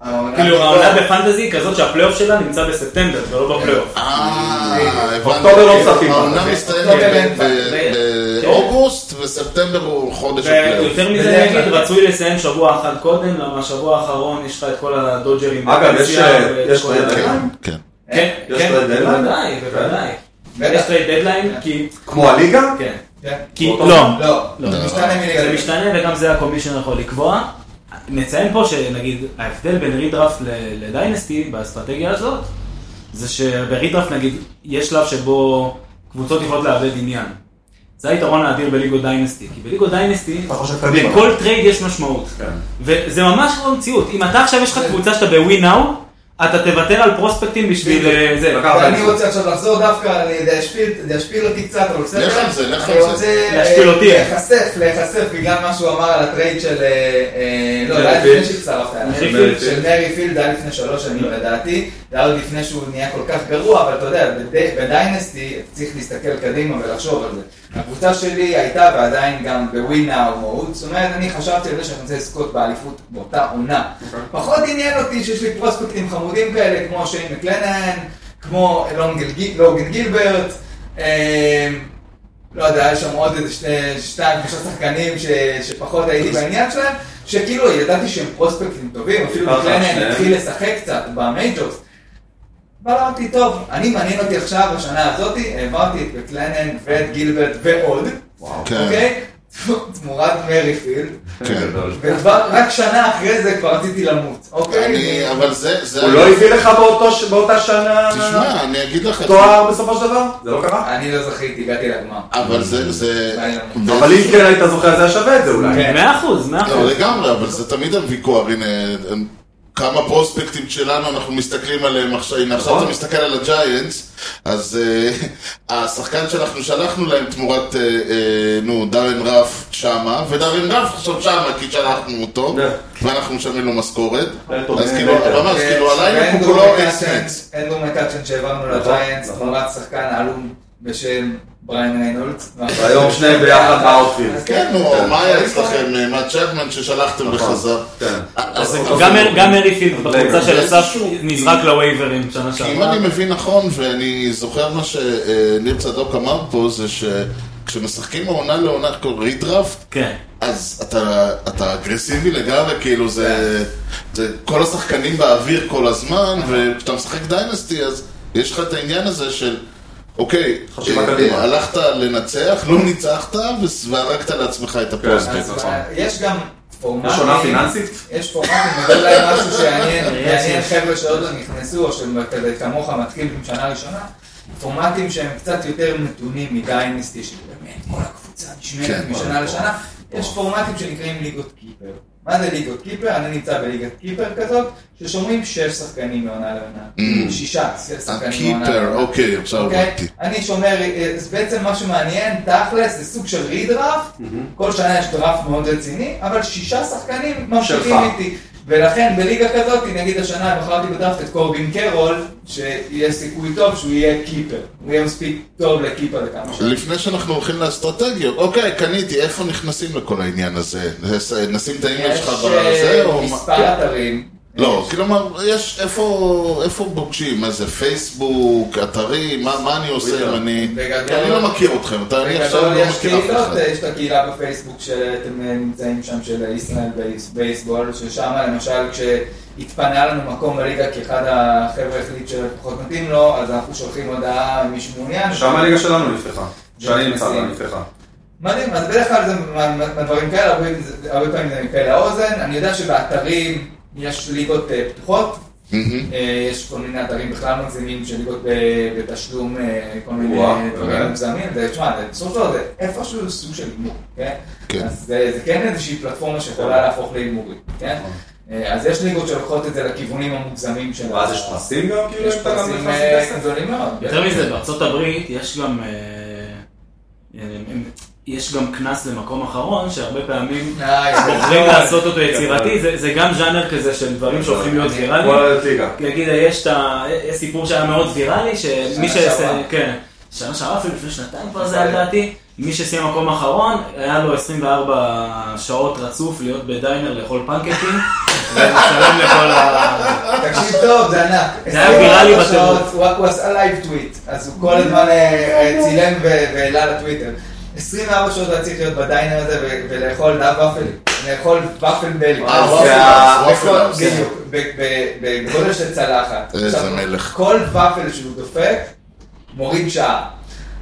Speaker 5: העונה-
Speaker 2: לא-
Speaker 1: כאילו העונה בפנטזי היא כזאת שהפלייאוף שלה נמצא בספטמבר, ולא בפלייאוף.
Speaker 2: אה, הבנתי.
Speaker 4: אוקטובר לא משחקים.
Speaker 2: העונה
Speaker 4: אוקיי.
Speaker 2: מסתיימת
Speaker 5: אוקטובר
Speaker 2: ב-
Speaker 5: אין
Speaker 2: ב-
Speaker 1: בעיה.
Speaker 2: באוגוסט, וספטמבר הוא חודש הפלייאוף.
Speaker 1: ויותר מזה
Speaker 5: בדרך
Speaker 1: אני אגיד,
Speaker 5: כלל.
Speaker 1: רצוי לסיים שבוע אחד קודם, למה שבוע האחרון יש לך את כל הדודג'רים.
Speaker 4: אגב, יש,
Speaker 1: בפנסיה
Speaker 4: אה,
Speaker 1: ואת
Speaker 4: יש
Speaker 1: כל
Speaker 4: טרייד
Speaker 1: ה-
Speaker 2: כן,
Speaker 4: דדליין?
Speaker 2: כן.
Speaker 1: כן,
Speaker 4: יש
Speaker 1: כן,
Speaker 4: טרייד דדליין?
Speaker 1: בוודאי, בוודאי.
Speaker 5: בטח.
Speaker 1: יש טרייד דדליין, כי...
Speaker 4: כמו הליגה?
Speaker 1: כן.
Speaker 5: כן.
Speaker 1: כי...
Speaker 4: אותו-
Speaker 1: לא.
Speaker 5: לא, זה משתנה מליגה.
Speaker 1: זה משתנה וגם זה הקומישיונר יכול לקבוע. נציין פה שנגיד ההבדל בין רידרפט ל- לדיינסטי באסטרטגיה הזאת זה שברידרפט נגיד יש שלב שבו קבוצות יכולות לאבד עניין. זה היתרון האדיר בליגו דיינסטי, כי בליגו דיינסטי
Speaker 4: אתה חושב קדימה.
Speaker 1: לכל טרייד יש משמעות.
Speaker 4: כן.
Speaker 1: וזה ממש לא המציאות, אם אתה עכשיו יש לך קבוצה שאתה בווין נאו, אתה תוותר על פרוספקטים בשביל אה, זה.
Speaker 4: לקחת
Speaker 5: אני רוצה עכשיו לחזור דווקא, אני- זה ישפיל- זה ישפיל אותי קצת, אבל בסדר.
Speaker 2: לך על זה, לך
Speaker 5: אני
Speaker 2: על זה.
Speaker 5: רוצה
Speaker 1: להשפיל
Speaker 5: אה,
Speaker 1: אותי.
Speaker 5: להיחשף, להיחשף בגלל מה שהוא אמר על הטרייד של... אה, אה, לא,
Speaker 4: מרי
Speaker 5: זה היה לפני
Speaker 4: פילד.
Speaker 5: שהצטרפת, היה
Speaker 1: מרי
Speaker 5: מרי
Speaker 1: פילד.
Speaker 5: של מרי פילד, היה לפני שלוש שנים לדעתי, זה היה עוד לפני שהוא נהיה כל כך גרוע, אבל אתה יודע, בדי- בדיינסטי צריך להסתכל קדימה ולחשוב על זה. הקבוצה שלי הייתה ועדיין גם בווינה או מהות, זאת אומרת, אני חשבתי על זה שאני רוצה לזכות באליפות באותה עונה. פחות עניין אותי שיש לי פרוספקטים חמודים כאלה, כמו שיין מקלנן, כמו לונגל גיל- לוגן גילברט, אמ, לא יודע, היה שם עוד איזה שני, שתיים, שלושה שחקנים ש, שפחות הייתי בעניין שלהם, שכאילו ידעתי שהם פרוספקטים טובים, אפילו
Speaker 4: ככה,
Speaker 5: מקלנן
Speaker 4: שניהם.
Speaker 5: התחיל לשחק קצת במייג'ורס. אבל אמרתי, טוב, אני מעניין אותי עכשיו, בשנה הזאתי, העברתי את מקלנן ואת גילברט ועוד,
Speaker 2: כן,
Speaker 5: אוקיי? תמורת מריפילד,
Speaker 2: כן.
Speaker 5: וכבר רק שנה אחרי זה כבר רציתי למות, אוקיי?
Speaker 2: אני, אבל זה, זה...
Speaker 4: הוא לא הביא לך באותו ש- באותה שנה
Speaker 2: תשמע, אני אגיד לך...
Speaker 4: תואר בסופו של דבר? זה לא קרה?
Speaker 5: אני לא זכיתי, הגעתי לגמר.
Speaker 2: אבל זה, זה...
Speaker 5: אבל
Speaker 4: אבל אם כן היית זוכר, זה היה שווה את זה אולי.
Speaker 5: כן.
Speaker 1: מאה אחוז, מאה
Speaker 2: לא,
Speaker 1: אחוז.
Speaker 2: לגמרי, אבל זה תמיד הוויכוח, הנה, כמה פרוספקטים שלנו אנחנו מסתכלים עליהם עכשיו, הנה עכשיו
Speaker 4: נכון.
Speaker 2: אתה מסתכל על הג'יינטס, אז אה, השחקן שאנחנו שלחנו להם תמורת, אה, אה, נו, דארן רף שמה, ודארן רף עכשיו שמה כי שלחנו אותו,
Speaker 4: כן.
Speaker 2: ואנחנו משלמים לו משכורת,
Speaker 4: טוב,
Speaker 2: אז
Speaker 4: אה,
Speaker 2: כאילו,
Speaker 4: אה,
Speaker 2: ממש, כאילו, הלילה הוא
Speaker 5: ואנדרו
Speaker 2: כולו
Speaker 5: מקאצ'ן-
Speaker 2: אקסנקס.
Speaker 5: אנדרו מקאצ'ן שהעברנו
Speaker 4: נכון,
Speaker 5: לג'יינטס,
Speaker 4: נכון.
Speaker 5: תמורת שחקן עלום בשם בריין ריינולדס.
Speaker 4: והיום שניהם ביחד באוטפילד.
Speaker 5: אז
Speaker 2: כן, נו, מה היה אצלכם, אה, מאט צ'פמן ששלחתם וחזר?
Speaker 4: כן.
Speaker 2: אז
Speaker 1: גם מר- גם מרי פילד בקבוצה של
Speaker 2: לא זה
Speaker 1: אסף
Speaker 2: איזשהו-
Speaker 1: נזרק לווייברים שנה
Speaker 2: כי אם
Speaker 1: שעברה.
Speaker 2: אני מבין נכון, ואני זוכר מה שניר צדוק אמר פה, זה שכשמשחקים מעונה לעונה כל רידרפט,
Speaker 1: כן.
Speaker 2: אז אתה, אתה אגרסיבי לגמרי, כאילו זה, זה כל השחקנים באוויר כל הזמן, וכשאתה משחק דיינסטי, אז יש לך את העניין הזה של, אוקיי,
Speaker 4: חשיבה
Speaker 2: אה,
Speaker 4: קדימה.
Speaker 2: אה, הלכת לנצח, לא ניצחת, וס- והרגת לעצמך את הפרוספקט.
Speaker 5: אז אה,
Speaker 4: נכון.
Speaker 5: יש גם אה, פורמטים.
Speaker 4: יש עונה פיננסית?
Speaker 5: יש פורמטים, אבל אולי משהו שיעניין
Speaker 1: יש,
Speaker 5: יעניין
Speaker 1: יש.
Speaker 5: חבר'ה שעוד לא נכנסו, או שהם כזה כמוך מתחיל עם שנה ראשונה. פורמטים שהם קצת יותר מתונים מדיינסטי, שבאמת כל הקבוצה
Speaker 2: כן,
Speaker 5: נשמעת
Speaker 2: כל
Speaker 5: משנה לשנה. יש פורמטים שנקראים ליגות קיפר. מה זה ליגות קיפר? אני נמצא בליגת קיפר כזאת, ששומרים שש שחקנים מעונה לעונה. שישה, שש שחקנים מעונה
Speaker 2: Mm. הקיפר,
Speaker 5: לעונה.
Speaker 2: אוקיי, עכשיו
Speaker 5: אוקיי?
Speaker 2: הבנתי.
Speaker 5: אני שומר, אה, אז בעצם משהו מעניין, תכלס, זה סוג של רידראפט, כל שנה יש דראפט מאוד רציני, אבל שישה שחקנים ממשיכים
Speaker 4: שלך.
Speaker 5: איתי. ולכן בליגה כזאת, נגיד השנה בחרתי בדראפט את קורבין קרול, שיש סיכוי טוב שהוא יהיה קיפר. הוא יהיה מספיק טוב לקיפר לכמה שנים.
Speaker 2: לפני שאנחנו הולכים לאסטרטגיות, אוקיי, קניתי, איפה נכנסים לכל העניין הזה? נס- נשים את האימייל
Speaker 5: יש
Speaker 2: שלך בזה,
Speaker 5: אה,
Speaker 2: או מה?
Speaker 5: מספר אתרים, אה,
Speaker 2: לא, כלומר, יש, איפה, איפה פוגשים? מה זה, פייסבוק, אתרים, מה, מה אני עושה אם אני...
Speaker 5: בגדול-
Speaker 2: אני לא מכיר אתכם, אתה, אני עכשיו
Speaker 5: בגדול
Speaker 2: לא
Speaker 5: יש
Speaker 2: מכיר אף
Speaker 5: קהילות, אה.
Speaker 2: אחד.
Speaker 5: יש את הקהילה בפייסבוק שאתם אה, נמצאים שם, של ישראל בייס- בייסבול, ששם למשל כשהתפנה לנו מקום בליגה כי אחד החבר'ה החליט שפחות מתאים לו, אז אנחנו שולחים הודעה למי שמעוניין.
Speaker 4: שם הליגה שלנו נפתחה. שאני נמצא בה
Speaker 5: נכנסים.
Speaker 4: נפתחה.
Speaker 5: מדהים, אז בדרך כלל זה מה- מה- מהדברים כאלה, הרבה זה- הרבה פעמים זה מפה לאוזן. אני יודע שבאתרים יש ליגות אה, פתוחות,
Speaker 2: מהמם.
Speaker 5: אה, יש כל מיני אתרים בכלל מגזימים של ליגות ב- בתשלום, אה, כל מיני
Speaker 4: וואו,
Speaker 5: דברים
Speaker 4: באמת?
Speaker 5: מוגזמים, זה, תשמע, זה בסוף של דבר זה איפשהו סוג של הימור, כן?
Speaker 2: כן.
Speaker 5: אז זה זה כן איזושהי פלטפורמה שיכולה להפוך להימורית, כן? אה, אז יש ליגות שלוקחות את זה לכיוונים המוגזמים של...
Speaker 4: ואז
Speaker 5: ה-
Speaker 4: יש פרסים גם, כאילו,
Speaker 5: יש
Speaker 4: אם אתה גם
Speaker 5: פרסים
Speaker 4: נכנס
Speaker 5: אה,
Speaker 4: לכסף?
Speaker 5: גדולים מאוד.
Speaker 1: יותר
Speaker 2: כן.
Speaker 1: מזה, בארצות הברית יש גם... אה, אה, יש גם קנס למקום אחרון, שהרבה פעמים
Speaker 5: אה, יש
Speaker 1: בוחרים
Speaker 5: גדול.
Speaker 1: לעשות
Speaker 2: אה,
Speaker 1: אותו יצירתי, זה- זה גם ז'אנר כזה של דברים
Speaker 2: לא,
Speaker 1: שהופכים להיות ויראליים.
Speaker 4: וואלה, ליגה.
Speaker 1: נגיד, יש את ה... יש סיפור שהיה מאוד ויראלי, שמי
Speaker 5: שנה
Speaker 1: ש...
Speaker 5: שעברה.
Speaker 1: כן. שנה שעברה, אפילו לפני שנתיים כבר זה היה לדעתי. מי שסיים מקום אחרון, היה לו 24 שעות רצוף להיות בדיינר לאכול פנקקים, ולצלם לכל ה...
Speaker 5: תקשיב טוב, זה ענק.
Speaker 1: זה היה ויראלי
Speaker 5: 24
Speaker 1: בטירוף.
Speaker 5: שעות, הוא- הוא עשה לייב טוויט, אז הוא כל הזמן אה, אה, צילם ו- והעלה לטוויטר. 24 שעות היה צריך להיות בדיינר הזה ו- ולאכול דף ופל, לאכול ופל בלי.
Speaker 2: אה,
Speaker 5: אז
Speaker 2: ופל
Speaker 5: ה-
Speaker 2: אף, ופל
Speaker 5: איפה-
Speaker 2: אף, כן.
Speaker 5: בדיוק, ב- ב- בגודל של צלחת.
Speaker 2: איזה
Speaker 5: עכשיו,
Speaker 2: מלך.
Speaker 5: כל ופל שהוא דופק, מוריד שעה,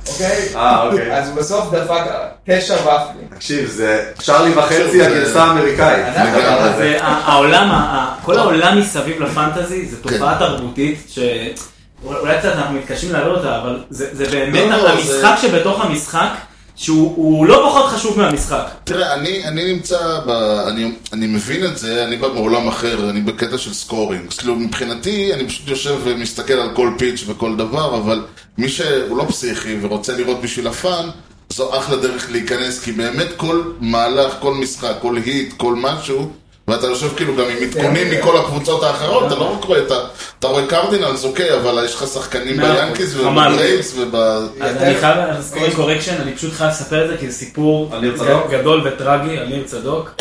Speaker 5: אוקיי?
Speaker 4: אה, אוקיי.
Speaker 5: אז הוא בסוף דפק תשע ופלים.
Speaker 4: תקשיב, זה צ'ארלי וחצי
Speaker 2: זה-
Speaker 4: הגרסה האמריקאית.
Speaker 5: ענק,
Speaker 4: הדבר
Speaker 2: לגמרי.
Speaker 4: הזה.
Speaker 1: זה- ה- העולם, ה- ה- כל העולם מסביב לפנטזי, זו תופעה תרבותית ש... אולי קצת אנחנו מתקשים להעלות אותה, אבל זה זה באמת
Speaker 2: לא, לא,
Speaker 1: המשחק שבתוך המשחק, שהוא הוא לא פחות חשוב מהמשחק.
Speaker 2: תראה, אני, אני נמצא, ב, אני, אני מבין את זה, אני בא מעולם אחר, אני בקטע של סקורינג. כאילו, מבחינתי, אני פשוט יושב ומסתכל על כל פיץ' וכל דבר, אבל מי שהוא לא פסיכי ורוצה לראות בשביל הפאן, זו אחלה דרך להיכנס, כי באמת כל מהלך, כל משחק, כל היט, כל משהו, ואתה יושב כאילו גם עם עדכונים מכל הקבוצות האחרות, אתה לא רק רואה, אתה, אתה רואה קרדינלס, אוקיי, אבל יש לך שחקנים
Speaker 1: מאה אחוז.
Speaker 2: ביאנקיס
Speaker 1: אמרנו.
Speaker 2: ובברייבס וב...
Speaker 1: אז
Speaker 5: יותר-
Speaker 1: אני חייב לעשות קורקשן, אני פשוט חייב לספר את זה, כי זה סיפור
Speaker 4: על ניר צדוק?
Speaker 1: גדול וטרגי על ניר צדוק.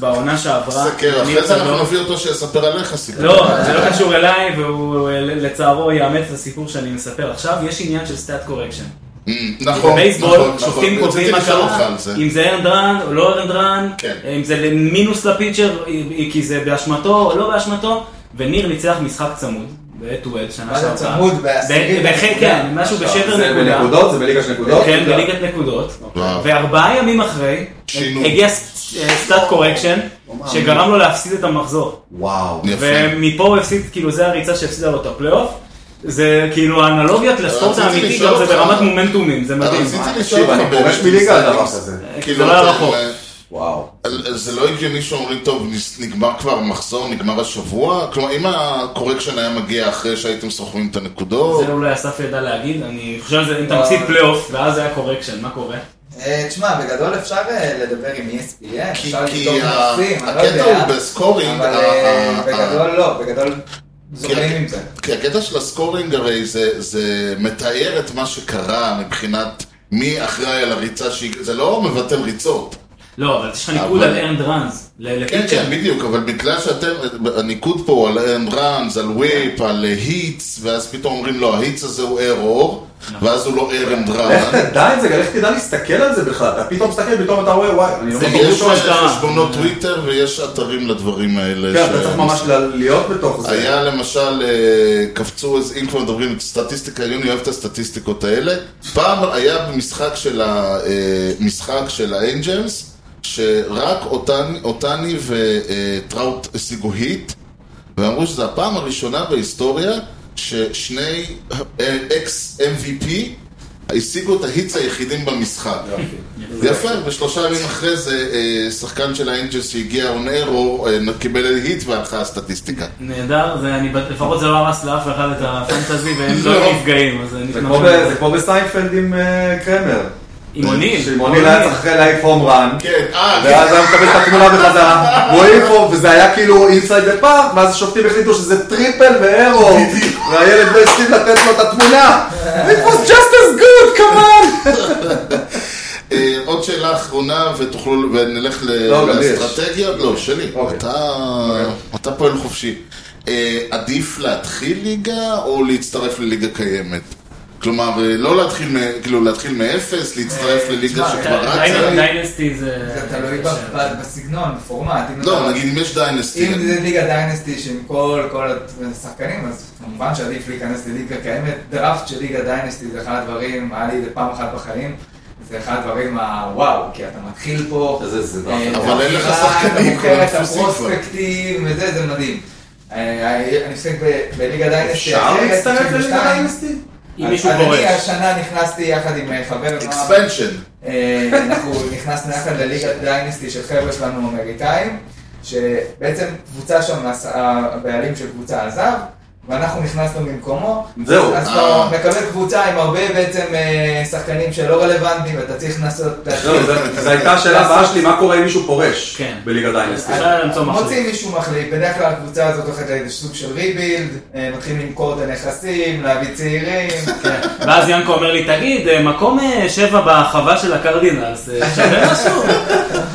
Speaker 1: בעונה שעברה, ניר
Speaker 2: סקר, כן, אחרי זה אנחנו
Speaker 1: צדוק-
Speaker 2: נביא אותו שיספר עליך סיפור.
Speaker 1: נכון. לא, זה לא קשור אליי, והוא אה, לצערו יאמץ את הסיפור שאני מספר עכשיו. יש עניין של סטאט קורקשן.
Speaker 2: Mm, נכון,
Speaker 1: בבייסבול,
Speaker 2: נכון,
Speaker 1: שופטים
Speaker 2: נכון.
Speaker 1: קובעים מה
Speaker 2: רציתי לשאול אותך
Speaker 1: קרה,
Speaker 2: על זה.
Speaker 1: אם זה ארנדרן או לא ארנדרן,
Speaker 2: כן.
Speaker 1: אם זה מינוס לפיצ'ר, כי זה באשמתו או לא באשמתו, וניר ניצח משחק צמוד, ב-2 שנה
Speaker 5: מה זה
Speaker 1: שעברה.
Speaker 5: צמוד? בעשירית?
Speaker 1: ב- ב- כן, משהו בשבר
Speaker 4: זה
Speaker 1: נקודה.
Speaker 4: בנקודות? זה בליגה של נקודות?
Speaker 2: אוקיי,
Speaker 1: כן, בליגת נקודות.
Speaker 2: וואו.
Speaker 1: וארבעה ימים אחרי,
Speaker 2: אוקיי. שינוי. לא
Speaker 1: הגיע ס- אה, סטאט קורקשן, שגרם לו להפסיד את המחזור.
Speaker 4: וואו.
Speaker 2: יפה.
Speaker 1: ומפה הוא הפסיד, כאילו זה הריצה שהפסידה לו את הפלייאוף. זה כאילו האנלוגיות לספורט
Speaker 2: אה, רציתי
Speaker 1: האמיתי,
Speaker 2: לשאול
Speaker 1: גם זה
Speaker 2: אותך-
Speaker 1: ברמת מומנטומים, זה מדהים. אה,
Speaker 2: רציתי כאילו, לשאול
Speaker 4: תקשיב,
Speaker 2: אותך
Speaker 4: אני פורש מליגה על דבר כזה.
Speaker 1: זה לא היה רחוק.
Speaker 4: וואו.
Speaker 2: על- זה לא הגיוני שאומרים, טוב, נס- נגמר כבר המחזור, נגמר השבוע? כלומר, אם הקורקשן היה מגיע אחרי שהייתם סוחבים את הנקודות...
Speaker 1: זה אולי אסף ידע להגיד, אני חושב שזה
Speaker 2: אה.
Speaker 1: אם אתה מפסיד פלייאוף, ואז היה קורקשן, מה קורה?
Speaker 5: אה, תשמע, בגדול אפשר אה, לדבר עם ESPN,
Speaker 2: כי-
Speaker 5: אפשר
Speaker 2: כי
Speaker 5: לבדוק
Speaker 2: ה-
Speaker 5: נושאים, אני לא
Speaker 2: הקטע
Speaker 5: יודע.
Speaker 2: הוא בסקורינג,
Speaker 5: אבל
Speaker 2: ה-
Speaker 5: אה,
Speaker 2: ה-
Speaker 5: בגדול לא, בגדול זורמים
Speaker 2: הק-
Speaker 5: עם זה.
Speaker 2: כי הקטע של הסקורינג הרי זה, זה מתאר את מה שקרה מבחינת מי אחראי על הריצה שהיא... זה לא מבטל ריצות.
Speaker 1: לא, אבל יש לך ניקוד
Speaker 2: אה, אבל-
Speaker 1: על ארנד ראנס, ל-
Speaker 2: כן,
Speaker 1: לפיצ'ר.
Speaker 2: כן, בדיוק, אבל בגלל שאתם, הניקוד פה הוא על ארן ראנס, על וויפ, על היטס, ואז פתאום אומרים לו, ההיטס הזה הוא ארור,
Speaker 4: נכון.
Speaker 2: ואז הוא לא ארן
Speaker 4: איך
Speaker 2: ראנס.
Speaker 4: תדע את זה? גם איך תדע להסתכל על זה בכלל? אתה פתאום מסתכל, פתאום אתה רואה, וואי, אני לא
Speaker 1: זה
Speaker 4: מבין.
Speaker 1: ברור
Speaker 2: יש
Speaker 1: שהוא השתנה.
Speaker 2: אה, חשבונות טוויטר ויש אתרים לדברים האלה.
Speaker 4: כן, אתה
Speaker 2: ש-
Speaker 4: צריך ממש ל- להיות בתוך זה.
Speaker 2: היה למשל, אה, קפצו, אז אם כבר מדברים סטטיסטיקה, יוני אוהב את הסטטיסטיקות האלה. פעם היה במשחק של ה- אה, משחק של האנג'לס, שרק אותני- אותני וטראוט השיגו היט, ואמרו שזו הפעם הראשונה בהיסטוריה ששני אקס MVP השיגו את ההיטס היחידים במשחק. יפה, ושלושה ימים אחרי זה, אה, שחקן של האנג'לס שהגיע און אירו, אה, קיבל היט והלכה הסטטיסטיקה.
Speaker 1: נהדר, זה- אני בט- לפחות זה לא הרס לאף אחד את הפנטזי, והם לא
Speaker 2: לא.
Speaker 1: נפגעים, אז
Speaker 4: זה
Speaker 1: אני
Speaker 4: כמו ב- זה כמו בסיינפלד עם אה, קרמר.
Speaker 1: עם אוניל.
Speaker 4: שמוניל
Speaker 5: לא
Speaker 4: היה צריך אה, אחרי להעיף הום רן.
Speaker 2: כן, אה,
Speaker 4: ואז היה מקבל את התמונה בחזרה, רואים פה, וזה היה כאילו אינסייד דה פארק, ואז השופטים החליטו שזה טריפל ואירו, והילד לא הסכים לתת לו את התמונה. It was just as good, come on!
Speaker 2: אה, עוד עוד שאלה אחרונה, ותוכלו, ונלך ל-
Speaker 4: לא, גם לי יש.
Speaker 2: לאסטרטגיה, לא, שלי,
Speaker 4: אוקיי.
Speaker 2: אתה- אתה פועל חופשי. אה, עדיף להתחיל ליגה או להצטרף לליגה קיימת? כלומר, אה, לא להתחיל, מ- כאילו, להתחיל מאפס, להצטרף
Speaker 5: אה,
Speaker 2: לליגה
Speaker 5: תשמע,
Speaker 2: שכבר
Speaker 5: די-
Speaker 2: רצה?
Speaker 5: די-
Speaker 1: דיינסטי זה...
Speaker 5: זה תלוי ב- ב- בסגנון, בפורמט. אם
Speaker 2: לא,
Speaker 5: אתה-
Speaker 2: נגיד אם יש דיינסטי,
Speaker 5: אם זה ליגה דיינסטי שעם כל כל השחקנים, אז כמובן שעדיף להיכנס לליגה קיימת. דראפט של ליגה דיינסטי זה אחד הדברים, היה לי את זה פעם אחת בחיים, זה אחד הדברים הוואו, כי אתה מתחיל פה.
Speaker 4: איזה- זה דראפט.
Speaker 5: אה,
Speaker 2: אבל אין לך
Speaker 5: אתה
Speaker 2: שחקנים,
Speaker 5: בוחר את
Speaker 2: כבר דפוסים כבר.
Speaker 5: הפרוספקטים וזה, זה מדהים. אה, אני משחק ב- בליגה דיינסטי.
Speaker 4: אפשר
Speaker 5: אחרת,
Speaker 4: להצטרף
Speaker 5: 92.
Speaker 4: לליגה דיינסטי?
Speaker 1: אם מישהו
Speaker 5: אז אני
Speaker 1: פורש.
Speaker 5: השנה נכנסתי יחד עם אה, חבר נוער.
Speaker 2: אקספנשן.
Speaker 5: אה, אנחנו נכנסנו יחד לליגת דיינסטי של חבר'ה שלנו אמריקאים, שבעצם קבוצה שם, הס- הבעלים של קבוצה עזב, ואנחנו נכנסנו במקומו.
Speaker 4: זהו.
Speaker 5: אז
Speaker 2: אה.
Speaker 5: אתה מקבל קבוצה עם הרבה בעצם אה, שחקנים שלא רלוונטיים, ואתה צריך לנסות
Speaker 4: זהו,
Speaker 5: להתחיל.
Speaker 4: זה- זו הייתה השאלה הבאה שלי, מה קורה אם מישהו פורש
Speaker 1: כן.
Speaker 4: בליגה דיינסטי?
Speaker 1: אז- אפשר למצוא מחליף.
Speaker 5: מוצאים מישהו מחליף, בדרך כלל הקבוצה הזאת הולכת לאיזה סוג של ריבילד, אה, מתחילים למכור את הנכסים, להביא צעירים. כן.
Speaker 1: ואז ינקו אומר לי, תגיד, אה, מקום אה, שבע בחווה של הקרדינלס, אה, שווה משהו.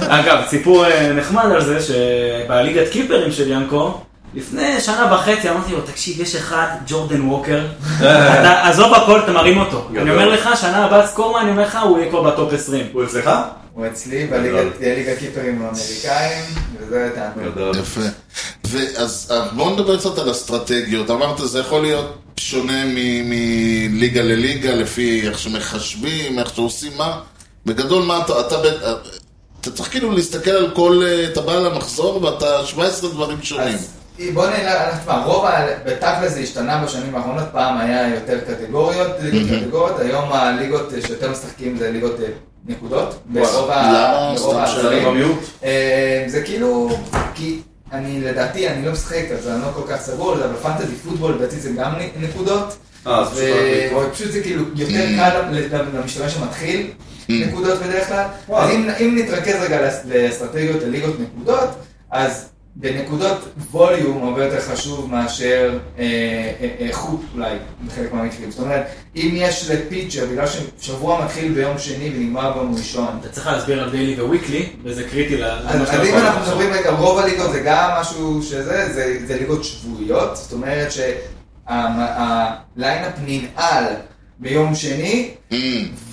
Speaker 1: אגב, סיפור אה, נחמד על זה, שבליגת קיפרים של ינקו, לפני שנה וחצי אמרתי לו, תקשיב, יש אחד, ג'ורדן ווקר,
Speaker 5: אה.
Speaker 1: אתה עזוב הכל, אתה מרים אותו.
Speaker 4: גדול.
Speaker 1: אני אומר לך, שנה הבאה סקור מה אני אומר לך, הוא יהיה כבר בטופ 20.
Speaker 4: הוא אצלך?
Speaker 5: הוא אצלי בליגת- בליגת קיפרים האמריקאים, וזה תענוג.
Speaker 2: יפה. ואז אז בואו נדבר קצת על אסטרטגיות. אמרת, זה יכול להיות שונה מ- מליגה לליגה, לפי איך שמחשבים, איך שעושים מה. בגדול, מה אתה... אתה, ב- אתה צריך כאילו להסתכל על כל... אה, אתה בא למחזור ואתה 17 דברים שונים.
Speaker 5: אז בוא נראה, תשמע, רוב, ה- בתכל'ס זה השתנה בשנים האחרונות, פעם היה יותר קטגוריות, ליגות קטגוריות, היום הליגות שיותר משחקים זה ליגות אה, נקודות, ברוב ה-
Speaker 2: למה?
Speaker 5: ברוב
Speaker 2: סתם שאלה.
Speaker 5: העצבים.
Speaker 4: במיעוט?
Speaker 5: אה, זה כאילו, כי אני לדעתי, אני לא משחק, אז אני לא כל כך סגור, על זה, אבל פנטזי פוטבול לדעתי זה גם נ- נקודות,
Speaker 4: אה, אז
Speaker 5: ו-
Speaker 4: פשוט Mm. רק לקרוא.
Speaker 5: ופשוט זה כאילו יותר קל למ- למשתמש שמתחיל נקודות בדרך כלל.
Speaker 4: Mm. וואו.
Speaker 5: אז אם- אם נתרכז רגע לאס- לאסטרטגיות לליגות נקודות, אז בנקודות ווליום הרבה יותר חשוב מאשר אה, אה, אה, איכות אולי בחלק מהמקרים. זאת אומרת, אם יש לפיצ'ר, בגלל ששבוע מתחיל ביום שני ונגמר ביום ראשון,
Speaker 1: אתה צריך להסביר על דיילי וויקלי, וזה קריטי ל... למה
Speaker 5: אז
Speaker 1: שאתה
Speaker 5: אז אם
Speaker 1: יכול
Speaker 5: אנחנו
Speaker 1: לעשות.
Speaker 5: מדברים רגע, רוב הליגות זה גם משהו שזה, זה, זה ליגות שבועיות, זאת אומרת שהליינאפ ננעל ביום שני,
Speaker 2: Mm.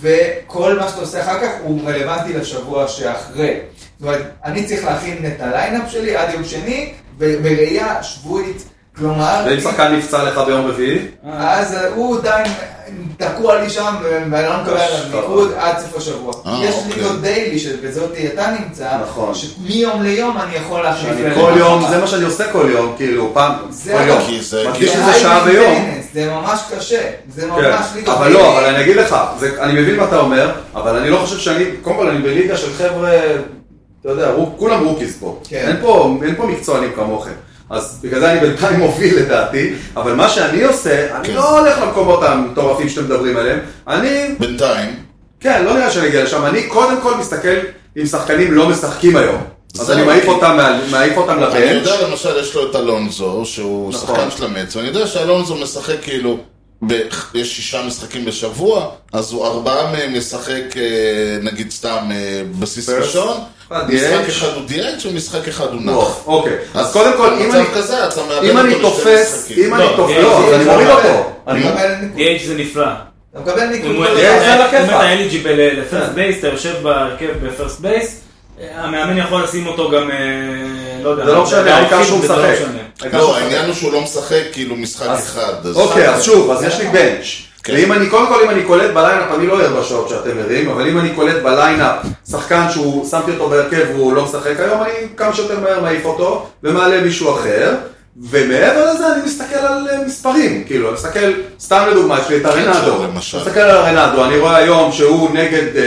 Speaker 5: וכל מה שאתה עושה אחר כך הוא רלוונטי לשבוע שאחרי. זאת אומרת, אני צריך להכין את הליינאפ שלי עד יום שני, ו- בראייה שבועית, כלומר...
Speaker 4: ואם שחקן נפצע לך ביום רביעי?
Speaker 5: אז אה, הוא עדיין תקוע לי שם, ואני לא מקבל עליו
Speaker 4: אשכרה.
Speaker 5: ניקוד עד סוף השבוע.
Speaker 2: אה,
Speaker 5: יש
Speaker 2: אוקיי.
Speaker 5: ליגות דיילי, שבזאת אתה נמצא,
Speaker 4: נכון.
Speaker 5: שמיום ליום אני יכול להחליף
Speaker 4: אני
Speaker 5: להם.
Speaker 4: כל יום, זה מה שאני עושה כל יום, כאילו, פעם,
Speaker 5: זה
Speaker 4: כל יום.
Speaker 2: כי זה- כאילו
Speaker 4: מרגיש
Speaker 2: כי-
Speaker 4: שזה
Speaker 5: high
Speaker 4: שעה ביום.
Speaker 5: maintenance, זה ממש קשה, זה
Speaker 4: כן,
Speaker 5: ממש ליגות
Speaker 4: אבל
Speaker 5: דיילי.
Speaker 4: לא, אבל אני אגיד לך, זה- אני מבין מה אתה אומר, אבל אני לא חושב שאני, קודם כל אני בליגה של חבר'ה, אתה יודע, רוק- כולם רוקיס פה.
Speaker 5: כן.
Speaker 4: אין פה אין פה מקצוענים כמוכם. אז בגלל זה אני בינתיים מוביל לדעתי, אבל מה שאני עושה, אני
Speaker 2: כן.
Speaker 4: לא הולך למקומות המטורפים שאתם מדברים עליהם, אני,
Speaker 2: בינתיים,
Speaker 4: כן, לא נראה שאני אגיע לשם, אני קודם כל מסתכל אם שחקנים לא משחקים היום. אז
Speaker 2: זה
Speaker 4: אני
Speaker 2: אוקיי.
Speaker 4: מעיף אותם מה- מעיף אותם
Speaker 2: אני
Speaker 4: לבנץ'.
Speaker 2: יודע למשל, יש לו את אלונזו, שהוא
Speaker 4: נכון.
Speaker 2: שחקן של המץ, ואני יודע שאלונזו משחק כאילו, ב- יש שישה משחקים בשבוע, אז הוא ארבעה מהם ישחק, אה, נגיד סתם, אה, בסיס
Speaker 4: פרס.
Speaker 2: ראשון,
Speaker 4: אחד
Speaker 2: משחק
Speaker 4: DH.
Speaker 2: אחד הוא דיאץ' ומשחק אחד הוא נח.
Speaker 4: לא, אוקיי, אז קודם כל, אם אני...
Speaker 2: במצב כזה, אתה מאבד
Speaker 4: אם
Speaker 2: אותו
Speaker 4: אני
Speaker 2: בשני
Speaker 4: תופס,
Speaker 2: משחקים.
Speaker 4: אם אני
Speaker 1: לא,
Speaker 4: תופס,
Speaker 1: אה,
Speaker 4: לא,
Speaker 1: אה,
Speaker 4: אני מוריד
Speaker 5: אה,
Speaker 4: אותו.
Speaker 5: אתה
Speaker 4: אני אה,
Speaker 5: מקבל ניקוד.
Speaker 1: DH זה נפלא.
Speaker 5: אתה מקבל
Speaker 1: אה, אם
Speaker 5: ניקוד.
Speaker 1: הוא-
Speaker 5: כל
Speaker 1: אם
Speaker 4: זה
Speaker 5: הזמן.
Speaker 4: על הכיפאק.
Speaker 1: אם אתה אליג'יבל לפרסט בייס, אתה יושב בהרכב בפרסט בייס, המאמן יכול לשים אותו גם, אה, לא יודע.
Speaker 4: זה לא משנה, העיקר שהוא
Speaker 1: זה לא
Speaker 4: משחק.
Speaker 1: משנה.
Speaker 4: העיקר שהוא
Speaker 2: לא,
Speaker 4: משחק.
Speaker 2: העניין הוא שהוא לא משחק כאילו משחק אחד. אז-
Speaker 4: אוקיי, אז שוב, אז יש לי בנץ'.
Speaker 2: כן.
Speaker 4: ואם אני, קודם כל אם אני קולט בליינאפ, אני לא ער בשעות שאתם ערים, אבל אם אני קולט בליינאפ שחקן שהוא, שמתי אותו בהרכב והוא לא משחק היום, אני כמה שיותר מהר מעיף אותו, ומעלה מישהו אחר, ומעבר לזה אני מסתכל על אה, מספרים, כאילו, אני מסתכל, סתם לדוגמה, יש לי את הרנדו, אני
Speaker 2: למשל.
Speaker 4: מסתכל על הרנדו, אני רואה היום שהוא נגד אה,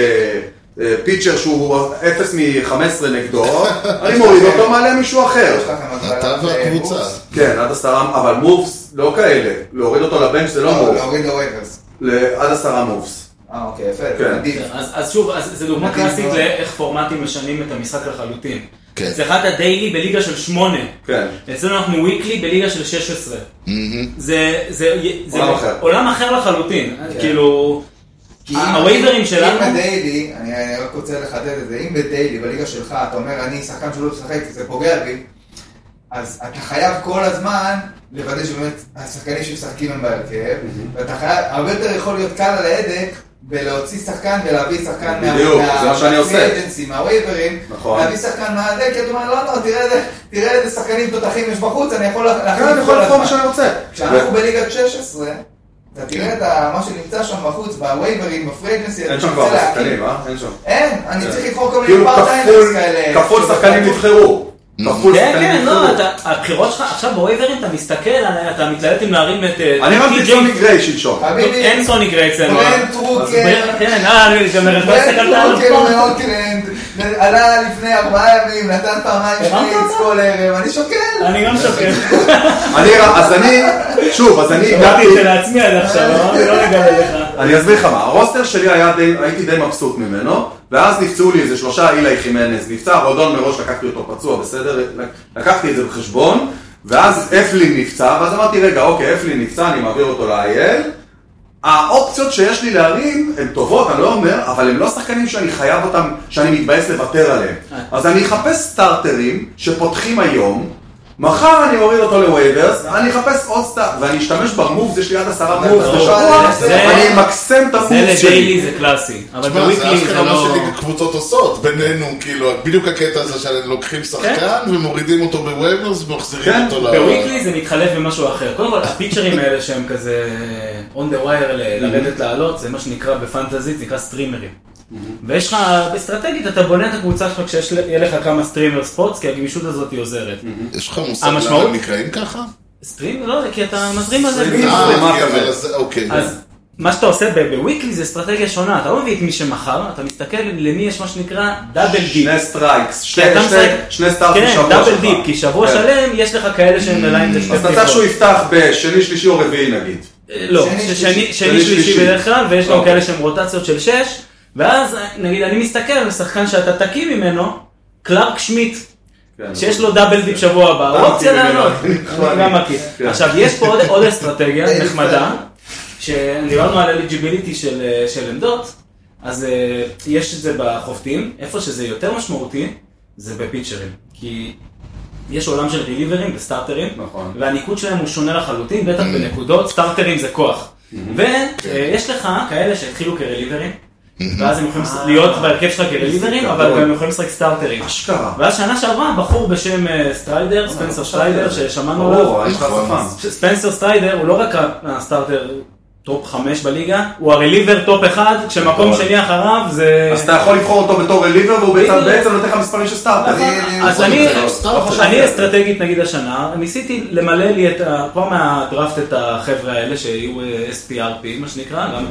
Speaker 4: אה, פיצ'ר שהוא 0 מ-15 נגדו, אני מוריד אותו, מעלה מישהו אחר.
Speaker 5: יש לכם הגבלת,
Speaker 2: אתה
Speaker 5: אה,
Speaker 2: והקבוצה.
Speaker 5: בוקס?
Speaker 4: כן, עד עשרה, אבל מובס לא כאלה, להוריד אותו לבנץ' זה לא
Speaker 5: לא,
Speaker 4: מובס,
Speaker 5: להוריד לווייברס.
Speaker 4: ל- עד עשרה מובס.
Speaker 5: אה, אוקיי, יפה,
Speaker 4: כן.
Speaker 5: מדהים.
Speaker 1: אז אז שוב, אז זו דוגמה
Speaker 5: מדהים
Speaker 1: קלאסית
Speaker 5: מאוד.
Speaker 1: לאיך פורמטים משנים את המשחק לחלוטין.
Speaker 2: כן.
Speaker 1: אצלך אתה דיילי בליגה של שמונה.
Speaker 4: כן.
Speaker 1: אצלנו אנחנו וויקלי בליגה של 16. זה, זה, זה
Speaker 4: עולם אחר.
Speaker 1: עולם אחר לחלוטין. כאילו, כי אם הווייברים שלנו...
Speaker 5: אם בדיילי, אני אני רק רוצה לחדד את זה, אם בדיילי, בליגה שלך, אתה אומר, אני שחקן שלא משחק, זה פוגע בי, אז אתה חייב כל הזמן לוודא שבאמת השחקנים שמשחקים הם בהרכב, ואתה חייב, הרבה יותר יכול להיות קל על ההדק. בלהוציא שחקן ולהביא שחקן מה-
Speaker 4: בדיוק,
Speaker 5: מה-
Speaker 4: זה מה שאני עושה.
Speaker 5: מה-free agency, מהווייברים,
Speaker 4: נכון.
Speaker 5: להביא שחקן מההדק, כי אתה אומר, לא, לא, תראה איזה- תראה איזה שחקנים תותחים יש בחוץ, אני יכול לה-
Speaker 4: כן,
Speaker 5: להחליף
Speaker 4: אני כן. יכול לבחור מה
Speaker 5: הזמן.
Speaker 4: שאני רוצה.
Speaker 5: כשאנחנו בליגת 16, אתה תראה את ה- מה שנמצא שם בחוץ, בווייברים, בפרייגנסי,
Speaker 4: אין שם
Speaker 5: אתה
Speaker 4: כבר
Speaker 5: רוצה להקים.
Speaker 4: שחקנים, אה? אין שם.
Speaker 5: אין, אני צריך לבחור כל מיני
Speaker 4: כאילו
Speaker 5: פארט-טיימרס
Speaker 4: כפול,
Speaker 5: כאלה.
Speaker 4: כפול שחקנים נבחרו. כפול
Speaker 1: כן,
Speaker 4: שחקנים
Speaker 1: כן,
Speaker 4: נבחרו.
Speaker 1: לא, אתה- הבחירות שלך, עכשיו בווייברים אתה מסתכל, על- אתה מתלהט אם להרים את... אה,
Speaker 4: אני
Speaker 1: טי-
Speaker 4: רציתי
Speaker 1: טי-
Speaker 4: ג'וני גריי שלשום.
Speaker 5: חביבי,
Speaker 1: אין סוני גריי אצלנו.
Speaker 5: ברן
Speaker 1: אז
Speaker 5: טרוקר,
Speaker 1: ברן- כן, אה, אני גם לא
Speaker 5: ברן
Speaker 1: הסתכלת על
Speaker 5: טרוקר
Speaker 1: הספורט.
Speaker 5: מאוקלנד, עלה לפני ארבעה ימים, נתן פעמיים
Speaker 1: הרמת
Speaker 5: שפיץ
Speaker 1: אותו?
Speaker 5: כל ערב, אני שוקל.
Speaker 1: אני לא גם שוקל.
Speaker 4: אני, אז אני, שוב, אז אני
Speaker 1: אמרתי
Speaker 4: הגעתי,
Speaker 1: את זה לעצמי עד עכשיו, אמרתי לא לגמרי לך.
Speaker 4: אני אסביר לך מה, הרוסטר שלי היה די, הייתי די מבסוט ממנו, ואז נפצעו לי איזה שלושה אילי חימנז, נפצע רודון מראש, לקחתי אותו פצוע, בסדר? לקחתי את זה בחשבון, ואז אפלין נפצע, ואז אמרתי, רגע, אוקיי, אפלין נפצע, אני מעביר אותו ל-IL. האופציות שיש לי להרים הן טובות, אני לא אומר, אבל הם לא שחקנים שאני חייב אותם, שאני מתבאס לוותר עליהם. אז אני אחפש סטארטרים שפותחים היום, מחר אני אוריד אותו לווייברס, אני אחפש עוד סטארט, ואני אשתמש במובס, יש לי עד עשרה מובס
Speaker 1: ברור.
Speaker 4: בשבוע,
Speaker 1: זה-
Speaker 4: אני אמקסם את
Speaker 1: זה
Speaker 4: המובס שלי.
Speaker 1: לדיילי זה קלאסי, אבל
Speaker 2: תשמע, זה
Speaker 1: בוויקלי
Speaker 2: אשכרה
Speaker 1: זה
Speaker 2: מה
Speaker 1: לא...
Speaker 2: שקבוצות עושות בינינו, כאילו, בדיוק הקטע הזה שלוקחים שחקן ומורידים אותו בווייברס ומחזירים
Speaker 4: כן,
Speaker 2: אותו ל...
Speaker 1: בוויקלי זה מתחלף במשהו אחר. קודם כל, הפיצ'רים האלה שהם כזה אה, on the wire ל-
Speaker 2: Mm-hmm.
Speaker 1: לרדת לעלות, זה מה שנקרא בפנטזית, נקרא סטרימרים.
Speaker 2: Mm-hmm.
Speaker 1: ויש לך, אסטרטגית, אתה בונה את הקבוצה שלך כשיהיה לך כמה סטרימר ספורטס, כי הגמישות הזאת היא עוזרת.
Speaker 2: יש לך מושג למה
Speaker 1: המשמעות-
Speaker 2: הם נקראים ככה?
Speaker 1: סטרים? לא, כי אתה מזרים על זה.
Speaker 4: סטרים.
Speaker 1: בדיוק.
Speaker 2: אה,
Speaker 4: מה
Speaker 2: כן,
Speaker 4: כזה?
Speaker 2: אבל זה- אוקיי.
Speaker 1: אז
Speaker 4: כן.
Speaker 1: מה שאתה עושה ב- בוויקלי זה אסטרטגיה שונה, אתה לא מביא את מי שמכר, אתה מסתכל למי יש מה שנקרא דאבל דיפ.
Speaker 4: שני סטרייקס, שני-
Speaker 1: כי אתה
Speaker 4: שני-
Speaker 1: משחק-
Speaker 4: שני סטארטים
Speaker 1: כן,
Speaker 4: שבוע
Speaker 1: דאבל
Speaker 4: שלך.
Speaker 1: דיפ, כי שבוע
Speaker 4: כן. Mm.
Speaker 1: שלם יש לך כאלה שהם בליין לשתי
Speaker 4: אז אתה צריך שהוא יפתח בשני, שלישי או רביעי נגיד.
Speaker 1: לא,
Speaker 5: שני,
Speaker 1: ששני-
Speaker 5: שלישי.
Speaker 1: שני שלישי
Speaker 4: שלישי.
Speaker 1: בדרך כלל, ויש גם
Speaker 4: אוקיי.
Speaker 1: כאלה שהם רוטציות של שש, ואז נגיד אני מסתכל על שחקן שאתה תקיא ממנו, קלארק שמיט,
Speaker 4: כן.
Speaker 1: שיש לו דאבל דיפ שבוע הבא,
Speaker 4: אתה
Speaker 1: הוא לא רוצה
Speaker 4: מכיר ממנו,
Speaker 1: לעלות,
Speaker 4: אני
Speaker 1: אני גם מכיר.
Speaker 4: כן. אה,
Speaker 1: עכשיו, יש פה עוד- עוד אסטרטגיה
Speaker 5: זה
Speaker 1: נחמדה, שדיברנו על אליג'יביליטי של אה, של עמדות, אז אה, יש את זה בחובטים, איפה שזה יותר משמעותי, זה בפיצ'רים, כי יש עולם של ריליברים וסטארטרים,
Speaker 4: נכון. Mm-hmm.
Speaker 1: והניקוד שלהם הוא שונה לחלוטין, בטח בנקודות, סטארטרים זה כוח. ויש לך כאלה שהתחילו כרליברים, ואז הם יכולים להיות בהרכב שלך כרליברים, אבל
Speaker 4: Mm-hmm. גדול.
Speaker 1: גם יכולים לשחק סטארטרים.
Speaker 4: אשכרה.
Speaker 1: ואז שנה שעברה בחור בשם אה, סטריידר, ספנסר סטריידר, ששמענו עליו,
Speaker 4: ברור, אה. יש לך
Speaker 2: נכון.
Speaker 4: שפם.
Speaker 1: ש- ספנסר סטריידר הוא לא רק הסטארטר טופ 5 בליגה, הוא הרליבר טופ 1, כשמקום
Speaker 4: נכון.
Speaker 1: שני אחריו זה...
Speaker 4: אז אתה יכול לבחור אותו בתור רליבר, והוא בעצם-
Speaker 1: אה, בדיוק.
Speaker 4: בעצם נותן לך מספרים של סטארטר.
Speaker 5: אני- אני-
Speaker 1: אז
Speaker 5: אני-
Speaker 1: אני,
Speaker 2: זה לא סטארטר.
Speaker 1: אני אסטרטגית נגיד השנה, ניסיתי למלא לי את, ה- כבר מהדראפט את החבר'ה האלה שהיו אה, SPRP מה שנקרא, גם-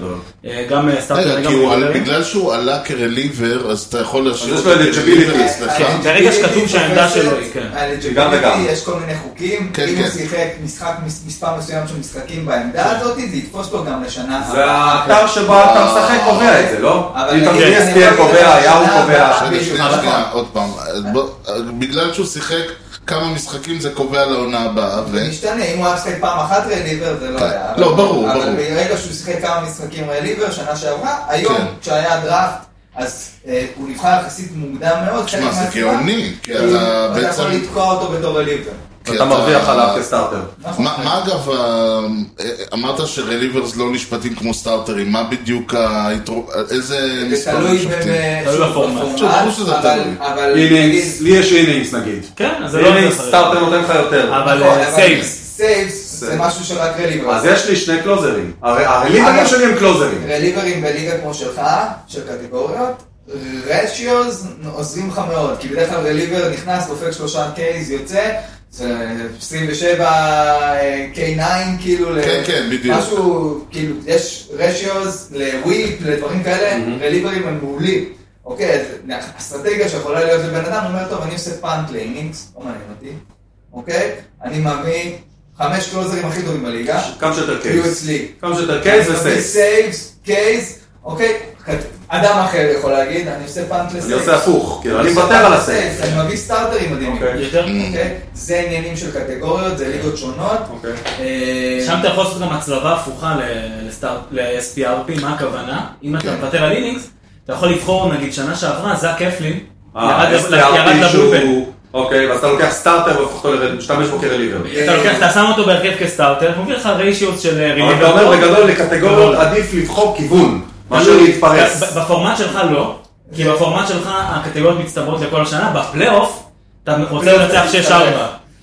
Speaker 1: אה, גם אה, סטארטר
Speaker 2: רגע,
Speaker 1: וגם
Speaker 2: כי הוא עלה-
Speaker 1: ריבלרים.
Speaker 2: בגלל שהוא עלה כרליבר, אז אתה יכול להשאיר
Speaker 4: יש
Speaker 2: אותו
Speaker 4: לו eligibility. אה,
Speaker 2: כרליבר אצלך.
Speaker 1: כן. ברגע שכתוב שהעמדה שלו היא, כן.
Speaker 4: גם
Speaker 5: גם
Speaker 4: וגם.
Speaker 5: וגם. יש כל מיני חוקים,
Speaker 2: כן,
Speaker 5: אם
Speaker 2: כן.
Speaker 5: הוא שיחק משחק מס- מספר מסוים של משחקים בעמדה הזאת, זה יתפוס לו גם לשנה
Speaker 4: כן. זה
Speaker 5: הבאה.
Speaker 4: האתר שבו אתה משחק קובע את זה, לא?
Speaker 5: אה, אבל
Speaker 4: אם אתה מגיע
Speaker 5: נגיד, אני יכול
Speaker 4: סטיאל
Speaker 5: להגיד
Speaker 4: קובע,
Speaker 5: לך
Speaker 4: יאו
Speaker 5: שנה
Speaker 4: קובע.
Speaker 5: הבאה-
Speaker 2: רגע, שנייה,
Speaker 5: נכון.
Speaker 2: שנייה, עוד פעם. בוא, בגלל שהוא שיחק כמה משחקים זה קובע לעונה הבאה, ו...
Speaker 5: זה משתנה, אם הוא היה משחק פעם אחת רליבר זה לא
Speaker 2: כן.
Speaker 5: היה.
Speaker 2: לא,
Speaker 5: אבל-
Speaker 2: ברור, ברור.
Speaker 5: אבל ברגע שהוא שיחק כמה משחקים רליבר שנה שעברה, היום,
Speaker 2: כן.
Speaker 5: כשהיה הדראפט, אז אה, הוא נבחר יחסית מוקדם מאוד. חלק
Speaker 2: תשמע, זה
Speaker 5: מהסיבה,
Speaker 2: גאוני, כי
Speaker 5: כי
Speaker 2: אתה
Speaker 5: אתה יכול
Speaker 2: בעצם...
Speaker 5: לתקוע אותו בתור רליבר.
Speaker 2: כי
Speaker 4: אתה מרוויח עליו כסטארטר.
Speaker 5: נכון.
Speaker 2: מה מה אגב, ה- אמרת שרליברס לא נשפטים כמו סטארטרים, מה בדיוק היתרון, איזה
Speaker 5: זה
Speaker 2: מספר הם
Speaker 5: תלוי
Speaker 2: שופטים?
Speaker 5: ב-
Speaker 1: תלוי
Speaker 5: שוב,
Speaker 1: בפורמט.
Speaker 2: ברור שזה
Speaker 5: אבל-
Speaker 2: תלוי.
Speaker 5: אבל נגיד-
Speaker 4: אינינגס, לי יש אינינגס נגיד.
Speaker 1: כן, אז זה לא
Speaker 4: אינינגס,
Speaker 1: עוזר.
Speaker 4: סטארטר נותן לך יותר.
Speaker 1: אבל
Speaker 5: נכון,
Speaker 1: אה, סייבס.
Speaker 5: סייבס זה משהו שרק רליבר.
Speaker 4: אז יש לי שני קלוזרים. הרי- הרליברים שלי הם קלוזרים.
Speaker 5: רליברים בליגה כמו שלך, של קטגוריות, רשיוז עוזרים לך מאוד, כי בדרך כלל רליבר נכנס, דופק שלושה קייז, יוצא, זה 27 אה, K9 כאילו, ל-
Speaker 2: כן, כן, בדיוק.
Speaker 5: משהו, כאילו, יש רשיוז לוויפ, לדברים כאלה, רליברים הם מעולים. אוקיי, אז אסטרטגיה שיכולה להיות לבן אדם, הוא אומר, טוב, אני עושה פאנט לאינינגס, לא מעניין אותי, אוקיי? אני מביא חמש קלוזרים הכי טובים בליגה,
Speaker 4: כמה שיותר
Speaker 5: יהיו
Speaker 4: קייס.
Speaker 5: אצלי.
Speaker 4: כמה שיותר קייס וסייס.
Speaker 5: סייבס, קייס, אוקיי, אדם אחר יכול להגיד, אני עושה פאנט לסייף.
Speaker 4: אני עושה הפוך, כאילו, אני
Speaker 5: עושה
Speaker 4: מוותר על
Speaker 5: פאנט
Speaker 4: הסייף.
Speaker 5: לסייף, אני מביא סטארטרים מדהימים.
Speaker 4: אוקיי.
Speaker 1: יותר,
Speaker 5: אוקיי? זה עניינים של קטגוריות, זה ליגות שונות.
Speaker 4: אוקיי.
Speaker 5: אה,
Speaker 1: שם אתה יכול לעשות גם הצלבה הפוכה ל- לסטארט- ל-SPRP, מה הכוונה? אם אתה
Speaker 2: כן.
Speaker 1: מוותר על אינינגס, אתה יכול לבחור, נגיד, שנה שעברה, זאק אפלין,
Speaker 4: אה,
Speaker 1: ירד לב- ירד
Speaker 4: SPRP
Speaker 1: לבלופן.
Speaker 4: שהוא... אוקיי, ואז אתה לוקח סטארטר והופך אותו לרד, משתמש בו כרליבר.
Speaker 1: אתה לוקח, אתה שם אותו בהרכב כסטארטר, הוא מביא לך ריישיוס של אה,
Speaker 4: אה. אבל
Speaker 1: ריליבר.
Speaker 4: אתה אומר בגדול, לקטגוריות
Speaker 1: גדול.
Speaker 4: עדיף לבחור כיוון, מאשר
Speaker 1: תלוי.
Speaker 4: להתפרס.
Speaker 1: אה. ב- בפורמט שלך לא, כי בפורמט שלך הקטגוריות מצטברות לכל השנה, בפלייאוף אתה רוצה
Speaker 5: בפלייאוף
Speaker 1: לנצח
Speaker 5: אתה
Speaker 1: 6-4.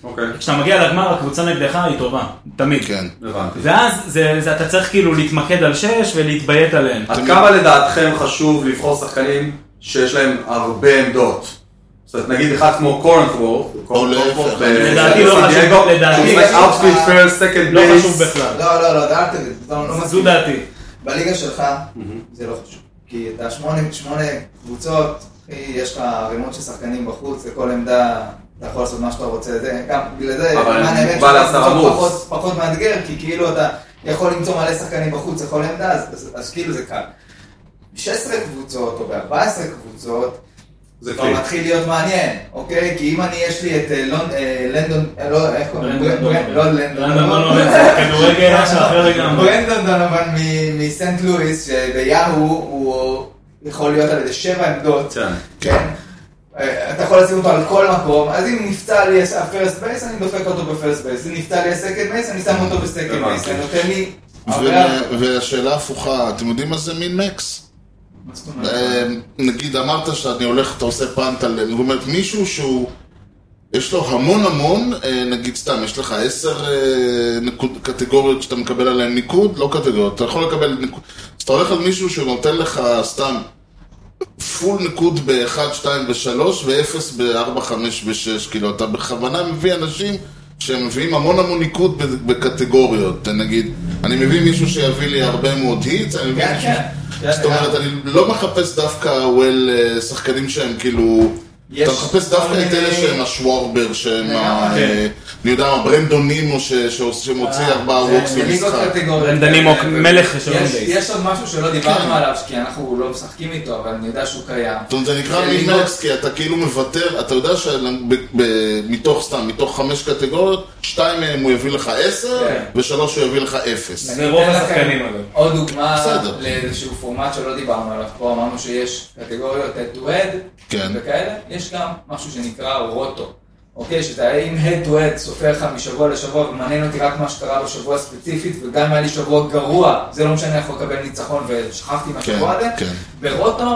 Speaker 4: אוקיי,
Speaker 1: כשאתה מגיע לגמר הקבוצה נגדך היא טובה, תמיד.
Speaker 2: כן.
Speaker 4: הבנתי.
Speaker 1: ואז זה, זה, אתה צריך כאילו להתמקד על 6 ולהתביית עליהן.
Speaker 4: עד כמה לדעתכם חשוב לבחור שחקנים שיש להם הרבה עמדות? זאת אומרת, נגיד אחד כמו קורנטוורף,
Speaker 2: להפך.
Speaker 1: לדעתי לא חשוב, לדעתי-
Speaker 4: אאוטפיט פר, סקנד
Speaker 1: לא
Speaker 4: בייס.
Speaker 1: חשוב בכלל.
Speaker 5: לא, לא, לא, דעת, לא לא
Speaker 1: זו
Speaker 5: מסכים.
Speaker 1: דעתי.
Speaker 5: בליגה שלך זה לא חשוב. כי אתה שמונה, שמונה קבוצות, אחי, יש לך רימות של שחקנים בחוץ, לכל עמדה אתה יכול לעשות מה שאתה רוצה. זה גם בגלל זה,
Speaker 4: אבל
Speaker 5: למען האמת,
Speaker 4: מוגבל
Speaker 5: שאתה
Speaker 4: לעשרה
Speaker 5: קבוצות
Speaker 4: מוץ.
Speaker 5: פחות- פחות מאתגר, כי כאילו אתה יכול למצוא מלא שחקנים בחוץ לכל עמדה, אז- אז- אז כאילו זה קל. 16 קבוצות או ב-14 קבוצות,
Speaker 4: זה
Speaker 5: כבר
Speaker 4: פליק.
Speaker 5: מתחיל להיות מעניין, אוקיי? כי אם אני, יש לי את אה, לונ- אה, לנדון, אה, לא, איך קוראים?
Speaker 1: ברנדון
Speaker 5: ברנ-
Speaker 1: דונובן.
Speaker 5: לא לנדון,
Speaker 1: ברנדון דונובן, זה כדורגל משהו אחר לגמרי.
Speaker 5: ברנדון דונובן מ- מסנט לואיס, שביהו הוא יכול להיות על ידי שבע עמדות,
Speaker 4: כן.
Speaker 5: כן? אה, אתה יכול לשים אותו על כל מקום, אז אם נפצע לי הפרסט בייס, אני דופק אותו בפרסט בייס, אם נפצע לי הסקנד בייס, אני שם אותו בסקנד בייס, זה נותן לי... הרבה-
Speaker 2: ו- והשאלה הפוכה, אתם יודעים מה זה מין מקס?
Speaker 5: מה זאת אומרת?
Speaker 2: אה, נגיד אמרת שאני הולך, אתה עושה פאנט על... זאת אומרת, מישהו שהוא... יש לו המון המון, אה, נגיד סתם, יש לך עשר אה, נקוד, קטגוריות שאתה מקבל עליהן ניקוד, לא קטגוריות, אתה יכול לקבל ניקוד. אז אתה הולך על מישהו שנותן לך סתם פול ניקוד ב-1, 2 ו-3 ו-0 ב-4, 5 ו-6, כאילו, אתה בכוונה מביא אנשים שהם מביאים המון המון ניקוד ב- בקטגוריות, נגיד, אני מביא מישהו שיביא לי הרבה מאוד היטס, אני מביא
Speaker 5: כן,
Speaker 2: מישהו...
Speaker 5: כן.
Speaker 2: זאת אומרת, אני לא מחפש דווקא וול אה, שחקנים שהם כאילו...
Speaker 5: יש
Speaker 2: אתה מחפש דווקא את
Speaker 5: כל
Speaker 2: אלה
Speaker 5: מיני- כן.
Speaker 2: שהם השוורבר, שהם ה...
Speaker 5: לגמרי.
Speaker 2: אה, אני יודע מה, ברנדון נימו ש- שעוש- שמוציא
Speaker 5: אה,
Speaker 2: ארבעה רוקס במשחק.
Speaker 1: רנדנימו, מלך של
Speaker 5: יש-
Speaker 1: רנדניס.
Speaker 5: יש עוד משהו שלא
Speaker 2: כן.
Speaker 5: דיברנו עליו, כי אנחנו לא משחקים איתו, אבל אני יודע שהוא קיים.
Speaker 2: זאת אומרת, זה נקרא
Speaker 5: זה
Speaker 2: מינקס, כי אתה כאילו מוותר, אתה יודע שמתוך, סתם, מתוך חמש קטגוריות, שתיים מהם הוא יביא לך עשר,
Speaker 5: כן.
Speaker 2: ושלוש הוא יביא לך אפס.
Speaker 1: זה רוב
Speaker 5: אתן לכם
Speaker 1: השחקנים, אגב.
Speaker 5: עוד דוגמה
Speaker 2: בסדר.
Speaker 5: לאיזשהו פורמט שלא דיברנו עליו פה, אמרנו שיש קטגוריות head to head
Speaker 2: כן.
Speaker 5: וכאלה, יש גם משהו שנקרא רוטו. אוקיי, שאתה אם head to head סופר לך משבוע לשבוע ומעניין אותי רק מה שקרה בשבוע ספציפית וגם אם היה לי שבוע גרוע, זה לא משנה איך הוא יקבל ניצחון ושכחתי מהשבוע
Speaker 2: כן,
Speaker 5: הזה,
Speaker 2: כן.
Speaker 5: ברוטו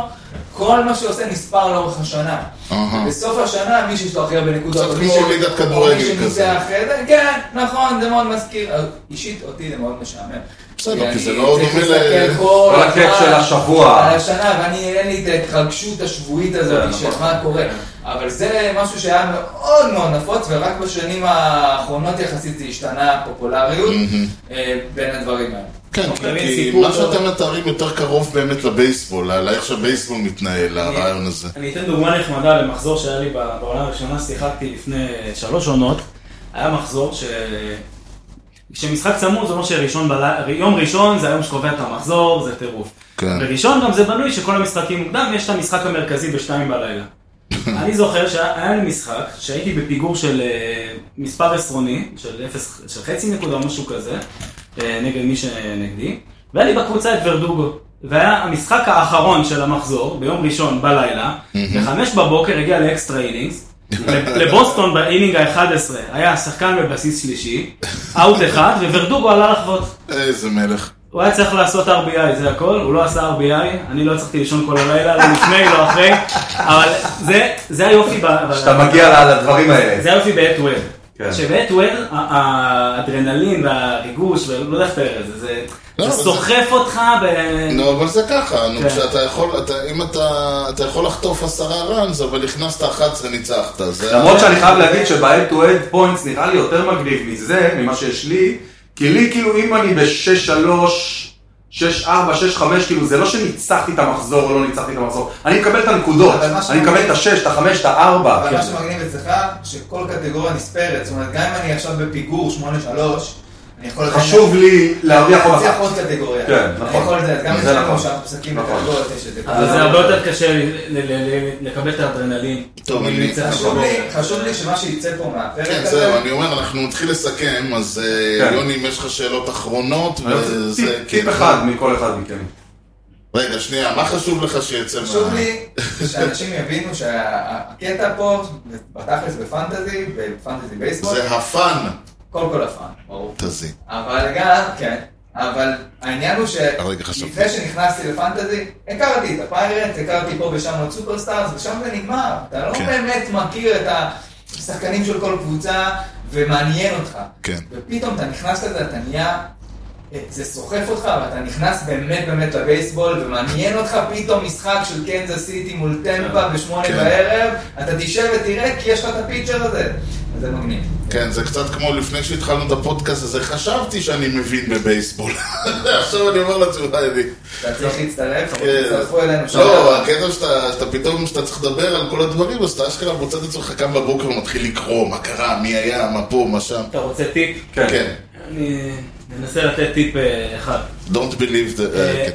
Speaker 5: כל מה שעושה נספר לאורך השנה.
Speaker 2: אהה.
Speaker 5: בסוף השנה מי שיש לו הכי הרבה נקודות,
Speaker 2: קצת
Speaker 5: או מי
Speaker 2: כמו
Speaker 5: ש-
Speaker 2: ליגת
Speaker 5: או
Speaker 2: כדורגל
Speaker 5: מי
Speaker 2: כזה.
Speaker 5: שניצח אחרי זה, כן, נכון, זה מאוד מזכיר. אה, אישית אותי זה מאוד משעמם.
Speaker 2: בסדר, כי זה
Speaker 5: אני
Speaker 2: לא
Speaker 5: צריך
Speaker 2: דומה ל-
Speaker 5: להסתכל כל
Speaker 4: כל הכיף
Speaker 5: הזמן
Speaker 4: של השבוע.
Speaker 5: על השנה, ואני, אין לי את ההתרגשות השבועית
Speaker 4: כן,
Speaker 5: הזאת של
Speaker 4: נכון.
Speaker 5: מה קורה. אבל זה משהו שהיה מאוד מאוד נפוץ, ורק בשנים האחרונות יחסית זה השתנה הפופולריות אה, בין הדברים האלה.
Speaker 2: כן,
Speaker 1: אוקיי,
Speaker 2: כי- כי
Speaker 1: סיפור
Speaker 2: מה
Speaker 1: טוב.
Speaker 2: שאתם מתארים יותר קרוב באמת לבייסבול, על איך שהבייסבול מתנהל, הרעיון הזה.
Speaker 1: אני אתן דוגמה נחמדה למחזור שהיה לי ב- בעונה הראשונה, שיחקתי לפני שלוש עונות. היה מחזור ש... כשמשחק צמוד זה אומר שראשון בלילה, יום ראשון זה היום שקובע את המחזור, זה טירוף.
Speaker 2: כן.
Speaker 1: וראשון גם זה בנוי שכל המשחקים מוקדם, יש את המשחק המרכזי בשתיים בלילה. אני זוכר שהיה לי משחק שהייתי בפיגור של אה, מספר עשרוני, של, אפס, של חצי נקודה או משהו כזה, אה, נגד מי שנגדי, והיה לי בקבוצה את ורדוגו. והיה המשחק האחרון של המחזור, ביום ראשון בלילה, בחמש בבוקר הגיע לאקסטרה אינינגס, לב- לבוסטון באינינג ה-11 היה שחקן בבסיס שלישי, אאוט אחד, וורדוגו עלה לחבוט.
Speaker 2: איזה מלך.
Speaker 1: הוא היה צריך לעשות RBI, זה הכל, הוא לא עשה RBI, אני לא הצלחתי לישון כל הלילה, לא לפני, לא אחרי, אבל זה, זה היופי, ב, ב,
Speaker 4: שאתה מגיע ל- לדברים האלה.
Speaker 1: זה היופי בעת ווב.
Speaker 4: כן.
Speaker 1: שבעת ווב, ה- האדרנלין והריגוש, ולא יודע איך לתאר את זה, זה,
Speaker 2: לא,
Speaker 1: זה
Speaker 2: אבל
Speaker 1: סוחף אותך ב...
Speaker 4: לא.
Speaker 2: נו, אבל זה ככה, נו,
Speaker 1: כן.
Speaker 2: כשאתה יכול, אתה, אם אתה, אתה יכול לחטוף עשרה ראנס, אבל הכנסת 11 ניצחת, זה...
Speaker 4: למרות שאני חייב להגיד שב-end to end points נראה לי יותר מגניב מזה, ממה שיש לי, כי לי כאילו אם אני ב-6-3, 6-4, 6-5, כאילו זה לא שניצחתי את המחזור או לא ניצחתי את המחזור, אני מקבל את הנקודות,
Speaker 5: אבל מה
Speaker 4: אני
Speaker 5: שאני-
Speaker 4: מקבל את ה-6, את ה-5, את כן. ה-4.
Speaker 5: אבל מה שמגניב אצלך, שכל קטגוריה נספרת, זאת אומרת, גם אם אני עכשיו בפיגור 8-3, אני יכול לתת-
Speaker 4: חשוב לי להרוויח עוד
Speaker 5: אני
Speaker 4: אחת.
Speaker 5: יכול עוד קטגוריה.
Speaker 4: כן,
Speaker 5: אני
Speaker 4: נכון.
Speaker 5: יכול לתת, גם
Speaker 4: זה
Speaker 5: יש לנו
Speaker 4: נכון.
Speaker 5: שאנחנו משחקים
Speaker 4: נכון.
Speaker 5: בקטגוריות, יש את זה.
Speaker 1: אבל זה הרבה יותר קשה ל- ל- ל- ל- לקבל את האדרנלין.
Speaker 2: טוב, אני-
Speaker 1: ממצעד
Speaker 5: חשוב
Speaker 1: השבוע.
Speaker 5: לי- חשוב לי שמה שיצא פה מהפרק
Speaker 2: כן,
Speaker 5: הזה,
Speaker 2: זהו, אני אומר, אנחנו נתחיל לסכם, אז אה,
Speaker 4: כן.
Speaker 2: יוני, אם יש לך שאלות אחרונות,
Speaker 4: אני רוצה
Speaker 2: וזה,
Speaker 4: טיפ-
Speaker 2: כן.
Speaker 4: טיפ אחד מכל אחד מכם.
Speaker 2: רגע, שנייה, מה חשוב לך שיצא
Speaker 5: חשוב
Speaker 2: מה-
Speaker 5: לי שאנשים יבינו שהקטע פה, בתכלס בפנטזי, בפנטזי בייסבול,
Speaker 2: זה הפאן,
Speaker 5: קודם כל הפאן, ברור.
Speaker 2: תזי.
Speaker 5: אבל גם, כן, אבל העניין הוא
Speaker 2: הרגע אה, חשבתי.
Speaker 5: שלפני שנכנסתי לפנטזי, הכרתי את הפיירט, הכרתי פה ושם עוד סופרסטארס, ושם זה נגמר. אתה לא
Speaker 2: כן.
Speaker 5: באמת מכיר את השחקנים של כל קבוצה, ומעניין אותך.
Speaker 2: כן.
Speaker 5: ופתאום אתה נכנס לזה, אתה נהיה... זה סוחף אותך, ואתה נכנס באמת באמת לבייסבול, ומעניין אותך פתאום משחק של קנזס סיטי מול טמפה בשמונה
Speaker 2: כן.
Speaker 5: בערב, אתה תשב ותראה, כי יש לך את הפיצ'ר הזה. אז זה מגניב.
Speaker 2: כן, זה קצת כמו לפני שהתחלנו את הפודקאסט הזה, חשבתי שאני מבין בבייסבול. עכשיו אני אומר לעצמך, אני...
Speaker 5: אתה צריך להצטרף, אבל
Speaker 2: כן.
Speaker 5: תצטרפו אלינו. שם.
Speaker 2: לא, הקטע שאתה שאתה פתאום, שאתה צריך לדבר על כל הדברים, אז אתה אשכרה מוצא את עצמך קם בבוקר ומתחיל לקרוא מה קרה, מי היה, מה פה, מה שם.
Speaker 1: אתה רוצה טיפ?
Speaker 2: כן,
Speaker 1: אני אנסה לתת טיפ אה, אחד.
Speaker 2: Don't believe the... אה,
Speaker 1: אה,
Speaker 2: כן.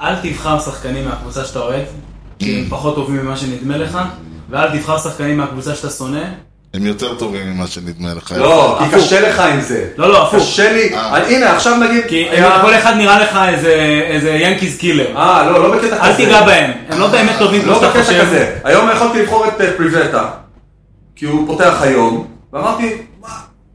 Speaker 1: אל תבחר שחקנים מהקבוצה שאתה אוהב, כי הם פחות טובים ממה שנדמה לך, ואל תבחר שחקנים מהקבוצה שאתה שונא.
Speaker 2: הם יותר טובים ממה שנדמה לך.
Speaker 4: לא, כי
Speaker 1: הפוך.
Speaker 4: קשה לך עם זה.
Speaker 1: לא, לא, הפוך.
Speaker 4: קשה לי.
Speaker 2: אה.
Speaker 4: אני- הנה, עכשיו נגיד...
Speaker 1: כי אה,
Speaker 4: היה-
Speaker 1: כל אחד נראה לך איזה- איזה ינקיז קילר.
Speaker 4: אה, לא, לא בקטע
Speaker 1: אל
Speaker 4: כזה.
Speaker 1: תיגע בהם, הם לא באמת טובים כמו
Speaker 4: לא
Speaker 1: שאתה
Speaker 4: בקטע
Speaker 1: חושב.
Speaker 4: כזה. היום יכולתי לבחור את אה, פריבטה, כי הוא פותח היום, ואמרתי, "מה,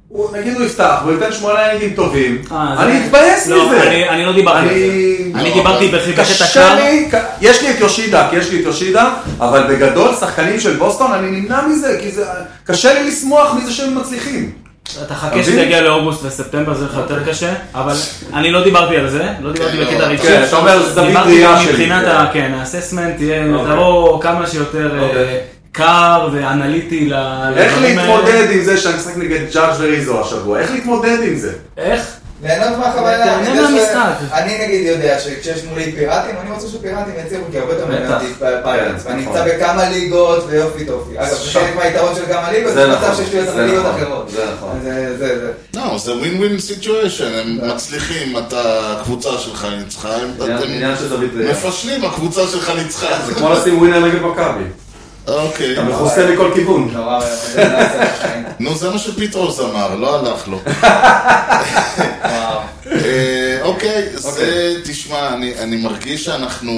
Speaker 4: הוא- נגיד הוא יפתח, הוא ייתן שמונה אינגים טובים,
Speaker 1: אה, זה-
Speaker 4: אני אתבאס
Speaker 1: לא,
Speaker 4: מזה.
Speaker 1: אני- אני לא דיברתי על זה.
Speaker 4: אני...
Speaker 1: אני
Speaker 2: לא,
Speaker 1: דיברתי
Speaker 2: אבל-
Speaker 1: בחיבק את
Speaker 4: קשה
Speaker 1: הקר.
Speaker 4: לי, ק- יש לי את יושידה, כי יש לי את יושידה, אבל בגדול שחקנים של בוסטון, אני נמנע מזה, כי זה... קשה לי לשמוח מזה שהם מצליחים.
Speaker 1: אתה
Speaker 4: אתה
Speaker 1: חכה
Speaker 4: מבין?
Speaker 1: שזה יגיע לאוגוסט וספטמבר, זה לך יותר קשה, אבל אני לא דיברתי על זה, לא דיברתי
Speaker 2: כן, לא,
Speaker 1: בקטע
Speaker 4: אוקיי. כן,
Speaker 1: רגשי.
Speaker 4: אתה אומר, זווית
Speaker 1: דיברתי
Speaker 4: ראייה שלי.
Speaker 1: מבחינת
Speaker 4: כן.
Speaker 1: ה... כן, האססמנט תהיה,
Speaker 4: אוקיי.
Speaker 1: תבוא לא, כמה שיותר אה,
Speaker 4: אוקיי.
Speaker 1: קר ואנליטי ל-
Speaker 4: איך
Speaker 1: לדברים האלה.
Speaker 4: להתמודד עם זה שאני משחק נגד ג'אג' וריזו השבוע? איך להתמודד עם זה?
Speaker 1: איך?
Speaker 5: ליהנות מהחוויה.
Speaker 1: תהנה
Speaker 5: אני יודע ש-
Speaker 1: מהמשחק.
Speaker 5: אני נגיד יודע שכשיש מולי פיראטים, אני רוצה שפיראטים יצליחו, כי הרבה יותר מעניין
Speaker 1: בטח.
Speaker 5: אותי פיראטס.
Speaker 4: כן,
Speaker 5: ואני
Speaker 4: נכון.
Speaker 5: נמצא בכמה ליגות, ויופי טופי. אגב, זה
Speaker 4: שם.
Speaker 5: חלק מהיתרון של כמה ליגות,
Speaker 4: זה
Speaker 5: זה
Speaker 4: נכון,
Speaker 5: מצב שיש לי
Speaker 4: זה
Speaker 5: יותר ליגות
Speaker 4: נכון,
Speaker 5: אחרות.
Speaker 4: זה נכון.
Speaker 5: אז זה, זה, זה.
Speaker 2: לא, זה ווין ווין סיטואשן, הם
Speaker 4: אה.
Speaker 2: מצליחים, אתה, הקבוצה שלך ניצחה, הם- אתם
Speaker 4: של זווית
Speaker 2: מפשלים, הקבוצה שלך ניצחה.
Speaker 4: זה כמו לשים ווינר נגד מכבי.
Speaker 2: אוקיי.
Speaker 4: אתה מכוסה מכל כיוון.
Speaker 5: נורא זה נעשה לחיים.
Speaker 2: נו, זה מה שפיטרוס אמר, לא הלך לו.
Speaker 5: וואו.
Speaker 2: אה, אוקיי, זה,
Speaker 4: אוקיי.
Speaker 2: תשמע, אני אני מרגיש שאנחנו,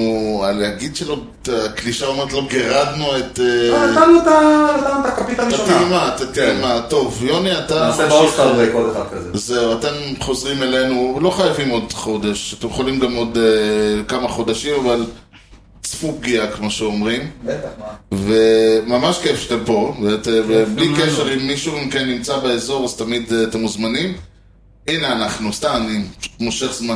Speaker 2: להגיד שלא, הקלישה אומרת לא גירדנו את... אה,
Speaker 4: אה, נתנו את ה- נתנו את הכפית
Speaker 2: את
Speaker 4: הראשונה.
Speaker 2: הטעימה, את הטעימה. טוב, יוני, אתה...
Speaker 4: כן. נעשה
Speaker 2: ממשיך.
Speaker 4: באולסטאר ברייק עוד אחד כזה.
Speaker 2: זהו, אתם חוזרים אלינו, לא חייבים עוד חודש, אתם יכולים גם עוד אה, כמה חודשים, אבל צפו פגיעה, כמו שאומרים.
Speaker 5: בטח, מה.
Speaker 2: וממש כיף שאתם פה, ואת, ובלי
Speaker 1: גם
Speaker 2: קשר,
Speaker 1: לנו.
Speaker 2: אם מישהו מכן נמצא באזור, אז תמיד אה, אתם מוזמנים. הנה אנחנו, סתם, אני פשוט מושך זמן.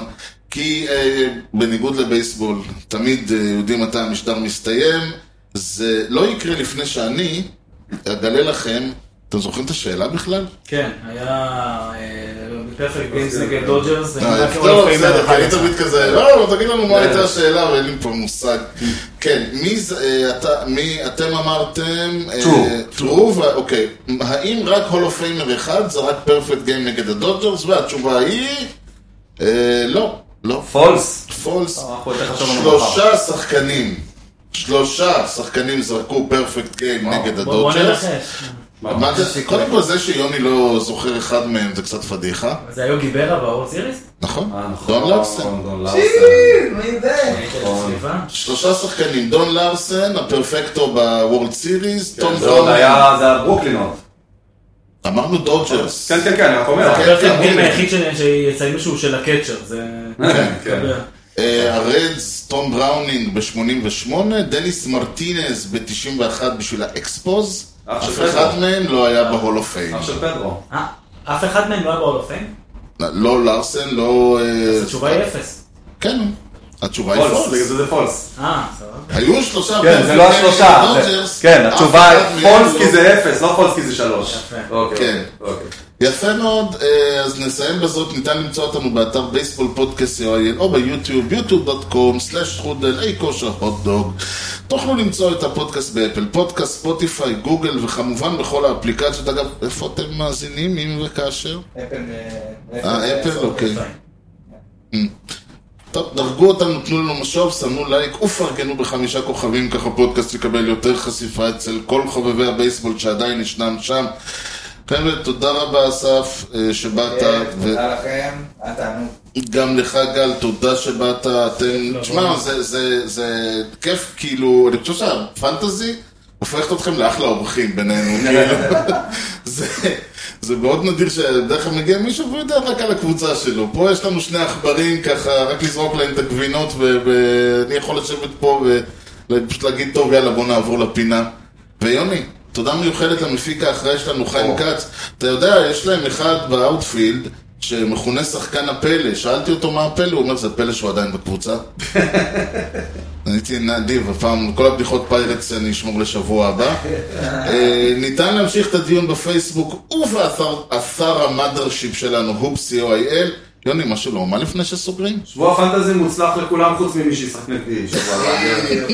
Speaker 2: כי אה, בניגוד לבייסבול, תמיד אה, יודעים מתי המשדר מסתיים, זה לא יקרה לפני שאני אגלה לכם, אתם זוכרים את השאלה בכלל?
Speaker 1: כן, היה אה, פרפקט
Speaker 4: אוקיי,
Speaker 1: גיימס נגד דודג'רס.
Speaker 2: אה, טוב, בסדר, כי אני תמיד כזה, לא, לא, תגיד לנו מה הייתה השאלה, ואין לי פה מושג. כן, מי זה, אה, אתה, מי, אתם אמרתם... אה,
Speaker 4: True.
Speaker 2: true, ו- אוקיי. האם רק הולו פיימר אחד זה רק פרפקט גיים נגד הדודג'רס? והתשובה היא... אה, לא, לא.
Speaker 4: פולס.
Speaker 2: פולס.
Speaker 4: אנחנו יותר חשוב לנו מחר.
Speaker 2: שלושה שחקנים. שלושה שחקנים זרקו פרפקט גיים נגד
Speaker 1: בוא
Speaker 2: הדודג'רס.
Speaker 1: ננחש.
Speaker 2: מה זה- קודם כל זה שיוני לא זוכר אחד מהם זה קצת פדיחה,
Speaker 1: אה, זה היו גיברה באור סיריס?
Speaker 2: נכון?
Speaker 4: אה, נכון.
Speaker 2: דון לקסם.
Speaker 4: דון לארסן.
Speaker 5: שיר, אה, מי
Speaker 4: נכון.
Speaker 5: זה?
Speaker 1: סליחה.
Speaker 2: שלושה שחקנים, דון לארסן, הפרפקטו בוורלד סיריס,
Speaker 4: כן,
Speaker 2: תום
Speaker 4: זה עוד
Speaker 2: פאולי,
Speaker 4: היה, זה היה ברוקלין עוד.
Speaker 2: אמרנו דודג'רס.
Speaker 4: כן, כן, כן, אני רק אומר.
Speaker 2: כן,
Speaker 1: פרפקט
Speaker 2: כן,
Speaker 1: גיים
Speaker 2: כן.
Speaker 1: היחיד ש- שיציינו שהוא של הקצ'ר. זה...
Speaker 4: כן,
Speaker 1: אתה
Speaker 4: כן.
Speaker 1: יודע.
Speaker 2: אה, הרדס, תום בראונינג ב-88, דניס מרטינז ב-91 בשביל האקספוז,
Speaker 4: אח של
Speaker 2: אף
Speaker 4: פדרו.
Speaker 2: אחד מהם לא היה בהול אוף פיים.
Speaker 4: אח של פדרו.
Speaker 1: אה, אף אחד מהם לא היה באור אופן?
Speaker 2: לא לארסן, לא... אה,
Speaker 1: אז התשובה היא אפס.
Speaker 2: כן. התשובה היא
Speaker 4: פולס, בגלל
Speaker 2: פולס.
Speaker 4: זה זה פולס.
Speaker 1: אה, סבבה.
Speaker 2: היו שלושה
Speaker 4: כן, זה לא
Speaker 2: בהרכב
Speaker 4: השלושה.
Speaker 2: נגד
Speaker 4: זה-
Speaker 2: הדודג'רס,
Speaker 4: כן,
Speaker 2: אף
Speaker 4: התשובה היא
Speaker 2: אחד מהם
Speaker 4: פולס
Speaker 2: לא-
Speaker 4: כי זה אפס, לא פולס כי זה שלוש.
Speaker 1: יפה.
Speaker 4: אוקיי,
Speaker 2: כן.
Speaker 4: אוקיי.
Speaker 2: יפה מאוד, אה, אז נסיים בזאת, ניתן למצוא אותנו באתר בייסבול פודקאסט יואל או ביוטיוב, yוטיוב.com/חודל, אי כושר הוטדוג. תוכלו למצוא את הפודקאסט באפל פודקאסט, ספוטיפיי, גוגל וכמובן בכל האפליקציות. אגב, איפה אתם מאזינים, אם וכאשר?
Speaker 5: אפל...
Speaker 2: אה, אפל,
Speaker 5: כן.
Speaker 2: אוקיי. Mm. טוב, דרגו אותנו, תנו לנו משוב, סמנו לייק ופרגנו בחמישה כוכבים, כך הפודקאסט יקבל יותר חשיפה אצל כל חובבי הבייסבול שעדיין ישנם שם. חבר'ה, תודה רבה אסף אה, שבאת, ו-
Speaker 5: תודה לכם, אה, היה תענוג.
Speaker 2: גם לך גל, תודה שבאת, אתם, תשמע, זה, זה, זה כיף, כאילו, אני חושב שהפנטזי הופכת אתכם לאחלה אורחים בינינו, כאילו, זה, זה מאוד נדיר שדרך כלל מגיע מישהו והוא יודע רק על הקבוצה שלו, פה יש לנו שני עכברים ככה, רק לזרוק להם את הגבינות, ו- ואני יכול לשבת פה ופשוט להגיד, טוב, יאללה, בוא נעבור לפינה, ויוני. תודה מיוחדת למפיק האחראי שלנו, חיים כץ. אתה יודע, יש להם אחד באאוטפילד, שמכונה שחקן הפלא, שאלתי אותו מה הפלא, הוא אומר, זה פלא שהוא עדיין בקבוצה. הייתי נדיב, הפעם, כל הבדיחות פיירטס אני אשמור לשבוע הבא. אה, ניתן להמשיך את הדיון בפייסבוק ובאתר המאדרשיפ שלנו, הופסי או אי-אל. יוני, משהו לא, מה לפני שסוגרים?
Speaker 4: שבוע הפנטזי מוצלח לכולם חוץ ממי שישחק נגדי שבוע הבא.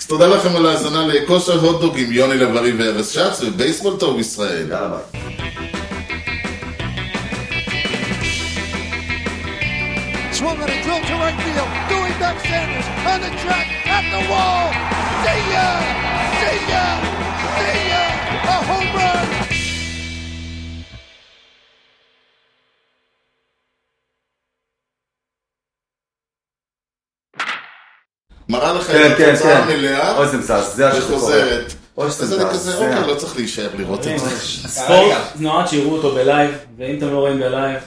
Speaker 2: אז תודה לכם על ההאזנה לכושר הוטדוג עם יוני לב-ארי וארז שץ ובייסבול טוב ישראל.
Speaker 4: יאללה ביי.
Speaker 6: Swung on a drill to right field. Dewey back Sanders on the track at the wall. See ya! See ya! See ya! A home run!
Speaker 2: מראה לך
Speaker 4: כן,
Speaker 2: את
Speaker 4: כן,
Speaker 2: התוצאה
Speaker 4: כן.
Speaker 2: המלאה
Speaker 4: אוי, זה מזעזע, זה השוק
Speaker 2: וחוזרת.
Speaker 4: אוי,
Speaker 2: אז אני כזה,
Speaker 4: זה-
Speaker 2: אוקיי, לא צריך להישאר לראות את זה.
Speaker 1: הספורט נועד שיראו אותו בלייב, ואם אתם לא רואים בלייב,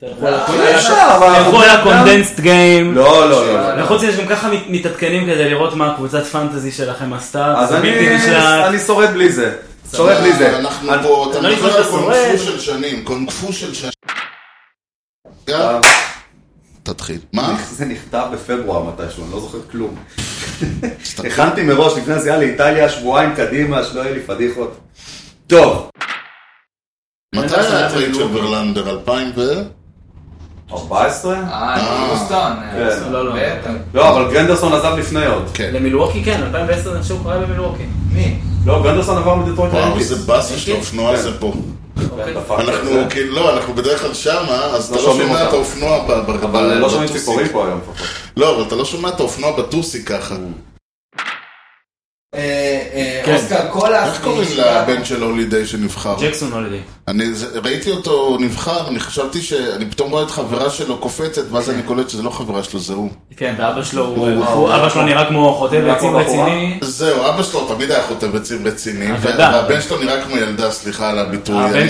Speaker 1: תלכו
Speaker 5: אה,
Speaker 1: על הכל.
Speaker 4: אי אפשר, אבל...
Speaker 1: תלכו על הקונדנסט גיים.
Speaker 4: לא, לא, לא. לא.
Speaker 1: וחוץ מזה, יש גם ככה מת- מתעדכנים כדי לראות מה הקבוצת פנטזי שלכם עשתה.
Speaker 4: אז
Speaker 1: זה
Speaker 4: אני-
Speaker 1: בלתי נשלט.
Speaker 4: אני שורד בלי זה. שורד בלי זה.
Speaker 2: אנחנו פה, אתה
Speaker 1: לא
Speaker 2: מדבר
Speaker 1: נכנס
Speaker 2: על
Speaker 1: לסורג.
Speaker 2: קונגפו של שנים, קונגפו של שנים. גל, תתחיל. מה?
Speaker 4: זה נכתב בפברואר מתישהו, אני לא זוכר כלום. הכנתי מראש לפני הנסיעה לאיטליה שבועיים קדימה, שלא יהיה לי פדיחות. טוב.
Speaker 2: מתי
Speaker 1: אני
Speaker 2: היה
Speaker 1: לא
Speaker 2: הטרייד של
Speaker 1: יודע.
Speaker 2: ברלנדר? 2000 ו...
Speaker 4: 14?
Speaker 5: אה, בוסטון.
Speaker 4: כן.
Speaker 1: לא, לא.
Speaker 5: בטח.
Speaker 4: לא, אבל גרנדרסון עזב לפני עוד.
Speaker 2: כן.
Speaker 1: למילווקי כן, 2010 אני חושב שהוא קרה במילווקי.
Speaker 5: מי?
Speaker 4: לא, גרנדרסון עבר מדטרויט
Speaker 2: וואו,
Speaker 4: לאנקיס.
Speaker 2: איזה באסה של
Speaker 4: כן.
Speaker 2: האופנוע זה פה.
Speaker 1: אוקיי.
Speaker 2: אנחנו, כאילו, לא, אנחנו בדרך כלל שמה, אז אתה
Speaker 4: לא
Speaker 2: לא
Speaker 4: שומעים
Speaker 2: שומע את
Speaker 4: אותם.
Speaker 2: האופנוע ב- ב-
Speaker 4: אבל
Speaker 2: ב-
Speaker 4: לא שומעים
Speaker 2: בטוסיק.
Speaker 4: ציפורים פה היום לפחות.
Speaker 2: לא, אבל אתה לא שומע את האופנוע בטוסי ככה.
Speaker 4: Mm.
Speaker 5: אה, אה,
Speaker 1: כן.
Speaker 5: אוסקר קולאס.
Speaker 2: איך קוראים
Speaker 5: מישיבה-
Speaker 2: לבן של הולידיי שנבחר?
Speaker 1: ג'קסון הולדי.
Speaker 2: אני זה- ראיתי אותו נבחר, אני חשבתי ש... אני פתאום רואה את חברה שלו קופצת, ואז אני קולט שזה לא חברה שלו, זה הוא.
Speaker 1: כן, ואבא שלו, הוא-
Speaker 2: הוא-
Speaker 1: הוא- אבא שלו נראה כמו חוטב
Speaker 4: נראה
Speaker 1: עצים
Speaker 4: כמו בחורה.
Speaker 1: רציני.
Speaker 2: זהו, אבא שלו תמיד היה חוטב עצים רציני,
Speaker 1: אתה
Speaker 2: ו-
Speaker 1: יודע.
Speaker 2: והבן שלו נראה כמו ילדה, סליחה על הביטוי.
Speaker 1: הבן
Speaker 2: אני-